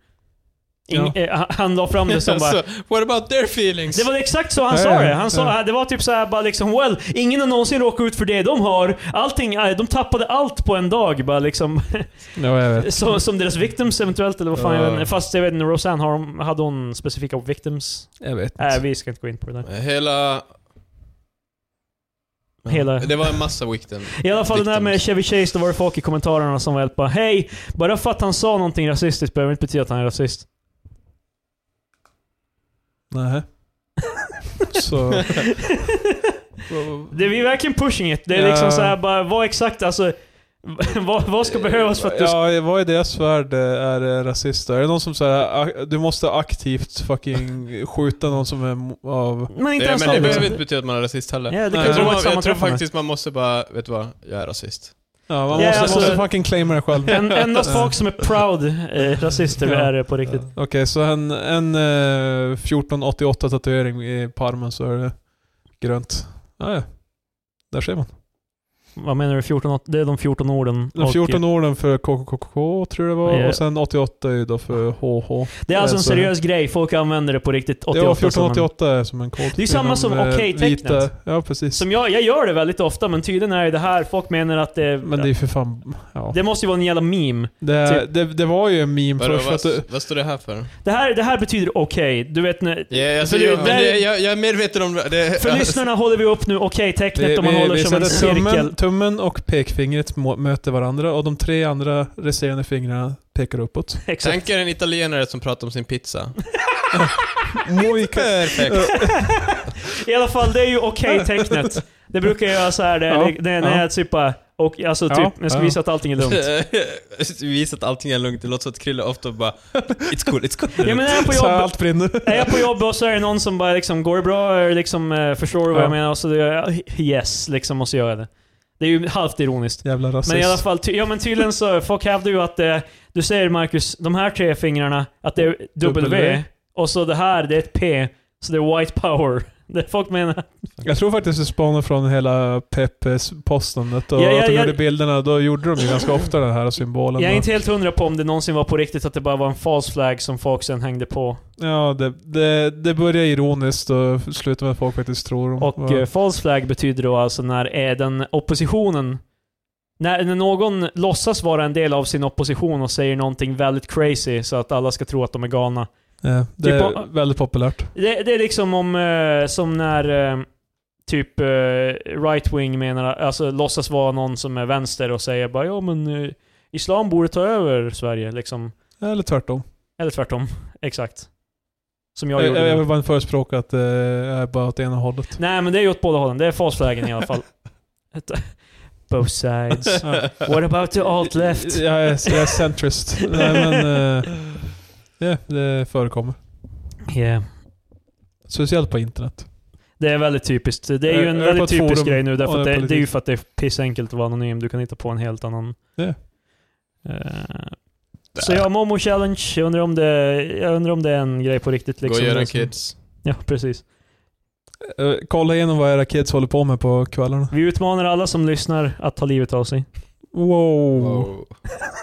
In, eh, han, han la fram det som bara...
Alltså, what about their feelings?
Det var exakt så han
Ja,
sa
ja,
det. Han sa,
ja.
Det var typ så här bara liksom well, ingen har någonsin råkat ut för det de har. Allting, eh, de tappade allt på en dag bara liksom.
Ja, jag vet.
Så, som deras victims eventuellt eller vad fan
Ja.
jag vet inte. Fast jag vet inte, Roseanne har, hon- hade hon specifika victims?
Jag vet inte.
Nej, vi ska inte gå in på det där.
Hela...
Hela-
Det var en massa wikten.
I alla fall den där med
Victims.
Chevy Chase, då var det folk i kommentarerna som var helt bara Hej! Bara för att han sa någonting rasistiskt behöver inte betyda att han är rasist.
Nej. Så...
Det, vi är verkligen pushing it. Det är
Ja.
liksom så här bara, vad exakt alltså... vad, vad ska behövas för att du ska...
Ja, vad är deras värld? eh, Är det rasister? Är det någon som säger "Ah, du måste aktivt fucking skjuta någon som är mo- av...
Men inte
Ja,
ens
men det
det. liksom.
behöver inte betyda att man är rasist heller.
Ja, det kan
jag,
vara
tror
ett
man, jag tror
sammanträffande.
faktiskt man måste bara, vet du vad? Jag är rasist.
Ja, man
Ja,
måste,
alltså-
måste fucking claima det själv.
En, endast folk som är proud eh, rasister
Ja.
är det på riktigt.
Okej, så en, en eh, 1488 tatuering i på armen så är det grönt. Ja, ja. Där ser man.
Vad menar du? 14, det är de 14 orden.
De
och-
14 orden för KKKK tror jag det var,
Ja.
och sen 88 är ju då för HH.
Det är alltså en
Så-
seriös grej. Folk använder det på riktigt. 88
Det var
som en-
1488 är som en kod.
Det är ju samma
inom,
som
eh,
okej-tecknet.
vita- Ja, precis.
Som jag, jag gör det väldigt ofta, men tydligen är det här, folk menar att det...
Men det är ju för fan... Ja.
det typ- måste ju vara en jävla meme.
Det, det, det var ju en meme
Vadå,
först för att
vad,
du,
vad står det här för?
Det här, det här betyder okej. Du vet när...
Ja, alltså,
För det-
jag, men
där-
det, jag, jag är medveten om det.
För lyssnarna håller vi upp nu okej-tecknet om man håller som en
sätter
cirkel.
tummen, tummen och pekfingret må- möter varandra och de tre andra resterande fingrarna pekar uppåt.
Exakt.
Tänk er en italienare som pratar om sin pizza.
Mojka.
Perfekt.
I alla fall, det är ju okej-tecknet. Det brukar jag göra så här, det,
Ja,
det, det, när
ja.
jag typ bara... Och, alltså
Ja,
typ, jag ska
ja.
visa att allting är lugnt.
Visa att allting är lugnt. Det låter så att Krille ofta bara It's cool, it's cool.
Ja men är jag på
Så
jobbet,
allt brinner.
är jag på jobbet och så är det någon som bara liksom, går det bra? Eller Liksom, eh, förstår du vad
Ja.
jag menar? Och så gör jag yes, liksom, och så gör jag det. Det är ju halvt ironiskt.
Jävla rasist.
Men i alla fall, ty- ja men tydligen så, folk hävdar ju att eh, du säger Marcus, de här tre fingrarna, att det är W,
W.
och så det här, det är ett P, så det är white power. Det folk menar.
Jag tror faktiskt det spanar från hela Peppes postandet och
Ja, ja,
att de
ja.
gjorde bilderna. Då gjorde de ju ganska ofta den här symbolen.
Jag är
då.
inte helt hundra på om det någonsin var på riktigt att det bara var en false flag som folk sen hängde på.
Ja, det, det, det börjar ironiskt och slutar med att folk faktiskt tror om.
Och eh, false flag betyder då alltså när är den oppositionen när, när någon låtsas vara en del av sin opposition och säger någonting väldigt crazy så att alla ska tro att de är galna.
ja, det
typ
är
av-
väldigt populärt.
Det, det är liksom om, eh, som när eh, typ eh, right-wing menar, alltså låtsas vara någon som är vänster och säger bara ja men eh, islam borde ta över Sverige liksom.
Eller tvärtom.
Eller tvärtom. Exakt. Som jag
Jag, jag,
gjorde.
jag
nu.
vill bara förespråka att det är bara åt ena hållet.
Nej men det är ju åt båda hållen, det är false flaggen i alla fall. Ett- Both sides. What about the alt left?
Jag är, jag är centrist. Nej men... eh, Ja, det förekommer.
Yeah.
Speciellt på internet.
Det är väldigt typiskt. Det är ju
Jag-
en
jag är på
väldigt
ett
typisk
forum
grej nu, därför
och
att
jag är
det, det är ju
politik.
för att det är pissenkelt att vara anonym. Du kan hitta på en helt annan...
Ja.
Eh, så ja, Momo Challenge. Jag undrar om det, jag undrar om det är en grej på riktigt.
Gå och
Liksom,
gör
Det
en
som-
kids.
Ja, precis.
Eh, Kolla igenom vad era kids håller på med på kvällarna.
Vi utmanar alla som lyssnar att ta livet av sig. Oh.
Wow.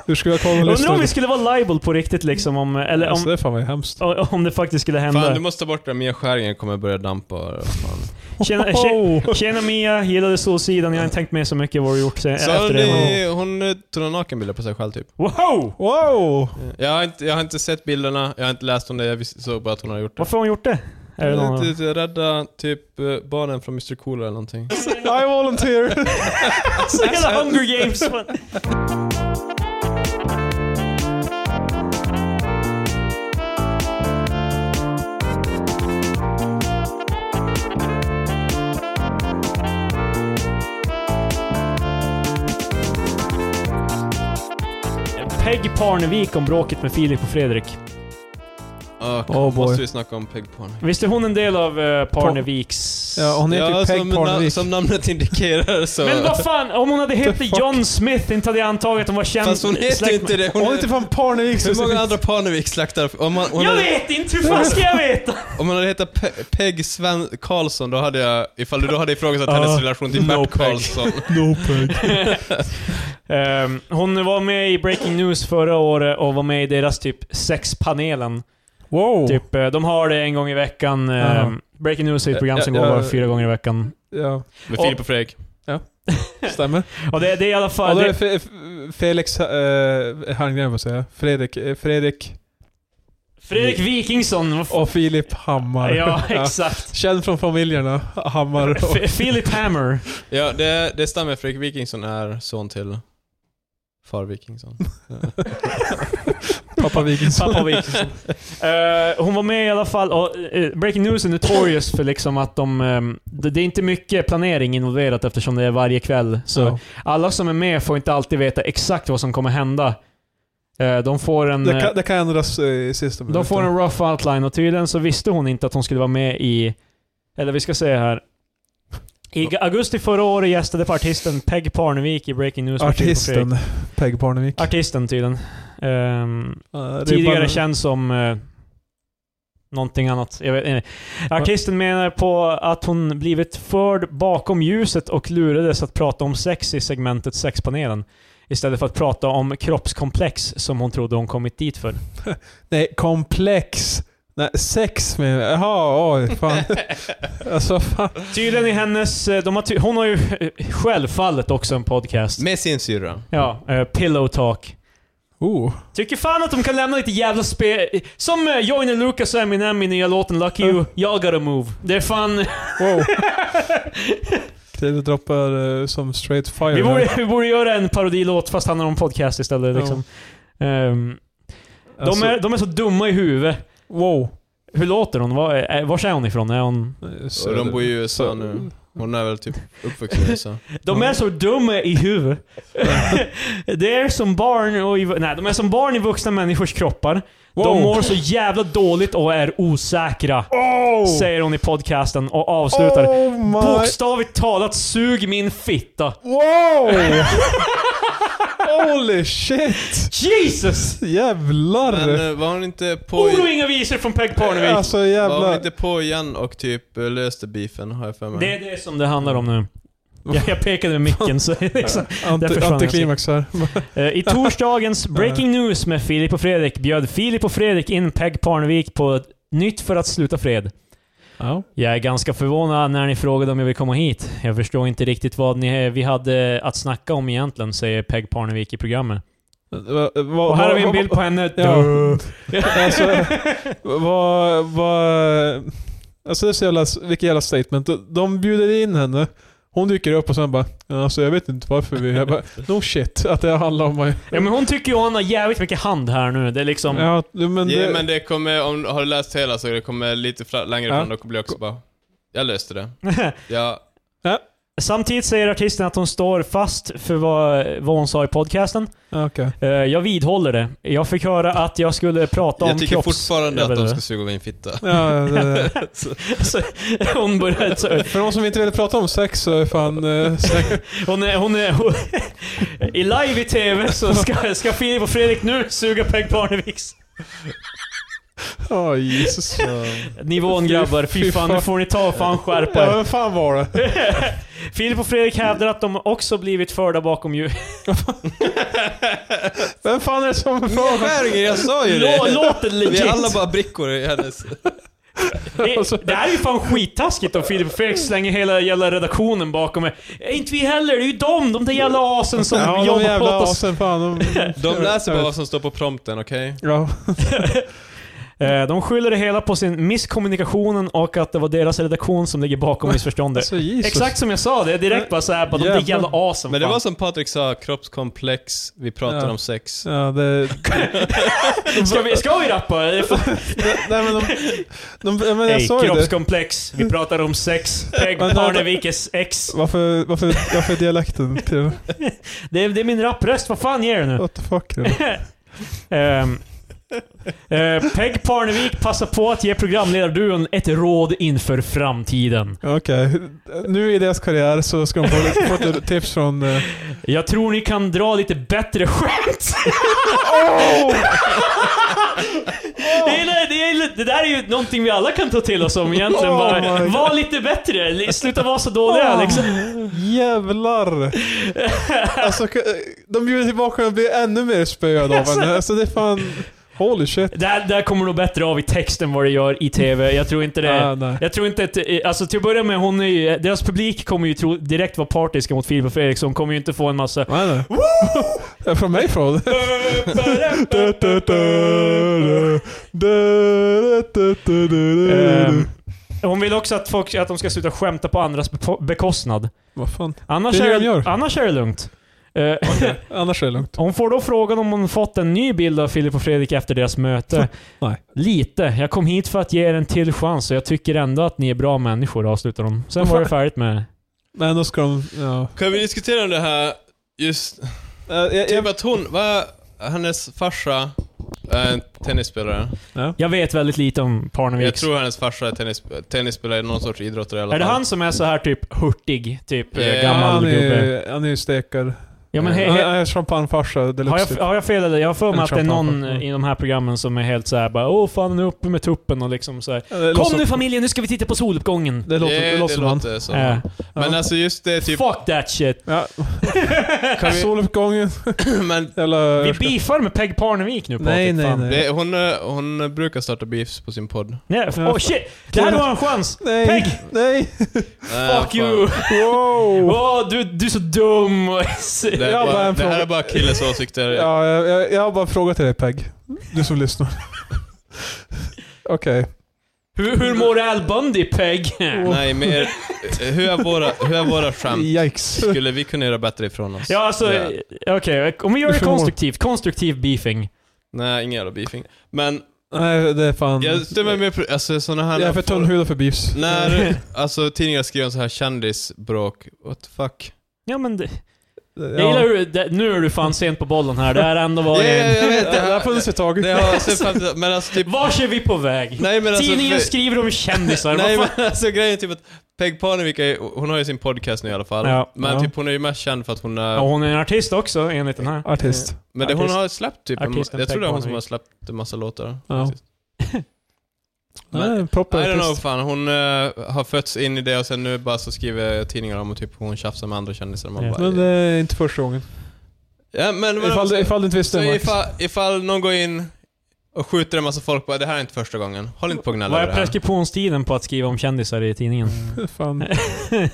Hur skulle jag kolla med
Undrar om
listan?
vi skulle vara liable på riktigt liksom om, eller
Alltså,
om,
det är fan vad hemskt.
om det faktiskt skulle hända.
Fan, du måste ta bort den, Mia Skäringen kommer börja dampa. och- Fan.
Tjena, tjena, tjena Mia, gillade Solsidan. Jag har inte tänkt med så mycket vad du gjort sen,
Så
efter det.
ni, hon eh, tog nakenbilder på sig själv typ.
Wow!
Wow!
Jag har, inte, jag har inte sett bilderna, jag har inte läst om det, jag visste- såg bara att hon har gjort det.
Varför har hon gjort det? Är det någon...
Typ, Rädda typ eh, barnen från Mr Cool eller någonting.
I volunteer!
Så jävla Hunger Games! fan. Peg Parnevik om bråket med Filip och Fredrik.
Oh,
Oh boy.
måste vi snacka om Peg Parnevik.
Visst är hon en del av eh, Parneviks...
Ja, hon heter ju
Ja, som,
Peg
na-
Parnevik.
som namnet indikerar så...
Men vad fan, om hon hade
The
hetat
fuck?
John Smith inte hade jag antagit att hon var känd
Fast hon heter ju
släkt
inte det. Hon
Hon
är,
heter fan Parnevik
hur många
specifikt.
andra Parnevik slaktar... Om man, hon
Jag
hade,
vet inte, hur fan ska jag veta?
om man hade hetat Pe- Peg Sven Karlsson, då hade jag... Ifall du då hade ifrågasatt
Ja.
hennes relation till
No
Bert
Peg.
Karlsson.
No Peg.
Ehm, hon var med i Breaking News förra året och var med i deras typ sexpanelen.
Wow!
Typ, eh, de har det en gång i veckan. ehm,
Aha.
Breaking News är ett program som
Ja,
går
ja.
bara fyra gånger i veckan.
Ja,
Med
Och-
Filip och Fredrik.
stämmer.
Och det, det är i alla
Ja,
fall...
då är
Det,
det Fe- F- Felix eh, Herngren, vad säger jag? Fredrik, eh, Fredrik
Fredrik Wikingsson, vad fan?
och Filip Hammar.
Ja, exakt.
Känd från familjerna Hammar och...
F- Philip Hammer.
Ja, det, det stämmer. Fredrik Wikingsson är son till far Wikingsson.
Pappa Wikingsson.
Pappa Wikingsson. Eh, hon var med i alla fall. Och, eh, Breaking News är notorious för liksom att de... ehm, det, det är inte mycket planering involverat eftersom det är varje kväll. Så
Ja.
alla som är med får inte alltid veta exakt vad som kommer hända. Eh, de får en...
Det
eh,
kan, det kan ändras eh, i sista minuten.
de får en rough outline och tydligen så visste hon inte att hon skulle vara med i... Eller vi ska se här. I ga- augusti förra året gästade artisten Peg Parnevik i Breaking News. med Filip och
Artisten
Fredrik.
Peg Parnevik.
Artisten tydligen. Ehm,
Eh, det är bara-
Tidigare känd som eh, någonting annat. Jag vet inte. Artisten menar på att hon blivit förd bakom ljuset och lurades att prata om sex i segmentet Sexpanelen. Istället för att prata om kroppskomplex som hon trodde hon kommit dit för.
Nej, komplex. Nej, sex med... Jaha, oj, fan. alltså, fan.
Tydligen i hennes... eh, De har ty- hon har ju självfallet också en podcast.
Med sin syrra.
Ja, eh, Pillow Talk.
Oh.
Tycker fan att de kan lämna lite jävla spel... Som eh, Joyner Lucas och Eminem i nya låten Lucky You, Jag gotta move. Det är fan...
Wow. Det droppar eh, som straight fire.
Vi
här.
borde, vi borde göra en parodilåt fast handlar om podcast istället.
Ja.
Liksom. Ehm,
Alltså,
de, är, de är så dumma i huvudet.
Wow.
Hur låter hon? Var, är- var är hon ifrån? Är hon...
Så,
Och de bor ju i USA nu. Hon är väl typ uppvuxen i USA.
De är så dumma i huvudet. det är som barn och i, nej, de är som barn i vuxna människors kroppar.
Wow.
De mår så jävla dåligt och är osäkra.
Oh!
Säger hon i podcasten och avslutar.
Oh my...
Bokstavligt talat, sug min fitta.
Wow! Holy shit!
Jesus!
Jävlar!
Men eh, var hon inte på...
Ord och inga visor från Peg Parnevik.
alltså
Var hon
jävlar.
inte på igen och typ eh, löste beefen, har jag för mig.
Det är det som det handlar om nu. Jag, jag pekade med micken så liksom. Där
Anti,
försvann
antiklimax här.
Eh, I torsdagens Breaking News med Filip och Fredrik bjöd Filip och Fredrik in Peg Parnevik på ett Nytt för att sluta fred.
Ja.
Jag är ganska förvånad när ni frågade om jag vill komma hit. Jag förstår inte riktigt vad ni, vi hade att snacka om egentligen, säger Peg Parnevik i programmet. Och här har vi en bild på henne.
Ja.
Duh.
alltså, vad, vad... Alltså det är så jävla, vilket jävla statement. De- De bjuder in henne. Hon dyker upp och sen bara, alltså jag vet inte varför vi... Jag bara, no shit, att det handlar om mig.
Ja, men hon tycker ju hon har jävligt mycket hand här nu. Det är liksom...
Ja, men det,
Ja, men det kommer, om, har du läst hela så det kommer lite fra, längre
Ja.
fram, då blir jag också bara... Jag löste det. Jag,
Samtidigt säger artisten att hon står fast för vad, vad hon sa i podcasten.
Ja, okej.
Eh, Jag vidhåller det. Jag fick höra att jag skulle prata
jag
om
tycker
kropps...
fortfarande att
Jag vet
de
inte.
ska suga min fitta.
Ja, det, det.
Så, hon började... Så,
För de som inte vill prata om sex så är fan... eh, sex-
hon är... Hon är hon, I live i TV så ska, ska Filip och Fredrik nu suga Peg Parneviks.
Åh Jesus.
Nivån
Fy-
grabbar, fy
fy
fan
fan.
nu får ni ta fan skärpa
Ja,
er.
vem fan var det?
Filip och Fredrik hävdar att de också blivit förda bakom ljus.
Vem fan är det som
Men Skäringer, jag sa ju det!
Lå- Låter
Vi
legit!
är alla bara brickor i hennes...
Det, det här är ju fan skittaskigt om Filip och Fredrik slänger hela jävla redaktionen bakom mig. Inte vi heller, det är ju de, de där jävla asen som
Ja, de
jobbar
jävla
åt oss.
asen fan. De,
De läser bara vad som står på prompten, okej?
Ja.
Eh, De skyller det hela på sin misskommunikationen och att det var deras redaktion som ligger bakom missförståndet.
Alltså Jesus.
Exakt som jag sa, det är direkt bara såhär, bara de där
Jävlar.
jävla asen
Men det
fan.
var som Patrik sa, kroppskomplex, vi pratar
Ja.
om sex.
Ja, det,
Ska vi, ska vi rappa? Det är fan-
nej men de... de ja, men jag
Hej,
sa ju det.
kroppskomplex. Vi pratar om sex. Peg
Men-
Parnevikes ex.
Varför, varför, varför är dialekten till...
Det är, det är min rappröst, vad fan ger det nu?
What the fuck? eller?
Ehm, eh, Peg Parnevik passar på att ge programledarduon ett råd inför framtiden.
Okej. Nu i deras karriär så ska de få lite, få lite tips från... eh,
Jag tror ni kan dra lite bättre skämt.
Oh!
Det, är, li- det, är, li- det där är ju någonting vi alla kan ta till oss om egentligen.
Oh
bara,
my Oh.
var lite bättre, li- sluta vara så dåliga liksom.
Jävlar! Alltså, k- de bjuder tillbaka och blir ännu mer spöade av henne. Alltså det är fan... Holy shit.
Det här, det här kommer nog bättre av i texten vad det gör i TV. Jag tror inte det.
Ah, nej.
Jag tror inte att, eh, alltså till att börja med, hon är ju, deras publik kommer ju tro, direkt vara partiska mot Filip och Fredrik, så hon kommer ju inte få en massa
Nej, nej. Det är från mig från.
Ehm, Hon vill också att, folk, att de ska sluta skämta på andras beko- bekostnad.
Vad fan?
Annars
Det är
är,
det de gör.
annars är det lugnt. Eh,
Annars är det lugnt.
Hon får då frågan om hon fått en ny bild av Filip och Fredrik efter deras möte.
Nej.
Lite. Jag kom hit för att ge er en till chans och jag tycker ändå att ni är bra människor, avslutar hon. Sen var det färdigt med det.
Men då ska de... Ja.
Kan vi diskutera om det här, just...
Eh, jag-
Typ
jag-
att hon, vad, hennes farsa är en tennisspelare.
Jag vet väldigt lite om
Jag
Parneviks.
tror hennes farsa är tennis, tennisspelare, någon sorts idrottare i alla
Är
fall.
det han som är så här typ hurtig? Typ eh,
Ja,
gammal
Han är
gubbe?
ju- han är ju stekare.
Ja men he,
Han
he,
är champagnefarsa
har, jag,
deluxe. typ.
har jag fel eller? Jag har för mig
Eller
att det är någon
champagne.
i de här programmen som är helt så här bara Åh fan, han är uppe med tuppen och liksom så här.
Ja, det låter-
Kom nu familjen, nu ska vi titta på soluppgången!
Det låter,
Ja,
det låter som han.
så.
Eh,
Men
Ja.
alltså just det, typ...
Fuck that shit!
Ja.
Kan vi,
Soluppgången.
men
Jävla...
Vi beefar med Peg Parnevik nu på
Nej, nej, nej.
det, hon, eh, hon brukar starta beefs på sin podd.
Nej,
Ja,
oh shit! Det här var en chans!
Nej!
Peg!
Nej!
Eh, fan.
Fuck you!
Wow!
Åh, du, du är så dum!
Det, här är
Jag
bara,
har bara en
det här
fråga.
är bara killes åsikter.
Ja, jag, jag, jag har bara en fråga till dig Peg. Du som lyssnar. Okej.
hur, hur mår Al Bundy, Peg?
Nej, mer... Hur är våra, hur är våra skämt?
Yikes.
Skulle vi kunna göra bättre ifrån oss?
Ja, alltså,
Ja.
okej. om vi gör det
Hur mår-
konstruktivt. Konstruktiv beefing.
Nej, ingen jävla beefing. Men
Nej, det är fan...
jag stämmer med... pro- Alltså såna här...
Mm. Jag är för tunn hud för beefs.
När alltså, tidningar skriver om så här kändisbråk, what the fuck?
Ja, men det,
Ja.
jag gillar hur... Det, nu är du fan sent på bollen här. Det här har ändå
Ja,
varit...
ja, jag vet
Det
det.
har funnits ett tag.
Det har sett fram- men alltså typ...
Vars är vi på väg?
Nej men alltså...
Tidningen
för-
skriver om kändisar.
Nej
vad fan?
men alltså grejen är typ att Peg Parnevik, är, hon har ju sin podcast nu i alla fall.
Ja.
men
Ja.
typ hon är ju mest känd för att hon är...
Ja, hon är en artist också, enligt den här.
Artist.
men det, hon
artist-
har släppt typ... en-
artisten
jag tror
Peg
det är hon som
Parnevik.
har släppt en massa låtar.
Ja.
faktiskt. Men-
Nej, en proper
I don't know
artist.
fan, hon eh, har fötts in i det och sen nu bara så skriver tidningar om och typ hon tjafsar med andra kändisar. Man
Ja. eh,
bara,
Men det är inte första gången.
ja, men, men
Ifall, du- ifall du inte
Så
visste Max.
ifall, ifall någon går in och skjuter en massa folk bara det här är inte första gången. Håll inte på och gnälla
Vad
över
är
det här.
preskriptionstiden på att skriva om kändisar i tidningen?
Fan.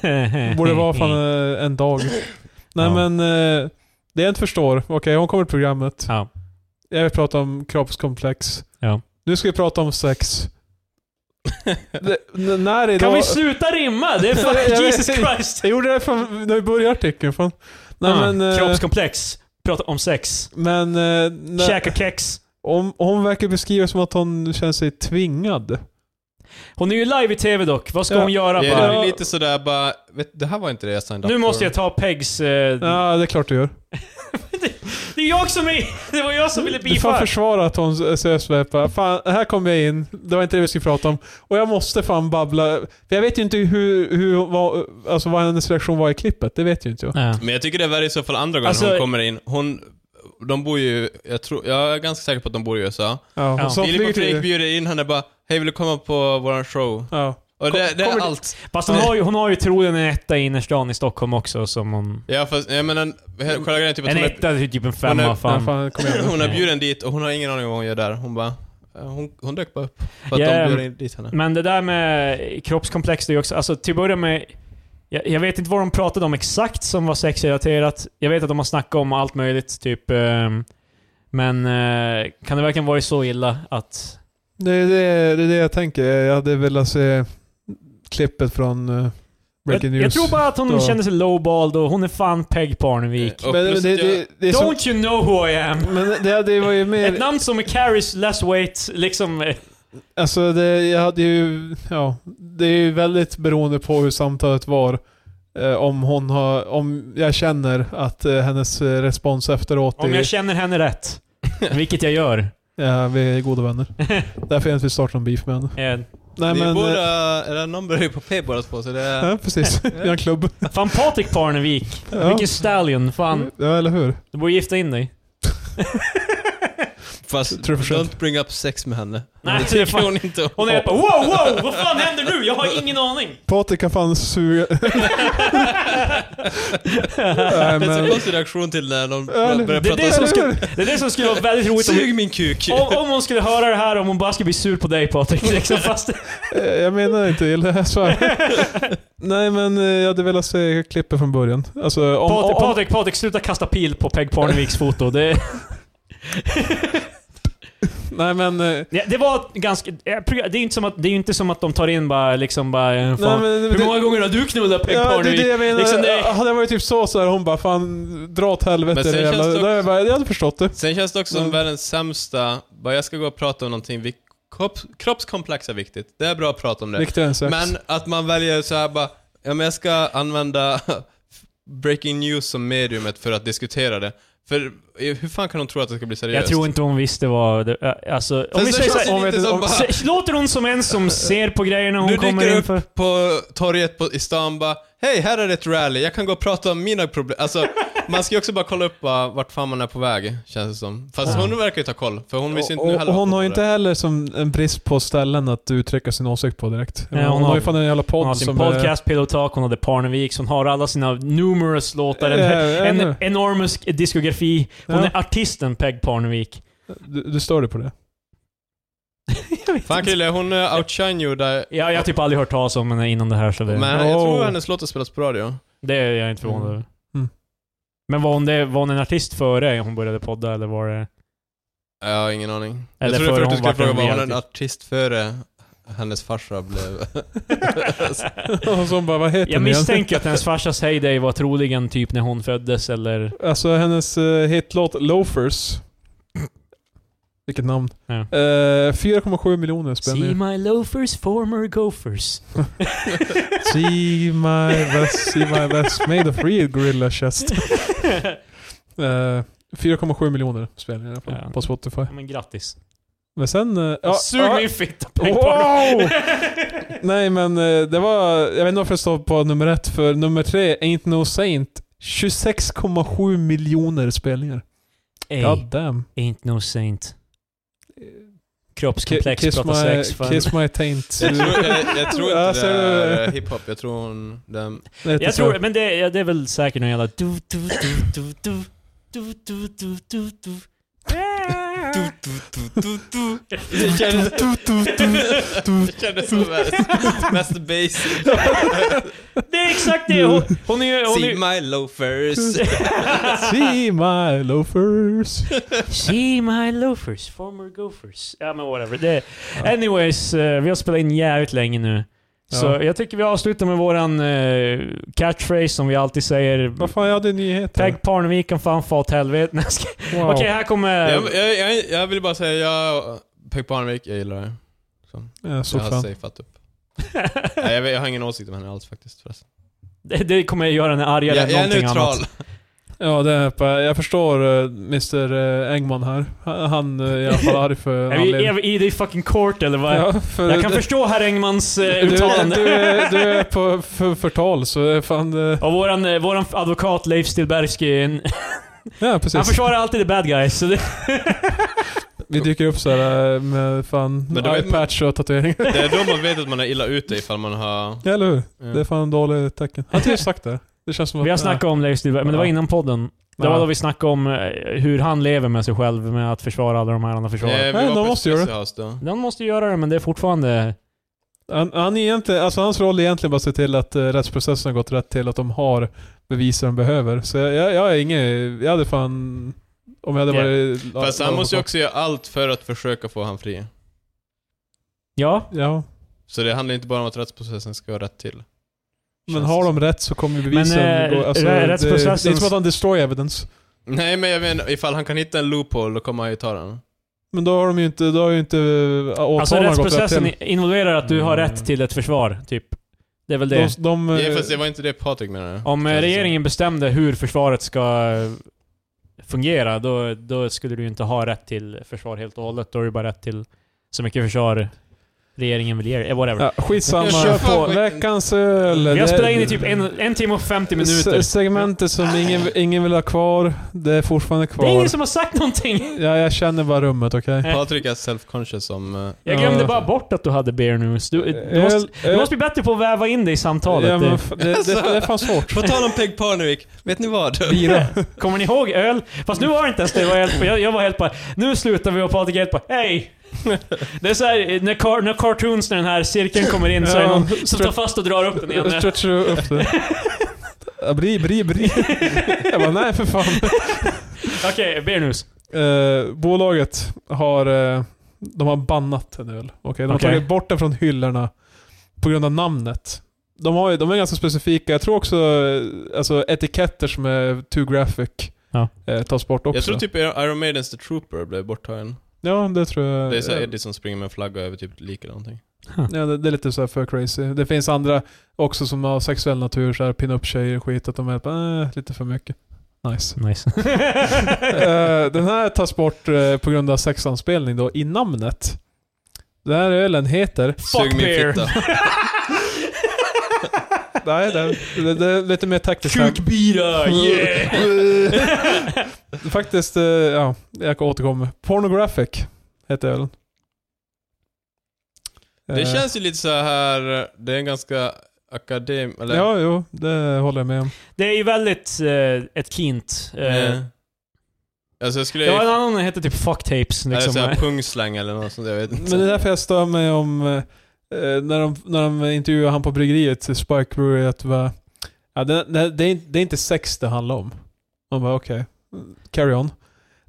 Mm. Borde vara fan eh, en dag. Nej
Ja.
men, eh, det jag inte förstår. Okej, hon kommer till programmet.
Ja.
Jag vill prata om kroppskomplex.
Ja.
Nu ska vi prata om sex. det, n- när är
Kan
då-
vi sluta rimma? Det är fan
Jag
Jesus
vet-
Christ!
Jag gjorde det från, när vi började artikeln. Fan. Nej,
Ah,
men, eh,
Kroppskomplex. Prata om sex.
men eh, när,
Käka kex.
om, hon verkar beskriva som att hon känner sig tvingad.
Mm. Hon är ju live i TV dock. Vad ska
Ja.
hon göra
Ja, det
bara?
är lite sådär bara, vet, det här var inte det jag signade
Nu
up
måste
for.
jag ta Pegs... Eh,
Ja, det är klart du gör.
Det är jag som är... Det var jag som ville
Du får
beefa.
försvara att hon sösläpar. Fan, här kom jag in. Det var inte det vi skulle prata om. Och jag måste fan babbla. För jag vet ju inte hur, hur vad, alltså vad hennes reaktion var i klippet. Det vet ju inte jag.
Ja.
Men jag tycker det är värre i så fall andra gången
Alltså-
hon kommer in. Hon, de bor ju, jag, tror, jag är ganska säker på att de bor i USA.
Ja,
Ja.
ja. Så
Filip
flyger
och Fredrik
till...
bjuder in henne bara Hej vill du komma på våran show?
Ja.
Och det, det är
kommer du-
allt.
Fast hon har, ju, hon har ju troligen en etta i innerstan i Stockholm också som hon...
Ja fast jag menar, själva grejen är typ att
En
hon
etta är typ en
hon är-
femma,
Ja,
fan.
fan, kom
är,
igen.
hon är bjuden dit och hon har ingen aning om vad hon gör där. Hon bara, eh, hon, hon dök bara upp. För att
Yeah.
de bjöd in dit henne.
Men det där med kroppskomplex, det är ju också... Alltså till att börja med... Jag, jag vet inte vad de pratade om exakt som var sexrelaterat. Jag vet att de har snackat om allt möjligt, typ... ehm, men eh, kan det verkligen vara så illa att...
Det är det, det är det jag tänker. Jag hade velat se klippet från eh,
Jag,
Breaking News.
jag tror bara att hon
Då-
kände sig lowballed och hon är fan Peg Parnevik.
Och
Men det,
plus
det,
att jag-
det, Eh, det är som,
Don't you know who I am?
Men det, det var ju
Ett
mer...
namn som carries less weight, liksom... eh,
Alltså det, jag hade ju... Ja, det är ju väldigt beroende på hur samtalet var. Eh, om hon har... Om jag känner att eh, hennes eh, respons efteråt
Om
är...
jag känner henne rätt. Vilket jag gör.
Ja, vi är goda vänner. Därför jag inte vill starta någon beef med henne.
Eh,
Nej
det är
men... eh,
båda, är det någon börjar ju på P båda två så det är...
Ja, precis. Vi har en klubb.
Fan Patrik Parnevik.
Ja. Mm.
Vilken stallion. Fan.
Ja, eller hur?
Du borde gifta in dig.
Fast
Tror du för sent?
don't bring up sex med henne.
Nej,
det
det är
tycker
fan-
hon inte om.
Hon är helt bara wow, wow! Vad fan händer nu? Jag har ingen aning.
Patrik kan fan suga... Nej,
Det är en
men,
så konstig reaktion till när någon
eller-
börjar
Det är
prata
det som skulle, det är det som skulle vara väldigt roligt om,
Sug min kuk!
om, om hon skulle höra det här om hon bara skulle bli sur på dig Patrik. Liksom, fast,
eh, jag menar inte illa, jag svär. Nej men eh, jag hade velat se klippet från början. Alltså om...
Patrik,
om, om
Patrik, Patrik, sluta kasta pil på Peg Parneviks foto. Det,
nej men... eh,
ja, det var ganska... ja, program- Det är ju inte som att, det är ju inte som att de tar in bara liksom bara... eh,
Nej,
Fan,
men,
hur många gånger har du knullat Peg
Ja, det är
Parnevik?
det jag menar.
Liksom det-
Hade jag varit typ så så här, hon bara fan dra åt helvete
Men sen
det jävla...
känns det
Det
också-
jag, bara, jag hade förstått det.
Sen känns det också som
Mm.
Men-
världens sämsta, bara jag ska gå och prata om någonting, vi, kropp, kroppskomplex är viktigt, det är bra att prata om det.
Viktigare än sex.
Men att man väljer så här bara, ja men jag ska använda breaking news som mediumet för att diskutera det. För eh, hur fan kan de tro att det ska bli seriöst?
Jag tror inte hon visste vad... det- äh, Alltså, om
Sen
vi
så
säger
känns
såhär,
det lite
om-
som
om-
bara,
se- låter hon som en som ser på grejerna hon
du
kommer
dyker
in
upp
för?
på torget på, i stan bara, hej här är det ett rally, jag kan gå och prata om mina problem. Alltså, man ska ju också bara kolla upp bara, vart fan man är på väg, känns det som. Fast hon verkar ju ta koll, för hon visste
Och,
inte nu
och,
heller.
och
att
hon har ju
var
inte heller som en brist på ställen att uttrycka sin åsikt på direkt.
Nej,
hon,
hon
har
har-
ju fan en jävla podd
Hon har
som eh,
sin podcast, Pillow Talk, hon hade Parnevik, hon har alla sina numerous låtar, en,
Ja, ja,
en
ja.
enormous diskografi. Hon
Ja.
är artisten Peg Parnevik.
Är, du, du stör dig på det?
Jag vet
Fan
inte.
Krille, hon eh, outshine you där.
Ja, jag har typ aldrig hört talas om henne innan det här, så det,
Men jag tror
Oh.
hennes låt har spelats på radio.
det är jag inte förvånad
Mm.
över.
Mm.
Men var hon, det, var hon en artist före hon började podda, eller var det...
Jag har ingen aning. jag
Eller
trodde
före
först
hon
du skulle
vart en
fråga, var hon en
reality.
artist före hennes farsa blev...
och så hon bara, vad heter
jag
ni igen?
misstänker att hennes farsas heyday var troligen typ när hon föddes, eller...
Alltså hennes eh, hitlåt Loafers. Vilket namn.
Ja.
Eh, 4,7 miljoner
See
spänn.
my loafers, former gophers.
See my vest, see my vest made of real gorilla chest. Eh, 4,7 miljoner spelningar i alla fall
Ja.
på Spotify.
Ja, men grattis.
Men sen... eh, ja,
Sug
ja.
min fitta
Wow! Nej men eh, det var... Jag vet inte varför det står på nummer ett, för nummer tre, Ain't No Saint, 26,7 miljoner spelningar.
Ey,
God damn.
ain't no saint.
Ki-
Kroppskomplex,
kiss,
prata
my,
sex. fan.
kiss my taint.
jag, tror, jag, jag tror inte
Alltså,
det är eh, hiphop, jag tror hon... Den,
Det heter
Jag
så.
tror, men det, ja, det är väl säkert någon jävla... Du, du, du, du, du, du, du, du, du, du.
det kändes, det kändes som värst. mest basic.
Det är exakt det! Hon, hon är ju... Hon är,
See
ju-
my loafers.
See my loafers.
See my loafers, former gophers. Ja men whatever. Det, anyways, eh, vi har spelat in jävligt länge nu. Så
Ja.
jag tycker vi avslutar med våran eh, catchphrase som vi alltid säger.
Vad fan, jag hade nyheter.
Peg Parnevik kan fan få åt helvete. Nej, jag ska-
Wow.
Okej, här kommer...
jag, jag, jag, jag vill bara säga, jag... Peg Parnevik, jag gillar det.
Jag
Jag
såg
har
fan.
safeat upp. Nej, jag, vet- jag har ingen åsikt om henne alls faktiskt förresten.
det, det kommer göra henne
Jag,
argare
jag
än
är
någonting
neutral.
annat.
Ja, det är, på- jag förstår eh, Mr eh, Engman här. Han- Han eh, är i alla fall arg för
Är vi, är
anledning.
vi i det i fucking court eller vad?
Ja, för
jag kan
du-
förstå herr Engmans eh,
du,
uttalande.
du, är- du är på för, förtal, så det är fan... eh,
Och våran, eh, våran advokat Leif Stillbergsky är en
Ja, precis.
Han försvarar alltid the bad guys. Så det,
Vi dyker upp såhär med fan
Men då vet man-
eyepatch och tatueringar.
Det är då man vet att man är illa ute ifall man har...
Ja, eller hur?
Ja.
Det är fan dåligt tecken. Han har ju sagt det. Det känns som att...
vi har snackat om Leif Stillberg, men det var
Ja.
innan podden. Det var
Ja.
då vi snackade om eh, hur han lever med sig själv med att försvara alla de här han har försvarat.
Nej, vi
Nej,
var
de
på
måste göra det.
Special House då.
Han måste göra det, men det är fortfarande...
Han, han är egentligen, alltså hans roll är egentligen bara att se till att eh, rättsprocessen har gått rätt till, att de har bevis de behöver. Så jag, jag, jag är ingen, jag hade fan... Om jag hade
Ja.
varit... Ja.
Fast han måste ju också göra allt för att försöka få han fri.
Ja.
Ja.
Så det handlar inte bara om att rättsprocessen ska gå rätt till.
Men
Känns
har
det
de rätt så kommer ju bevisen
Men, eh,
gå... Alltså,
rä-
det, det är
rättsprocessens-
inte som att han destroy evidence.
Nej men jag menar, ifall han kan hitta en loophole då kommer han ju ta den.
Men då har de ju inte, då har ju inte eh,
Alltså
åtalen gått rätt
rättsprocessen
till.
i- involverar att du har
Mm.
rätt till ett försvar, typ. Det är väl
De,
det.
de, eh,
Nej fast det var inte det Patrik menade.
Om eh,
Känns det
regeringen bestämde hur försvaret ska eh, fungera, då, då skulle du ju inte ha rätt till försvar helt och hållet. Då är det bara rätt till så mycket försvar regeringen vill ge eh, Whatever.
ja, skitsamma.
Jag kör på.
Veckans öl.
Vi
Det-
har spelat in i typ en, en timme och 50 minuter.
Se- Segmentet som ingen, ingen vill ha kvar, det är fortfarande kvar.
Det är ingen som har sagt någonting!
ja, jag känner bara rummet, okej?
som. Patrik är self-conscious som... eh,
Jag
Ja.
glömde bara bort att du hade beer news. Du, du, måste, du måste bli bättre på att väva in det i samtalet. Eh,
ja,
Det- Alltså.
men, f- det, det, det är fan svårt.
På tal om Peg Parnevik, vet ni vad?
Bira.
Kommer ni ihåg öl? Fast nu var det inte ens det. Jag var helt på. Jag, jag var helt på. Nu slutar vi och Patrik är helt på. Hej! Det är såhär, när, car- när cartoons, när den här cirkeln kommer in så är det någon som tar fast och drar upp den igen.
Jag stretchar upp det. Ja, Bri, bri, bri. Jag bara, nej för fan.
Okej, beer news.
Eh, bolaget har, eh, de har bannat en öl. Okej, de har
Okej.
tagit bort den från hyllorna på grund av namnet. De, har, ju- de är ganska specifika. Jag tror också eh, alltså, etiketter som är too graphic
Ja.
eh, tas bort också.
Jag tror typ Iron Maidens The Trooper blev borttagen.
Ja, det tror jag.
Det är såhär Eddie som springer med en flagga över typ lik eller någonting.
Ja, det, det är lite så här för crazy. Det finns andra också som har sexuell natur, så här pin-up-tjejer och skit, att de är bara, äh, lite för mycket. Nice.
Nice.
Eh, den här tas bort eh, på grund av sexanspelning då, i namnet. Den här ölen heter...
Sug min
beer.
fitta.
Nej, det, det, det är lite mer taktiskt. här.
Kukbira, yeah!
Faktiskt, eh, ja, jag återkommer. Pornographic heter ölen.
Det
Eh,
känns ju lite så här. det är en ganska akadem... Eller?
Eh, Ja, jo, det håller jag med om.
Det är ju väldigt eh, ett kint. eh,
Eh, Alltså jag skulle...
Det var en annan som hette typ fuck tapes liksom.
Eller såhär pungslang eller något sånt, jag vet inte.
Men det är därför jag stör mig om eh, eh, när, de, när de intervjuar han på bryggeriet, Spike Brewery, att va, ja, det, det, det, är, inte- det är inte sex det handlar om. Man bara okej, carry on.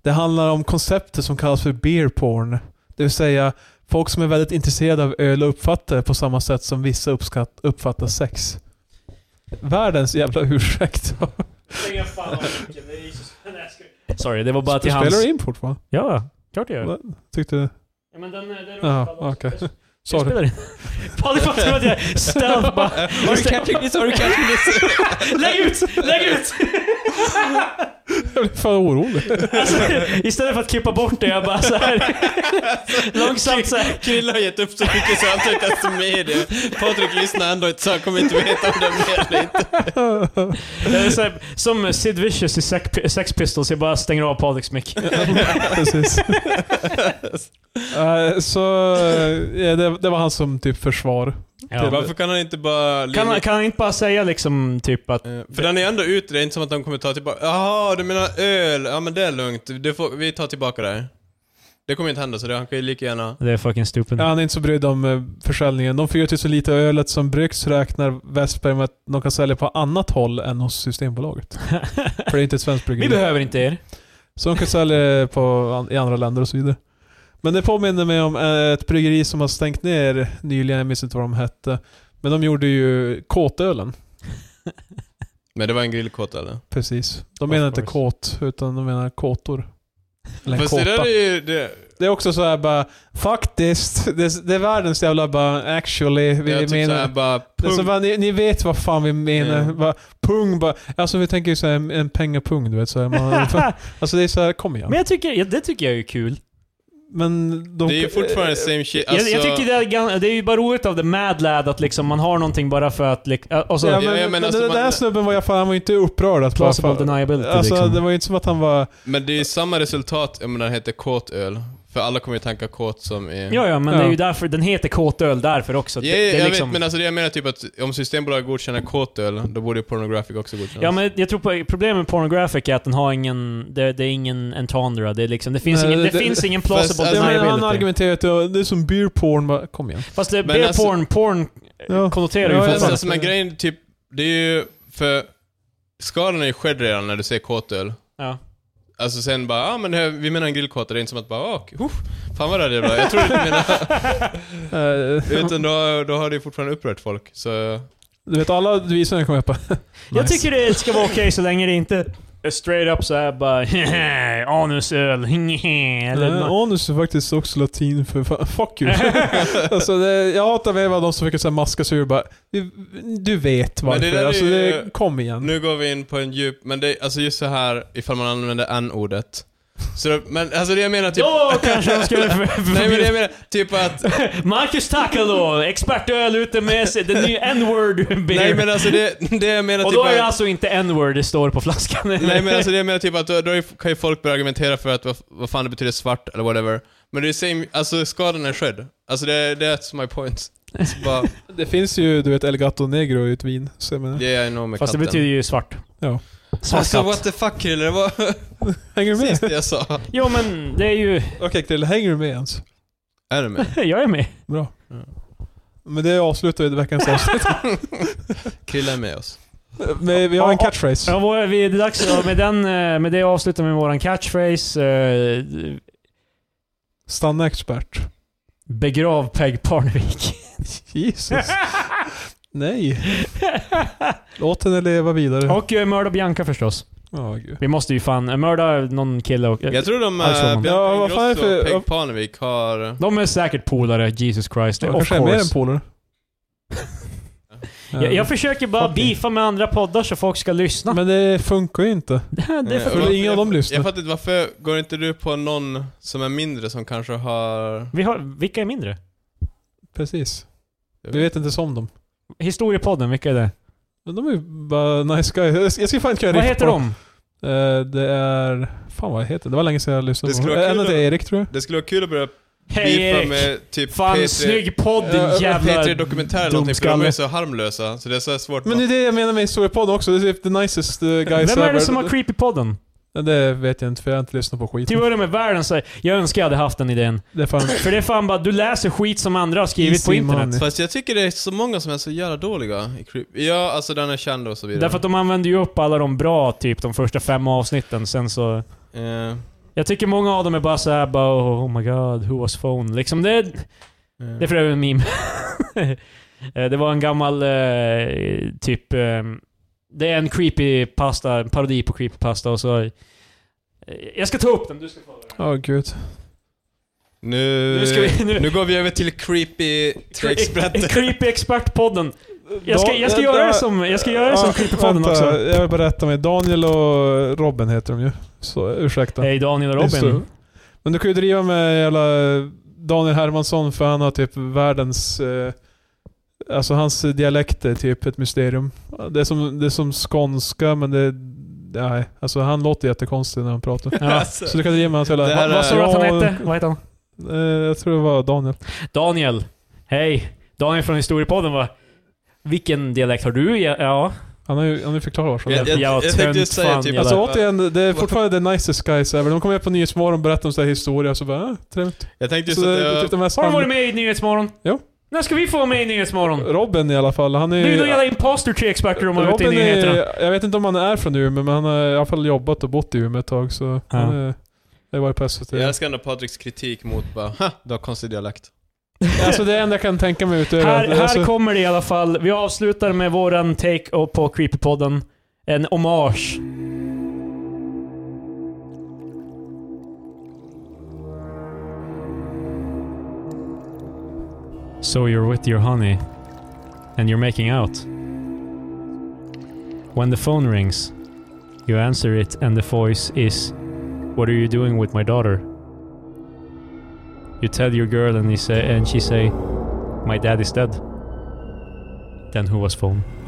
Det handlar om konceptet som kallas för beer porn. Det vill säga folk som är väldigt intresserade av öl och uppfattar det på samma sätt som vissa uppskatt, uppfattar sex. Världens jävla ursäkt.
Sorry, det var bara till
Spelar
hans...
du in fortfarande?
Ja, klart jag gör.
Tyckte du?
Ja, men den, eh, den
Ja, okej.
Jag
Sorry.
spelar in. Fan, det fattar jag att jag stealth bara...
Har du catching this? Har du catching this?
Lägg ut! Lägg ut!
Jag blir fan orolig.
Alltså, istället för att klippa bort det, jag bara så här. Långsamt så här.
Krille har gett upp så mycket så han tar inte ens med det. Patrik lyssnar ändå inte så han kommer inte veta om det är med eller inte.
Det är Eh, så här som Sid Vicious i Sex Sex Pistols, jag bara stänger av Patricks mick.
Precis. Eh, så eh, ja, det, det var han som typ försvar.
Mm. Ja.
Varför kan han inte bara...
Kan, han- kan han inte bara säga liksom typ att...
Eh, För den är ändå ute, det är inte som att de kommer ta tillbaka... Jaha, du menar öl? Ja men det är lugnt, du får, vi tar tillbaka det. Det kommer inte hända så det, han kan ju lika gärna...
Det är fucking stupid.
Ja, han är inte så brydd om eh, försäljningen. De typ 4000 liter ölet som bryggs räknar Westberg med att de kan sälja på annat håll än hos Systembolaget. För det är inte ett svenskt
Vi
bryggeri.
behöver inte er.
Så de kan sälja på, an- i andra länder och så vidare. Men det påminner mig om eh, ett bryggeri som har stängt ner nyligen, jag minns inte vad de hette. Men de gjorde ju kåtölen.
Men det var en grillkåta eller?
Precis. De
Of
menar inte
course.
kåt, utan de menar kåtor. Eller
Fast det där
kåta.
är ju... Det,
Det är också så här bara, faktiskt. Det är, det är världens jävla bara, actually. Vi
det är typ
menar...
såhär bara...
det är så
punk.
bara, ni, ni vet vad fan vi menar.
Ja.
Bara, pung bara. Alltså vi tänker ju såhär en- en pengapung du vet. Så här, man, alltså det är så här, kom igen.
Men jag tycker, ja, det tycker jag är kul.
Men de... eh,
Det är ju fortfarande same shit. Alltså,
jag, jag tycker det är, gan- det är ju bara roligt av The Mad Lad att liksom man har någonting bara för att... lik- äh, Och så
ja, men,
Ja, jag
men
menar, alltså,
den där
man-
snubben var jag fan, han var ju inte upprörd att bara...
plausible
Fan,
deniability
alltså
liksom.
det var ju inte som att han var...
Men det är ju samma resultat, jag menar, det heter kåtöl. För alla kommer ju tanka kåt som är...
Ja, ja, men
Ja.
det är ju därför den heter kåtöl därför också.
Ja,
det, det är
jag
liksom,
vet, men alltså det jag menar typ att om Systembolaget godkänner kåtöl, då borde ju Pornographic också godkännas.
Ja, men jag tror på, problemet med pornographic är att den har ingen... Det, det är ingen entendre. Det, är liksom, det, finns,
Nej,
ingen, det,
det-
finns
det-
ingen plausible
fast-
Ja,
alltså,
men han
deniability.
argumenterade ju att det var- det är som beer porn. Bara, kom igen.
Fast det,
Men
beer
alltså-
porn, porn
Ja.
konnoterar
Ja,
ju
Men alltså,
fortfarande.
alltså, men grejen, typ, det är ju... För skadan är ju skedd redan när du säger kåtöl.
Ja.
Alltså sen bara, ah, men det här, vi menar en grillkåta, det är inte som att bara, ah, oh, fan vad det här är bra. Jag tror inte du menar...
Eh,
Utan då, då har det ju fortfarande upprört folk, så...
Du vet alla visningar kommer jag på.
Jag tycker det ska vara okej så länge det inte är straight up såhär bara anusöl, eller
Eller
nå-
anus är faktiskt också latin för fa- fuck you. alltså det, jag hatar med vad de som försöker så här maska sig ur bara, du, du vet varför.
det där är
alltså,
ju-
det, kom igen.
Nu går vi in på en djup, men det, alltså just så här ifall man använder n-ordet. Så, det- men alltså det jag menar typ...
Då kanske de skulle för-
Nej men det jag
förbjuda...
menar, typ att...
Marcus Takalo, expertöl ute med sig, den nya n-word beer.
nej men alltså det, det jag menar
Och
typ
då är det
att,
alltså inte n-word det står på flaskan.
Nej men alltså det jag menar typ att då, då kan ju folk börja argumentera för att vad, vad fan det betyder svart eller whatever. Men det är same, alltså skadan är skedd. Alltså det, that's my point. It's bara,
Det finns ju, du vet, Elgato Negro i ett vin. Så jag menar,
yeah I know med
Fast det
katten.
betyder ju svart.
Ja.
Svart
Alltså
katt.
what the fuck Krille, det var
Hänger du med?
precis det jag sa.
Jo men det är ju...
Okej Krille, hänger du med ens?
Är du med?
Jag är med.
Bra. Men det avslutar ju veckans avsnitt.
Krille är med oss.
Men vi har en catchphrase.
Ja, vår, vi, det är dags ja, med, den, eh, med det avslutar vi med våran catchphrase. eh,
Stanna expert.
Begrav Peg Parnevik.
Jesus. Nej. Låt henne leva vidare. Ja,
Och eh, mörda Bianca förstås.
gud.
Vi måste ju fan eh, mörda någon kille och... eh,
Jag tror de,
Alltså,
äh,
man-
Ja,
Bianca
vad fan är det
Ingrosso och
för-
Peg Parnevik har... eh,
De är säkert polare, Jesus Christ.
Jag
of
kanske är mer än
course.
polare.
Jag, jag försöker bara
Fuck it.
beefa med andra poddar så folk ska lyssna.
Men det funkar ju inte.
det är för...
för
Ja,
ingen av dem
jag-
lyssnar.
Jag fattar inte, varför går inte du på någon som är mindre som kanske har...
Vi har, vilka är mindre?
Precis. Vi vet inte ens om dem.
Historiepodden, vilka är det?
Men de är ju bara nice guys. Jag ska fan inte göra
Vad heter de?
Eh, det är... Fan vad heter det? Det var länge sedan jag lyssnade
Det
på
skulle
dem.
vara
En
kul
heter Erik tror jag.
Det skulle vara kul att börja
Hej
beefa
Erik!
med typ
Fan, snygg podd din
Ja,
jävla
P3 Dokumentär eller någonting, för de är
dumskalle.
så harmlösa. Så det är så här svårt
Men det är det jag menar med historiepodden också. Det är typ the nicest eh, guys
Vem är
ever.
det som har creepy-podden?
Ja, Det vet jag inte för jag har inte lyssnat på skit.
Till att börja med världen så jag önskar jag hade haft den idén.
Det är fan...
För det är fan bara, du läser skit som andra har skrivit på
Easy
internet.
money.
Fast jag tycker det är så många som är så jävla dåliga i creep. Ja, alltså den är känd och så vidare.
Därför att de använder ju upp alla de bra, typ de första fem avsnitten. Sen så...
Eh,
Jag tycker många av dem är bara så här, bara oh, my god, who was phone? Liksom det,
eh.
det är för övrigt en meme. Eh, det var en gammal eh, typ... Eh, det är en creepy pasta, en parodi på creepy pasta och så... eh, Jag ska ta upp den, du ska få den.
Ja, gud.
nu,
Nu
nu,
ska vi- nu-
går vi över till creepy experter.
Creepy Expert-podden. Jag ska, jag ska göra det som, jag ska göra det som
Ja,
creepy-podden
Ah, vänta,
också.
Jag vill bara rätta mig. Daniel och Robin heter de ju. Så ursäkta.
Hej Daniel och
Det är så.
Robin.
Men du kan ju driva med jävla Daniel Hermansson för han har typ världens... Eh, alltså hans dialekt är typ ett mysterium. Det är som, det är som skånska men det... Nej, alltså han låter jättekonstig när han pratar.
Ja.
Alltså,
Så du kan driva med hans jävla...
Det här
Va-
är-
Vad sa du att han
Ja,
hette? Vad heter han?
Eh, jag tror det var Daniel.
Daniel. Hej. Daniel från Historiepodden va? Vilken dialekt har du? Ja. ja.
Han har ju, han har ju förklarat varför.
jag, jag,
jävla
jag tänkte
tönt
just säga
fan,
typ...
jävla-
Alltså återigen, det är fortfarande the nicest guys ever. De kommer upp på Nyhetsmorgon och berättar om sån här historia, så bara äh, trevligt.
jag tänkte just
Så
att
det är
jag,
typ de här
Har de
sam-
varit med i Nyhetsmorgon?
Jo. Eh,
När ska vi få vara med i Nyhetsmorgon?
Robin i alla fall, han är
Det är ju några
ju...
jävla imposter tre experter de har ute i
Robin
nyheterna.
är, jag vet inte om han är från Umeå, men han har i alla fall jobbat och bott i Umeå ett tag, så han är, det var ju på SVT.
jag älskar ändå Patriks kritik mot bara, ha, du har konstig dialekt.
Alltså det enda jag kan tänka mig utöver
Här,
att- alltså,
här kommer det i alla fall. Vi avslutar med våran take på Creepypodden. En hommage. So you're with your honey, and you're making out. When the phone rings, you answer it, and the voice is, What are you doing with my daughter? You tell your girl and, he say, and she say My dad is dead. Then who was phone?